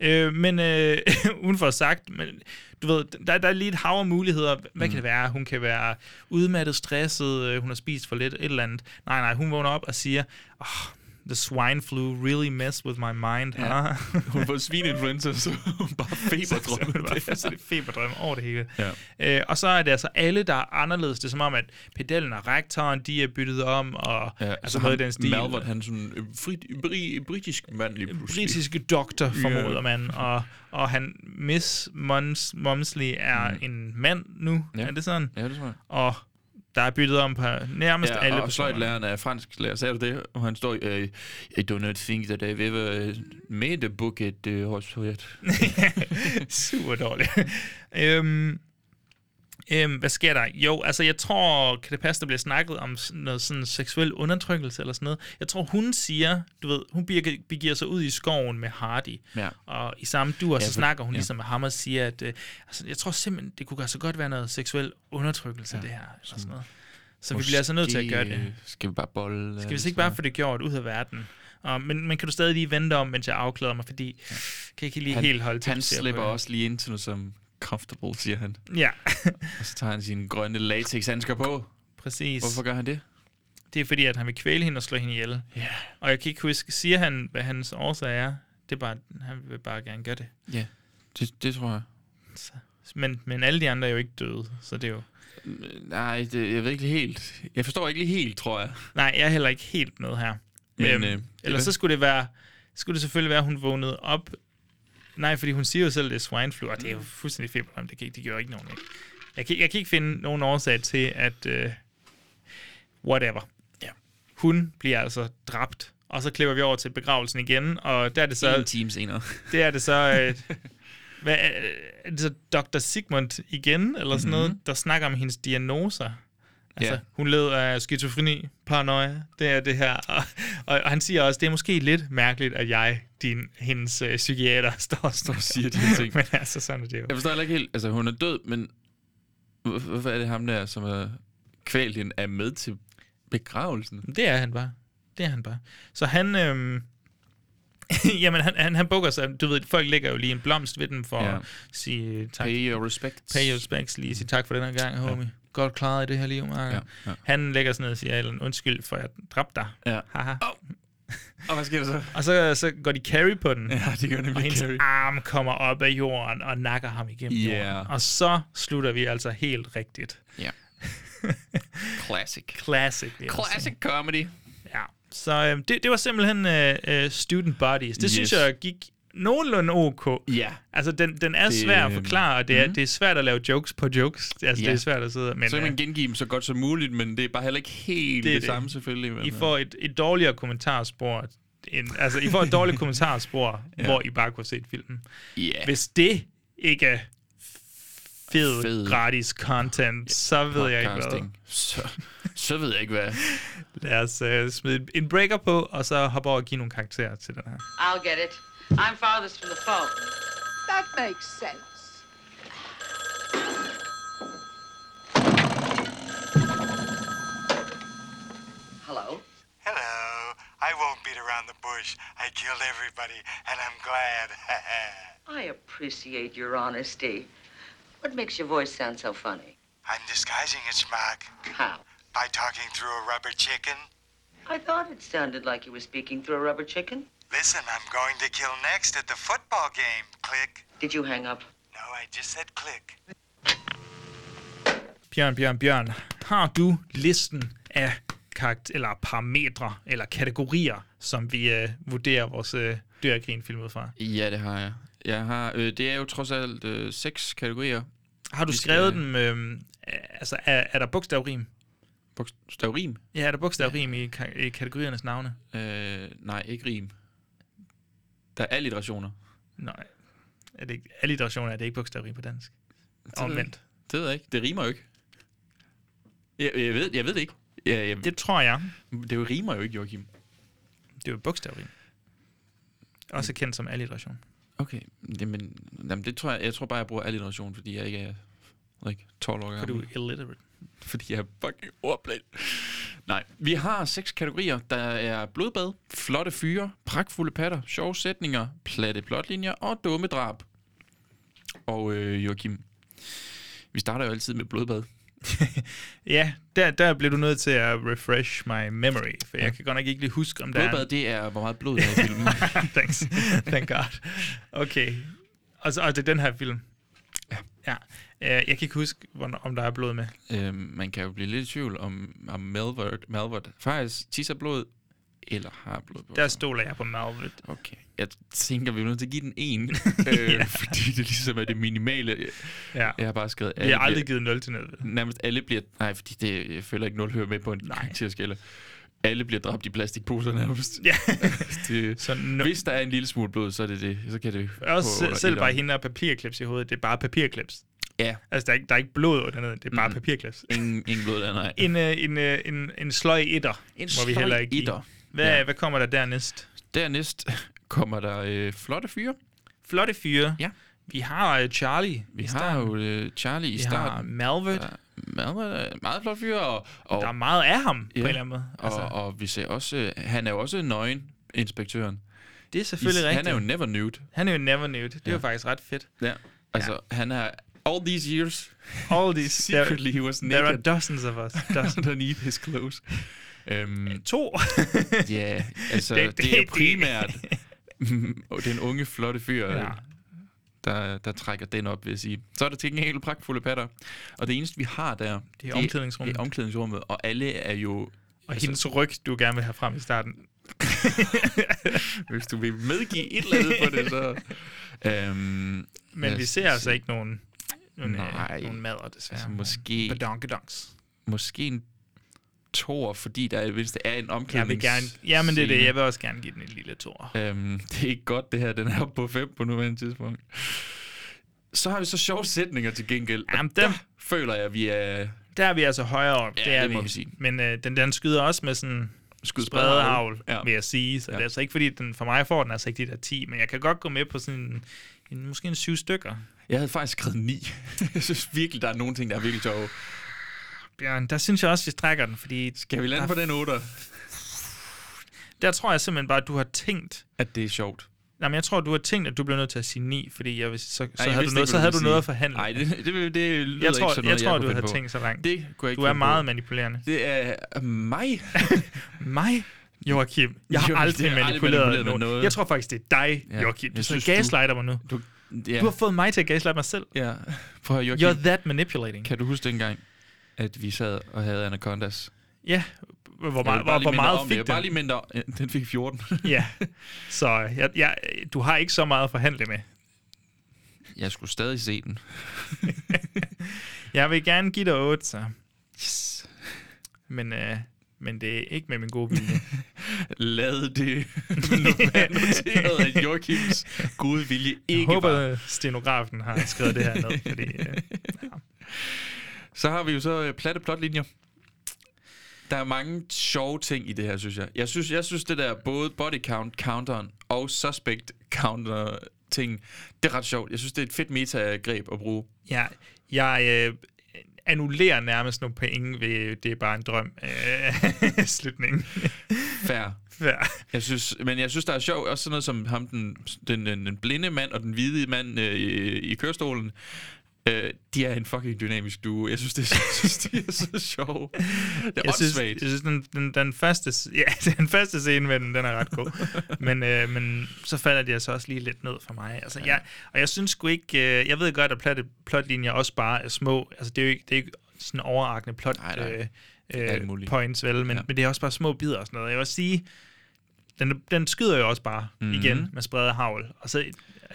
S1: Øh, men øh, uden for sagt, men, du ved, der, der er lige et hav af muligheder. Hvad mm. kan det være? Hun kan være udmattet, stresset, øh, hun har spist for lidt, et eller andet. Nej, nej, hun vågner op og siger, oh, the swine flu really messed with my mind, ja. huh?
S2: Hun får svineinfluenza, så hun bare feberdrømmer.
S1: Det var fuldstændig feberdrøm over det hele.
S2: Ja.
S1: Øh, og så er det altså alle, der er anderledes. Det er som om, at pedellen og rektoren, de er byttet om, og ja, altså noget i den stil.
S2: Malvert, han er sådan øh, fri, bri, britisk mand lige pludselig.
S1: britiske doktor, formoder man. Og, og han, Miss Mons, Momsley er mm. en mand nu,
S2: Ja.
S1: ja. er det sådan?
S2: Ja, det tror jeg.
S1: Og der er byttet om på nærmest
S2: Ja,
S1: alle
S2: og
S1: personer.
S2: fløjtlæreren er fransk lærer. Sagde du det? Og han står, øh, I do not think that I've ever øh, made a book at uh, Horsfjord.
S1: Super dårligt. øhm, øhm, hvad sker der? Jo, altså jeg tror, kan det passe, der bliver snakket om sådan noget sådan seksuel undertrykkelse eller sådan noget. Jeg tror, hun siger, du ved, hun begiver, begiver sig ud i skoven med Hardy.
S2: Ja.
S1: Og i samme dur, ja, så
S2: for-
S1: snakker hun
S2: ja.
S1: ja. ligesom med ham og siger, at øh, altså, jeg tror simpelthen, det kunne så godt være noget seksuel undertrykkelse, ja, det her. Eller sådan noget. Så vi bliver altså nødt til at gøre det.
S2: Skal vi bare bolle? øh,
S1: Skal vi så ikke bare få det gjort ud af verden? Og, men, men kan du stadig lige vente om, mens jeg afklæder mig, fordi ja. kan jeg ikke lige
S2: han,
S1: helt holde til
S2: Han
S1: at se på
S2: slipper
S1: det.
S2: også lige ind til noget som comfortable, siger han.
S1: Ja,
S2: Og så tager han sine grønne latexhandsker på.
S1: præcis.
S2: Hvorfor
S1: Hvorfor?
S2: gør han det?
S1: Det er fordi, at han vil kvæle hende og slå hende ihjel.
S2: Ja.
S1: Og jeg kan ikke huske, siger han, hvad hans årsag er? Det er bare, han vil bare gerne gøre det.
S2: Ja, det, det tror jeg.
S1: Men, men alle de andre er jo ikke døde, så det er jo...
S2: Øh, Nej, det, jeg ved ikke lige helt. Jeg forstår ikke lige helt, tror jeg.
S1: Nej, jeg er heller ikke helt med her.
S2: Men,
S1: Men, øhm,
S2: øh,
S1: øh,
S2: det
S1: eller
S2: var-
S1: så skulle det være, skulle det selvfølgelig være, at hun vågnede op. Nej, fordi hun siger jo selv, at det er swine flu, og det er
S2: Mm.
S1: jo fuldstændig feber, det, kan ikke, det gør ikke nogen. Ikke? Jeg, kan, jeg kan ikke finde nogen årsag til, at øh, whatever.
S2: Ja.
S1: Hun bliver altså dræbt, og så klipper vi over til begravelsen igen, og der er det så...
S2: en time senere.
S1: Det er det så... Øh, hvad, er er det så Dr. Sigmund igen, eller
S2: Mhm.
S1: sådan noget, der snakker om hendes diagnoser? Altså,
S2: Ja.
S1: hun led af skizofreni, paranoia, det er det her. Og, og, og han siger også, det er måske lidt mærkeligt, at jeg, din, hendes øh, psykiater, står og står og
S2: siger de her ting.
S1: Men altså, sådan er det jo.
S2: Jeg forstår heller ikke helt. Altså, hun er død, men hvor- hvorfor er det ham der, som er kvalt hende, er med til begravelsen?
S1: Det er han bare. Det er han bare. Så han... Øhm, jamen, han, han, han bukker sig. Du ved, folk lægger jo lige en blomst ved dem for
S2: Ja.
S1: ja. at sige tak.
S2: Pay your respects.
S1: Pay your respects, lige sige tak for den her gang, homie. Godt klaret i det her liv, Mark.
S2: Ja,
S1: Ja,
S2: ja.
S1: ja. Han lægger sådan noget og siger, Alan, undskyld for, at jeg dræbte dig.
S2: Ja.
S1: Haha.
S2: Og hvad sker der så?
S1: Og så, så går de carry på den.
S2: Ja, de gør
S1: Og
S2: nemlig
S1: hendes
S2: Carrie.
S1: arm kommer op af jorden og nakker ham igennem
S2: Yeah.
S1: jorden. Og så slutter vi altså helt rigtigt.
S2: Ja. Classic.
S1: Classic. vil jeg
S2: Classic comedy.
S1: sige. Ja. Så øhm, det, det var simpelthen øh, øh, Student Bodies. Det yes. synes
S2: Yes.
S1: jeg gik nogenlunde ok.
S2: Ja.
S1: Altså, den, den er
S2: Det,
S1: svær at
S2: øhm,
S1: forklare, og det er, mm. det er svært at lave jokes på jokes. Altså,
S2: Ja.
S1: det er svært at sidde... Men,
S2: Så kan
S1: øh,
S2: man gengive dem så godt som muligt, men det er bare heller ikke helt det,
S1: Det er
S2: det,
S1: det.
S2: det. samme selvfølgelig. Men, øh,
S1: I får et, et dårligere kommentarspor. End, altså, I får et dårligt kommentarspor, ja. hvor I bare kunne se filmen.
S2: Ja.
S1: Hvis det ikke er fed,
S2: Fed.
S1: fed. gratis content, så ved jeg ikke hvad.
S2: Podcasting. Så, så ved jeg ikke hvad.
S1: Lad os uh, smide en breaker på, og så hoppe over og give nogle karakterer til den her.
S11: I'll get it. I'm farthest from the phone. That makes sense.
S7: Hello?
S4: Hello. I won't beat around the bush. I killed everybody, and I'm glad.
S7: I appreciate your honesty. What makes your voice sound so funny?
S4: I'm disguising it, Schmuck,
S7: How?
S4: by talking through a rubber chicken.
S7: I thought it sounded like you were speaking through a rubber chicken.
S4: Listen, I'm going to kill next at the football game. Click.
S7: Did you hang up?
S4: No, I just said click.
S1: Bjørn, Bjørn, Bjørn, har du listen af karakter- eller parametre eller kategorier, som vi øh, vurderer vores øh, dørgrin film ud fra?
S2: Ja, det har jeg. Jeg har, øh, det er jo trods alt øh, seks kategorier.
S1: Har du
S2: skal-
S1: skrevet dem? Øh, altså, er, er der bogstavrim?
S2: Bogstavrim?
S1: Ja, er der bogstavrim i, ka- i kategoriernes navne?
S2: Øh, nej, ikke rim. Der er alliterationer.
S1: Nej. Er det ikke, alliteration er det ikke bogstaveri på dansk.
S2: ved jeg
S1: Omvendt.
S2: Det ved jeg ikke. Det rimer jo ikke. Jeg, jeg, ved, jeg ved det ikke. Jeg, jeg, det,
S1: Det tror jeg.
S2: det jo rimer jo ikke, Joachim.
S1: Det er jo bogstaveri. Også kendt som alliteration.
S2: Okay, jamen, jamen det tror jeg, jeg tror bare, jeg bruger alliteration, fordi jeg ikke er like, 12 år
S1: For du
S2: gammel.
S1: er illiterate.
S2: Fordi jeg er fucking ordblind. Nej, vi har seks kategorier. Der er blodbad, flotte fyre, pragtfulde patter, sjove sætninger, platte plotlinjer og dumme drab. Og øh, Joachim, vi starter jo altid med blodbad.
S1: Ja, der, der blev du nødt til at refresh my memory, for jeg kan godt nok ikke lige huske, om der er...
S2: Blodbad, det er, hvor meget blod der er i filmen.
S1: Thanks. Thank God. Okay. Og, så, og det er den her film. Ja. ja. Øh, Jeg kan ikke huske, hvornår- om der er blod med.
S2: øhm, man kan jo blive lidt i tvivl om, om Melvert, Melvert faktisk tisser blod, eller har blod på.
S1: Der stoler jeg på Malvet.
S2: Okay. Jeg tænker, vi er nødt til at give den en, øh, fordi det ligesom er det minimale.
S1: Ja.
S2: Jeg har bare skrevet...
S1: Vi har
S2: alle
S1: aldrig
S2: bliver-
S1: givet 0 til noget.
S2: Nærmest alle bliver... Nej, fordi det, jeg føler ikke, nul hører med på en karakterskala. Alle bliver dræbt i plastikposer nærmest.
S1: Ja.
S2: det, så hvis der er en lille smule blod, så er det det. Så kan det...
S1: Også
S2: gå under
S1: se- selv bare
S2: etteren.
S1: hende og papirklips i hovedet, det er bare papirklips.
S2: Ja.
S1: Altså, der er ikke, der er ikke blod under noget, det er bare mm. papirklips.
S2: Ingen, ingen blod der, nej.
S1: En, øh, en, øh, en, en sløj etter,
S2: En
S1: må vi
S2: sløj
S1: heller ikke give.
S2: etter.
S1: Hvad, ja. hvad kommer der dernæst?
S2: Dernæst kommer der øh, flotte fyre.
S1: Flotte fyre.
S2: Ja.
S1: Vi har øh, Charlie.
S2: Vi har jo øh, Charlie i
S1: Vi
S2: starten.
S1: har Malvert.
S2: meget, meget flot fyr. Og, og,
S1: Der er meget af ham, på en eller anden måde.
S2: Altså. Og, og vi ser også, øh, han er jo også nøgen, inspektøren.
S1: Det er selvfølgelig
S2: I,
S1: rigtigt.
S2: Han er jo never nude.
S1: Han er jo never nude. Det ja. var faktisk ret fedt.
S2: Ja. Altså, ja. han er all these years,
S1: All these
S2: secretly he was
S1: There are
S2: naked
S1: dozens of us. Dozens.
S2: underneath his clothes. Um,
S1: to.
S2: ja, altså, det,
S1: Det-
S2: det, det er
S1: det-
S2: primært og den unge, flotte fyr,
S1: Ja.
S2: ja. der, der trækker den op, vil jeg sige. Så er der til en helt pragtfulde patter. Og det eneste, vi har der, det
S1: omklædningsrummet.
S2: Det er omklædningsrummet, og alle er jo... altså,
S1: Og hendes ryg, du gerne vil have frem i starten.
S2: Hvis du vil medgive et eller andet på det, så... Øhm,
S1: Men
S2: lad
S1: vi
S2: os
S1: ser
S2: lige
S1: altså
S2: se.
S1: ikke nogen, nogen,
S2: Nej.
S1: øh, nogen mader, desværre.
S2: Altså, måske-
S1: Badonkedonks.
S2: Måske en toer, fordi der i mindst er en
S1: Jeg vil
S2: omklædnings...
S1: gerne... Ja, men det er det. Jeg vil også gerne give den en lille tor.
S2: Øhm, det er ikke godt, det her. Den er oppe på 5 på nuværende tidspunkt. Så har vi så sjove sætninger til gengæld. og
S1: Jamen,
S2: der
S1: dem-
S2: føler jeg, vi er
S1: Der er vi altså højere op.
S2: Ja,
S1: er
S2: det må vi sige.
S1: Men øh, den, den skyder også med sådan
S2: Skyder
S1: spredehavl,
S2: spredehavl, ja.
S1: vil jeg sige. Så ja. det er altså ikke, fordi den for mig får den altså ikke de der 10, men jeg kan godt gå med på sådan en, en måske en 7 stykker.
S2: Jeg havde faktisk skrevet 9. jeg synes virkelig, der er nogle ting, der er virkelig sjove.
S1: Bjørn, der synes jeg også, vi strækker den, fordi
S2: Kan vi lande på den 8?
S1: der tror jeg simpelthen bare, at du har tænkt,
S2: At det er sjovt.
S1: Nej, men jeg tror, du har tænkt, at du bliver nødt til at sige 9, fordi jeg, vil- så, så
S2: Ej, jeg
S1: havde, du
S2: vidste
S1: noget,
S2: ikke,
S1: så
S2: hvad
S1: havde
S2: ville
S1: du
S2: sige.
S1: noget at forhandle.
S2: Nej, det, det, det lyder
S1: jeg tror,
S2: ikke sådan
S1: jeg
S2: noget,
S1: tror du
S2: kunne finde
S1: havde
S2: på.
S1: tænkt så langt.
S2: Det kunne jeg ikke
S1: du er
S2: finde på.
S1: meget manipulerende.
S2: Det er mig.
S1: Mig? Joachim, jeg har
S2: Joachim,
S1: aldrig
S2: jeg har aldrig
S1: manipuleret,
S2: manipuleret med
S1: nogen.
S2: noget.
S1: Jeg tror faktisk, det er dig,
S2: Ja,
S1: Joachim. Du
S2: jeg
S1: synes,
S2: synes, du-
S1: gaslighter mig nu.
S2: Du, ja,
S1: Du har fået mig til at gaslighte mig selv.
S2: ja. Prøv at høre, Joachim.
S1: You're that manipulating.
S2: Kan du huske dengang, at vi sad og havde Anacondas?
S1: Ja, hvor,
S2: Jeg
S1: meget,
S2: vil
S1: hvor,
S2: bare lige
S1: hvor
S2: minde
S1: meget
S2: om det.
S1: fik
S2: Jeg vil bare lige
S1: den?
S2: mindre, den fik 14.
S1: Ja, så jeg, jeg, du har ikke så meget at forhandle med.
S2: jeg skulle stadig se den.
S1: Jeg vil gerne give dig 8, så. Yes. Men, øh, men det er ikke med min gode vilje.
S2: Lad det nu være noteret, at Joachims gode vilje
S1: Jeg
S2: ikke
S1: håber,
S2: var.
S1: at stenografen har skrevet det her ned, fordi øh,
S2: Så har vi jo så øh, platte plotlinjer. Der er mange sjove ting i det her, synes jeg. Jeg synes, jeg synes det der både body count counteren og suspect counter ting, det er ret sjovt. Jeg synes, det er et fedt metagreb at bruge.
S1: jeg, jeg øh, annullerer nærmest nogle penge ved, øh, det er bare en drøm øh, slutningen.
S2: Fair.
S1: Ja.
S2: Jeg synes, men jeg synes, der er sjovt også sådan noget som ham, den, den, den, den blinde mand og den hvide mand øh, i, i kørestolen. Øh, de er en fucking dynamisk duo. Jeg synes, det er, jeg synes, det er så sjovt. Det er
S1: Jeg synes, jeg
S2: åndssvagt.
S1: synes den, den, den, første, s- ja, den første scene med den, den er ret god. men, øh, men så falder de altså også lige lidt ned for mig. Altså, jeg, og jeg synes sgu ikke... Øh, jeg ved godt, at plot, plotlinjer også bare er små. Altså, det er jo ikke, det er ikke sådan overrakkende plot
S2: Nej, nej.
S1: nej,
S2: Alt
S1: Øh,
S2: muligt.
S1: points, vel? Men,
S2: Ja.
S1: ja. men det er også bare små bidder og sådan noget. Jeg vil sige, den, den skyder jo også bare
S2: Mhm.
S1: mm-hmm. igen med spredet havl. Og så,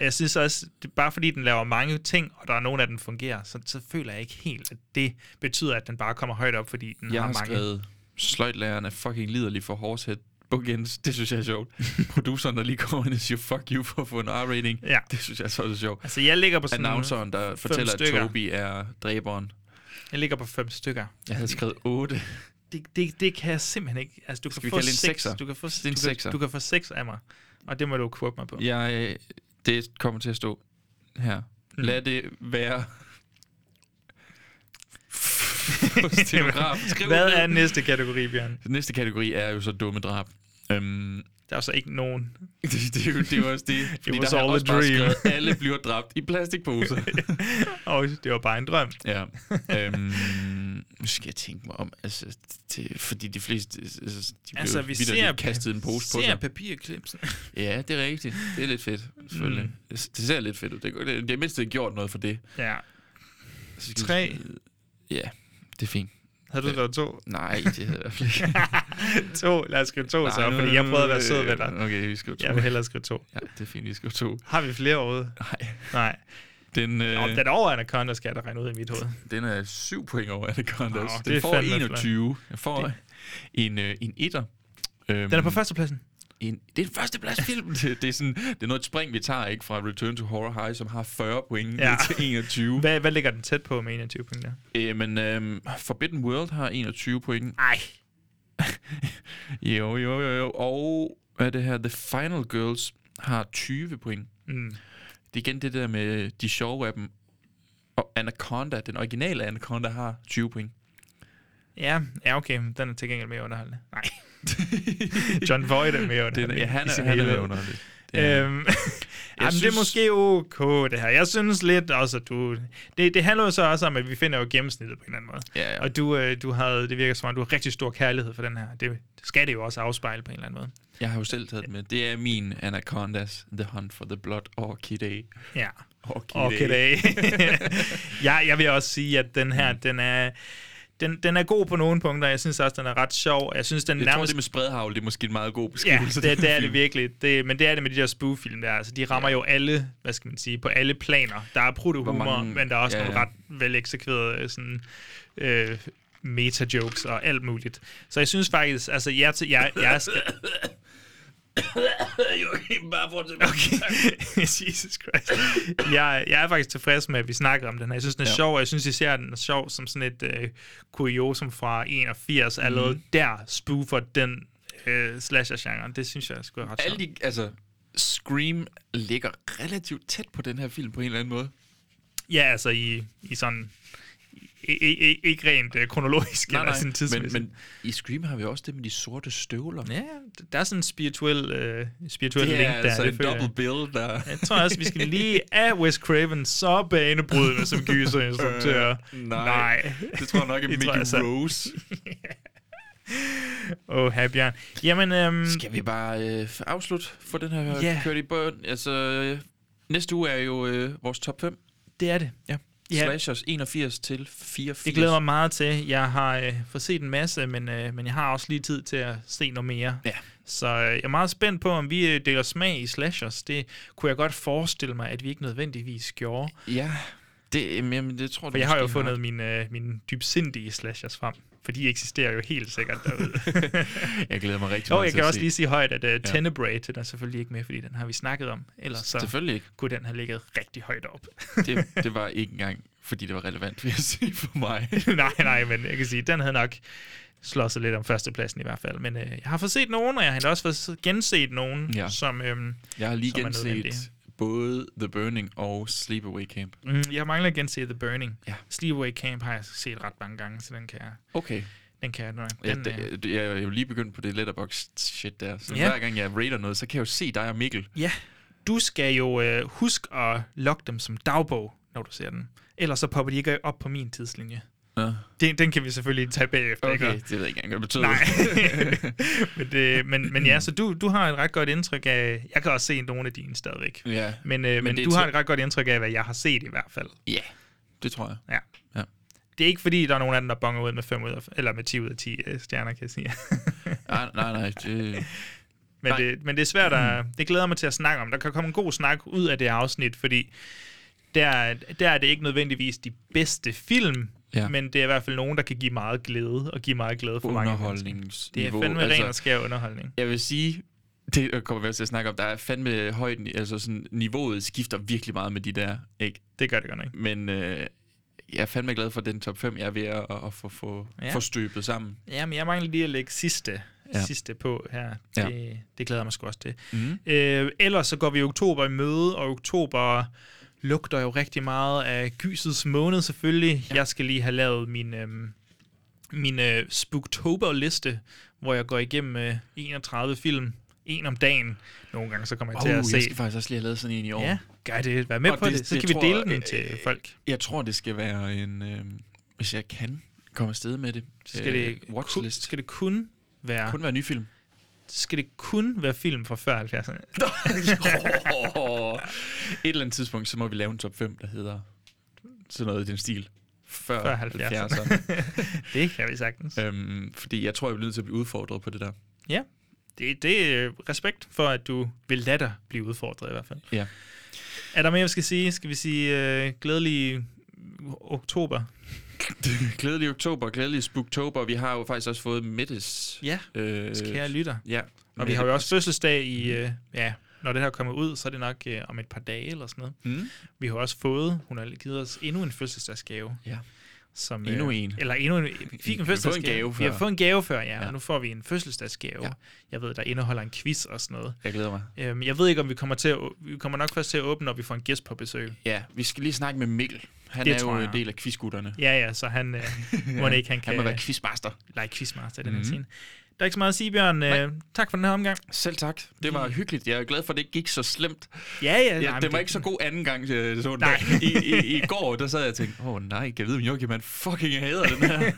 S1: jeg synes også, det, bare fordi den laver mange ting, og der er nogle af den fungerer, så, så føler jeg ikke helt, at det betyder, at den bare kommer højt op, fordi den
S2: Jeg
S1: har
S2: har
S1: mange...
S2: skrevet, sløjtlæreren er fucking liderlig for Horsehead Bookends. Det synes jeg er sjovt. Produceren, der lige kommer ind og siger, fuck you for at få en R-rating.
S1: Ja.
S2: Det synes jeg er så sjovt.
S1: Altså, jeg ligger på sådan...
S2: Announceren, der
S1: fem
S2: fortæller,
S1: stykker.
S2: at Toby er dræberen.
S1: Jeg ligger på fem stykker.
S2: Jeg havde skrevet 8.
S1: Det, det, det kan jeg simpelthen ikke. Altså, du kan
S2: vi
S1: få
S2: kalde det en
S1: seks.
S2: sekser?
S1: Du kan få,
S2: Det er en
S1: du,
S2: sekser.
S1: kan, du kan få seks af mig. Og det må du quote mig på.
S2: Jeg, øh, det kommer til at stå her.
S1: Mm.
S2: Lad det være. Stenograf. Skriv
S1: Hvad
S2: ned.
S1: er næste kategori, Bjørn?
S2: Næste kategori er jo så dumme drab. Øhm,
S1: Der er så ikke nogen.
S2: det, det, er jo, det er jo også det. Fordi
S1: was
S2: der har
S1: all
S2: jeg
S1: a
S2: også bare
S1: dream.
S2: skrevet, alle bliver dræbt i plastikposer.
S1: Og det var bare en drøm.
S2: ja. Øhm, Nu skal jeg tænke mig om, altså, det, fordi de fleste, altså, de bliver
S1: Altså,
S2: altså,
S1: vi
S2: vi
S1: ser-
S2: ser, kastet en pose på
S1: ser
S2: sig.
S1: papirklipsen.
S2: ja, det er rigtigt. Det er lidt fedt, selvfølgelig.
S1: Mm.
S2: Mm. Det, det ser lidt fedt ud. Det, det, det er mindst, det er gjort noget for det.
S1: Ja.
S2: Så skal vi-
S1: Tre.
S2: Ja, det er fint.
S1: Har du skrevet to?
S2: Nej, det havde jeg i hvert fald ikke.
S1: to. Lad os skrive to
S2: Nej,
S1: så,
S2: nu-
S1: fordi jeg prøvede at være sød ved dig.
S2: Okay, vi skriver to.
S1: Jeg vil hellere skrive to.
S2: Ja, det er fint, vi skriver to.
S1: Har vi flere ude?
S2: Nej.
S1: Nej.
S2: Den, øh,
S1: Nå, den over Anaconda skal jeg da regne ud i mit hoved.
S2: Den er 7 point over Anacondas.
S1: Nå, det
S2: Oh,
S1: er
S2: den får
S1: fandme
S2: 21. Jeg får
S1: Det-
S2: en, øh, en etter. Øhm,
S1: Den er på førstepladsen.
S2: En, det er en førsteplads film. det, det, er sådan, det er noget et spring, vi tager ikke fra Return to Horror High, som har 40 point
S1: Ja.
S2: ja. til 21.
S1: Hvad, hvad ligger den tæt på med 21 point der?
S2: Øh, men øhm, Forbidden World har 21 point.
S1: Ej.
S2: Jo, jo, jo, jo. Og hvad er det her? The Final Girls har 20 point.
S1: Mm.
S2: Det er igen det der med de sjove af dem. Og Anaconda, den originale Anaconda, har 20 point.
S1: Ja, ja, okay. Den er til gengæld mere underholdende. Nej. John Voight er mere
S2: Det, er-
S1: underholdende.
S2: ja, han
S1: i
S2: er,
S1: sin
S2: han er
S1: helhed.
S2: mere underholdende. Det er-
S1: Øhm, jamen, synes... det er
S2: synes-
S1: måske okay, det her. Jeg synes lidt også, at du... Det, det handler jo så også om, at vi finder jo gennemsnittet på en eller anden måde.
S2: Ja, ja.
S1: Og du, øh, du havde, det virker som om, du har rigtig stor kærlighed for den her. Det skal det jo også afspejle på en eller anden måde.
S2: Jeg har jo selv taget den med. Det er min Anacondas, The Hunt for the Blood Orchidea.
S1: Ja.
S2: Orchidea.
S1: Okay, dag. ja, jeg vil også sige, at den
S2: Mm.
S1: her, den er... Den, den er god på nogle punkter. Jeg synes også, den er ret sjov. Jeg synes, den
S2: Jeg tror,
S1: nærmest
S2: det med spredhavl, det er måske en meget god
S1: Ja,
S2: beskrivelse. af
S1: det,
S2: den
S1: det er det
S2: film.
S1: virkelig. Det, men det er det med de der spoof-film der. Altså, de rammer ja. jo alle, hvad skal man sige, på alle planer. Der er protohumor,
S2: mange-
S1: men der er også ja,
S2: ja,
S1: nogle
S2: ja.
S1: ret veleksekverede sådan, øh, meta-jokes og alt muligt. Så jeg synes faktisk, altså, jeg, til- jeg, jeg er sta- Okay. Jesus Christ. Jeg, jeg er faktisk tilfreds med, at vi snakker om den her. Jeg synes, den er ja.
S2: Ja.
S1: sjov, og jeg synes især, den er sjov som sådan et øh, kuriosum fra 81. Allerede der spoofer den øh, slasher-genre. Det synes jeg skulle ret sjovt.
S2: Alle de, altså, Scream ligger relativt tæt på den her film på en eller anden måde.
S1: Ja, altså i, i sådan... I, i, i, ikke rent øh, kronologisk eller sådan
S2: men,
S1: tidsmæssigt.
S2: men i Scream har vi også det med de sorte støvler.
S1: Ja, d- der er sådan en spirituel, øh, spirituel
S2: det
S1: link der.
S2: er altså
S1: det
S2: en
S1: føler jeg.
S2: double bill, der...
S1: Jeg tror også, vi skal lige af Wes Craven så banebrydende som gyser
S2: Øh, nej. Det tror jeg nok er
S1: Det
S2: Mickey
S1: tror jeg så.
S2: Rose.
S1: Åh, her Bjørn. Jamen, øhm,
S2: Skal vi bare øh, afslutte for den her
S1: Ja.
S2: yeah. kørt i bøn? Altså, øh, næste uge er jo øh, vores top 5.
S1: det er det.
S2: Ja.
S1: Ja.
S2: Yeah. Slashers 81 til 84.
S1: Det glæder mig meget til. Jeg har øh, fået set en masse, men, øh, men jeg har også lige tid til at se noget mere.
S2: Ja.
S1: Så øh, jeg er meget spændt på, om vi øh, deler smag i slashers. Det kunne jeg godt forestille mig, at vi ikke nødvendigvis gjorde.
S2: Ja, det, jamen, jamen, det tror
S1: For
S2: du
S1: jeg har jo
S2: måske
S1: fundet mine, øh, mine dybsindige slashers frem, for de eksisterer jo helt sikkert derude.
S2: Jeg glæder mig rigtig
S1: Og
S2: meget
S1: jeg
S2: til
S1: kan
S2: at
S1: også
S2: se.
S1: lige sige højt, at uh, Tenebrae, den er selvfølgelig ikke med, fordi den har vi snakket om. Ellers så
S2: Selvfølgelig ikke.
S1: kunne den have ligget rigtig højt op.
S2: Det, det var ikke engang, fordi det var relevant, vil jeg sige for mig.
S1: nej, nej, men jeg kan sige, den havde nok slået sig lidt om førstepladsen i hvert fald. Men øh, jeg har fået set nogen, og jeg har også fået genset nogen, ja.
S2: Ja.
S1: som... Øhm,
S2: Jeg har lige
S1: Som er
S2: genset både The Burning og Sleepaway Camp.
S1: mm, jeg mangler at gense The Burning.
S2: Ja.
S1: Sleepaway Camp har jeg set ret mange gange, så den kan jeg...
S2: Okay.
S1: Den kan jeg, den,
S2: Ja,
S1: øh,
S2: det, jeg er jo lige begyndt på det letterbox shit der. Så
S1: Ja.
S2: hver gang jeg raider noget, så kan jeg jo se dig og Mikkel.
S1: Ja, du skal jo øh, huske at logge dem som dagbog, når du ser den. Ellers så popper de ikke op på min tidslinje.
S2: Nå.
S1: Den, den kan vi selvfølgelig tage bagefter. ikke?
S2: Okay, det ved jeg ikke engang, hvad det betyder.
S1: Nej. men, det, men, men ja, så du, du har et ret godt indtryk af... Jeg kan også se nogle af dine stadigvæk.
S2: Ja.
S1: Men, øh, men,
S2: Men det
S1: men
S2: er
S1: du har
S2: tæ-
S1: et ret godt indtryk af, hvad jeg har set i hvert fald.
S2: Ja, det tror jeg.
S1: Ja.
S2: Ja.
S1: Det er ikke fordi, der er nogen af dem, der bonger ud med, 5 ud af, eller med 10 ud af 10 øh, stjerner, kan jeg sige.
S2: Nej, nej, nej. Det,
S1: men,
S2: Nej. Mm.
S1: det, men det er svært at... Det glæder jeg mig til at snakke om. Der kan komme en god snak ud af det afsnit, fordi der, der er det ikke nødvendigvis de bedste film, ja.
S2: Ja.
S1: men det er i hvert fald nogen, der kan give meget glæde, og give meget glæde for mange mennesker. Det er
S2: underholdningsniveau. Altså,
S1: fandme ren og skær underholdning.
S2: jeg vil sige, det kommer vi også til at snakke om, der er fandme højden, altså sådan, niveauet skifter virkelig meget med de der, ikke?
S1: Det gør det godt nok.
S2: Men øh, jeg er fandme glad for den top 5, jeg er ved at, at få, få,
S1: Ja.
S2: ja. få støbet sammen.
S1: Ja, men jeg mangler lige at lægge sidste, ja.
S2: Ja.
S1: sidste på her.
S2: Ja.
S1: Det, ja. det glæder jeg mig sgu også til.
S2: Mhm.
S1: Øh, ellers så går vi i oktober i møde, og oktober lugter jo rigtig meget af gysets måned selvfølgelig. Ja. Jeg skal lige have lavet min, øhm, min øh, Spooktober-liste, hvor jeg går igennem øh, 31 film, en om dagen. Nogle gange så kommer jeg
S2: Oh,
S1: til at
S2: jeg
S1: se...
S2: skal faktisk også lige have lavet sådan en i år.
S1: Ja, gør det. Vær med
S2: Og
S1: på det,
S2: det- øh,
S1: det. Så
S2: det
S1: kan vi
S2: tror
S1: dele
S2: jeg-
S1: den til folk.
S2: Jeg tror, det skal være en... Øh, hvis jeg kan komme afsted med det.
S1: Så skal, det
S2: Øh,
S1: kun,
S2: watchlist.
S1: skal det kun være...
S2: Kun være ny film.
S1: Skal det kun være film fra før 70'erne?
S2: Og et eller andet tidspunkt, så må vi lave en top 5, der hedder sådan noget i den stil. Før,
S1: Før
S2: 70'erne.
S1: 70'erne. det kan vi sagtens.
S2: Øhm, fordi jeg tror, jeg bliver nødt til at blive udfordret på det der.
S1: Ja, det, det er øh, respekt for, at du vil lade dig blive udfordret i hvert fald.
S2: Ja.
S1: Er der mere, vi skal sige? Skal vi sige øh, glædelig oktober?
S2: Glædelig oktober, glædelig spooktober. Vi har jo faktisk også fået Mettes.
S1: Ja,
S2: øh,
S1: Kære lytter.
S2: Ja.
S1: Og vi har jo også fødselsdag i... Øh, ja, når det her kommer ud, så er det nok øh, om et par dage eller sådan noget.
S2: Mm.
S1: Vi har også fået... Hun har givet os endnu en fødselsdagsgave.
S2: Ja.
S1: Som, øh,
S2: Endnu en.
S1: Eller endnu en. Vi
S2: Vi
S1: fik
S2: har
S1: en
S2: fået
S1: fødselsdagsgave.
S2: en gave
S1: Vi har
S2: før.
S1: fået en gave før, ja. ja.
S2: Ja.
S1: Og nu får vi en fødselsdagsgave. Ja. Jeg ved, der indeholder en quiz og sådan noget.
S2: Jeg glæder mig.
S1: Øhm, jeg ved ikke, om vi kommer til at, å- vi kommer nok først til at åbne, når vi får en gæst på besøg.
S2: Ja, vi skal lige snakke med Mikkel. Han
S1: Det
S2: er
S1: tror
S2: jo
S1: jeg.
S2: en del af quizgutterne.
S1: Ja, ja, så han, øh, må ikke, han kan... øh,
S2: Han må være quizmaster.
S1: Nej, quizmaster i den her
S2: Mhm.
S1: scene. Der er ikke så meget at sige, Bjørn. Øh, tak for den her omgang.
S2: Selv tak. Det var hyggeligt. Jeg er glad for, at det ikke gik så slemt.
S1: Ja, ja.
S2: Ja,
S1: nej, men
S2: det var
S1: det-
S2: ikke så god anden gang, jeg så den.
S1: Nej.
S2: I, i, I går, der sad jeg og tænkte, åh oh, nej, jeg ved, om Joachim han fucking hader den her.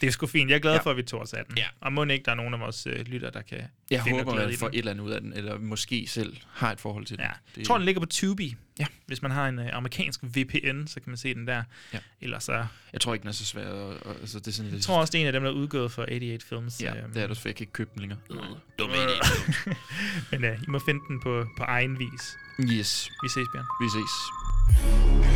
S1: Det er sgu fint. Jeg er glad
S2: Ja.
S1: for, at vi tog os af den. Ja. Og må ikke, der er nogen af vores øh, lytter, der kan
S2: Jeg
S1: finde
S2: håber,
S1: glæde i
S2: man får
S1: den.
S2: et eller andet ud af den, eller måske selv har et forhold til den. Ja.
S1: Jeg tror, den ligger på Tubi. Ja. Hvis man har en øh, amerikansk VPN, så kan man se den der. Ja. Ellers så...
S2: Jeg tror ikke, den er så svær. Og, og, altså, det er sådan,
S1: Jeg tror også, det er en af dem, der er udgået for 88 Films.
S2: Ja,
S1: øhm,
S2: det er det også, for jeg kan ikke købe den længere.
S1: Men øh, I må finde den på, på egen vis.
S2: Yes.
S1: Vi ses, Bjørn.
S2: Vi ses.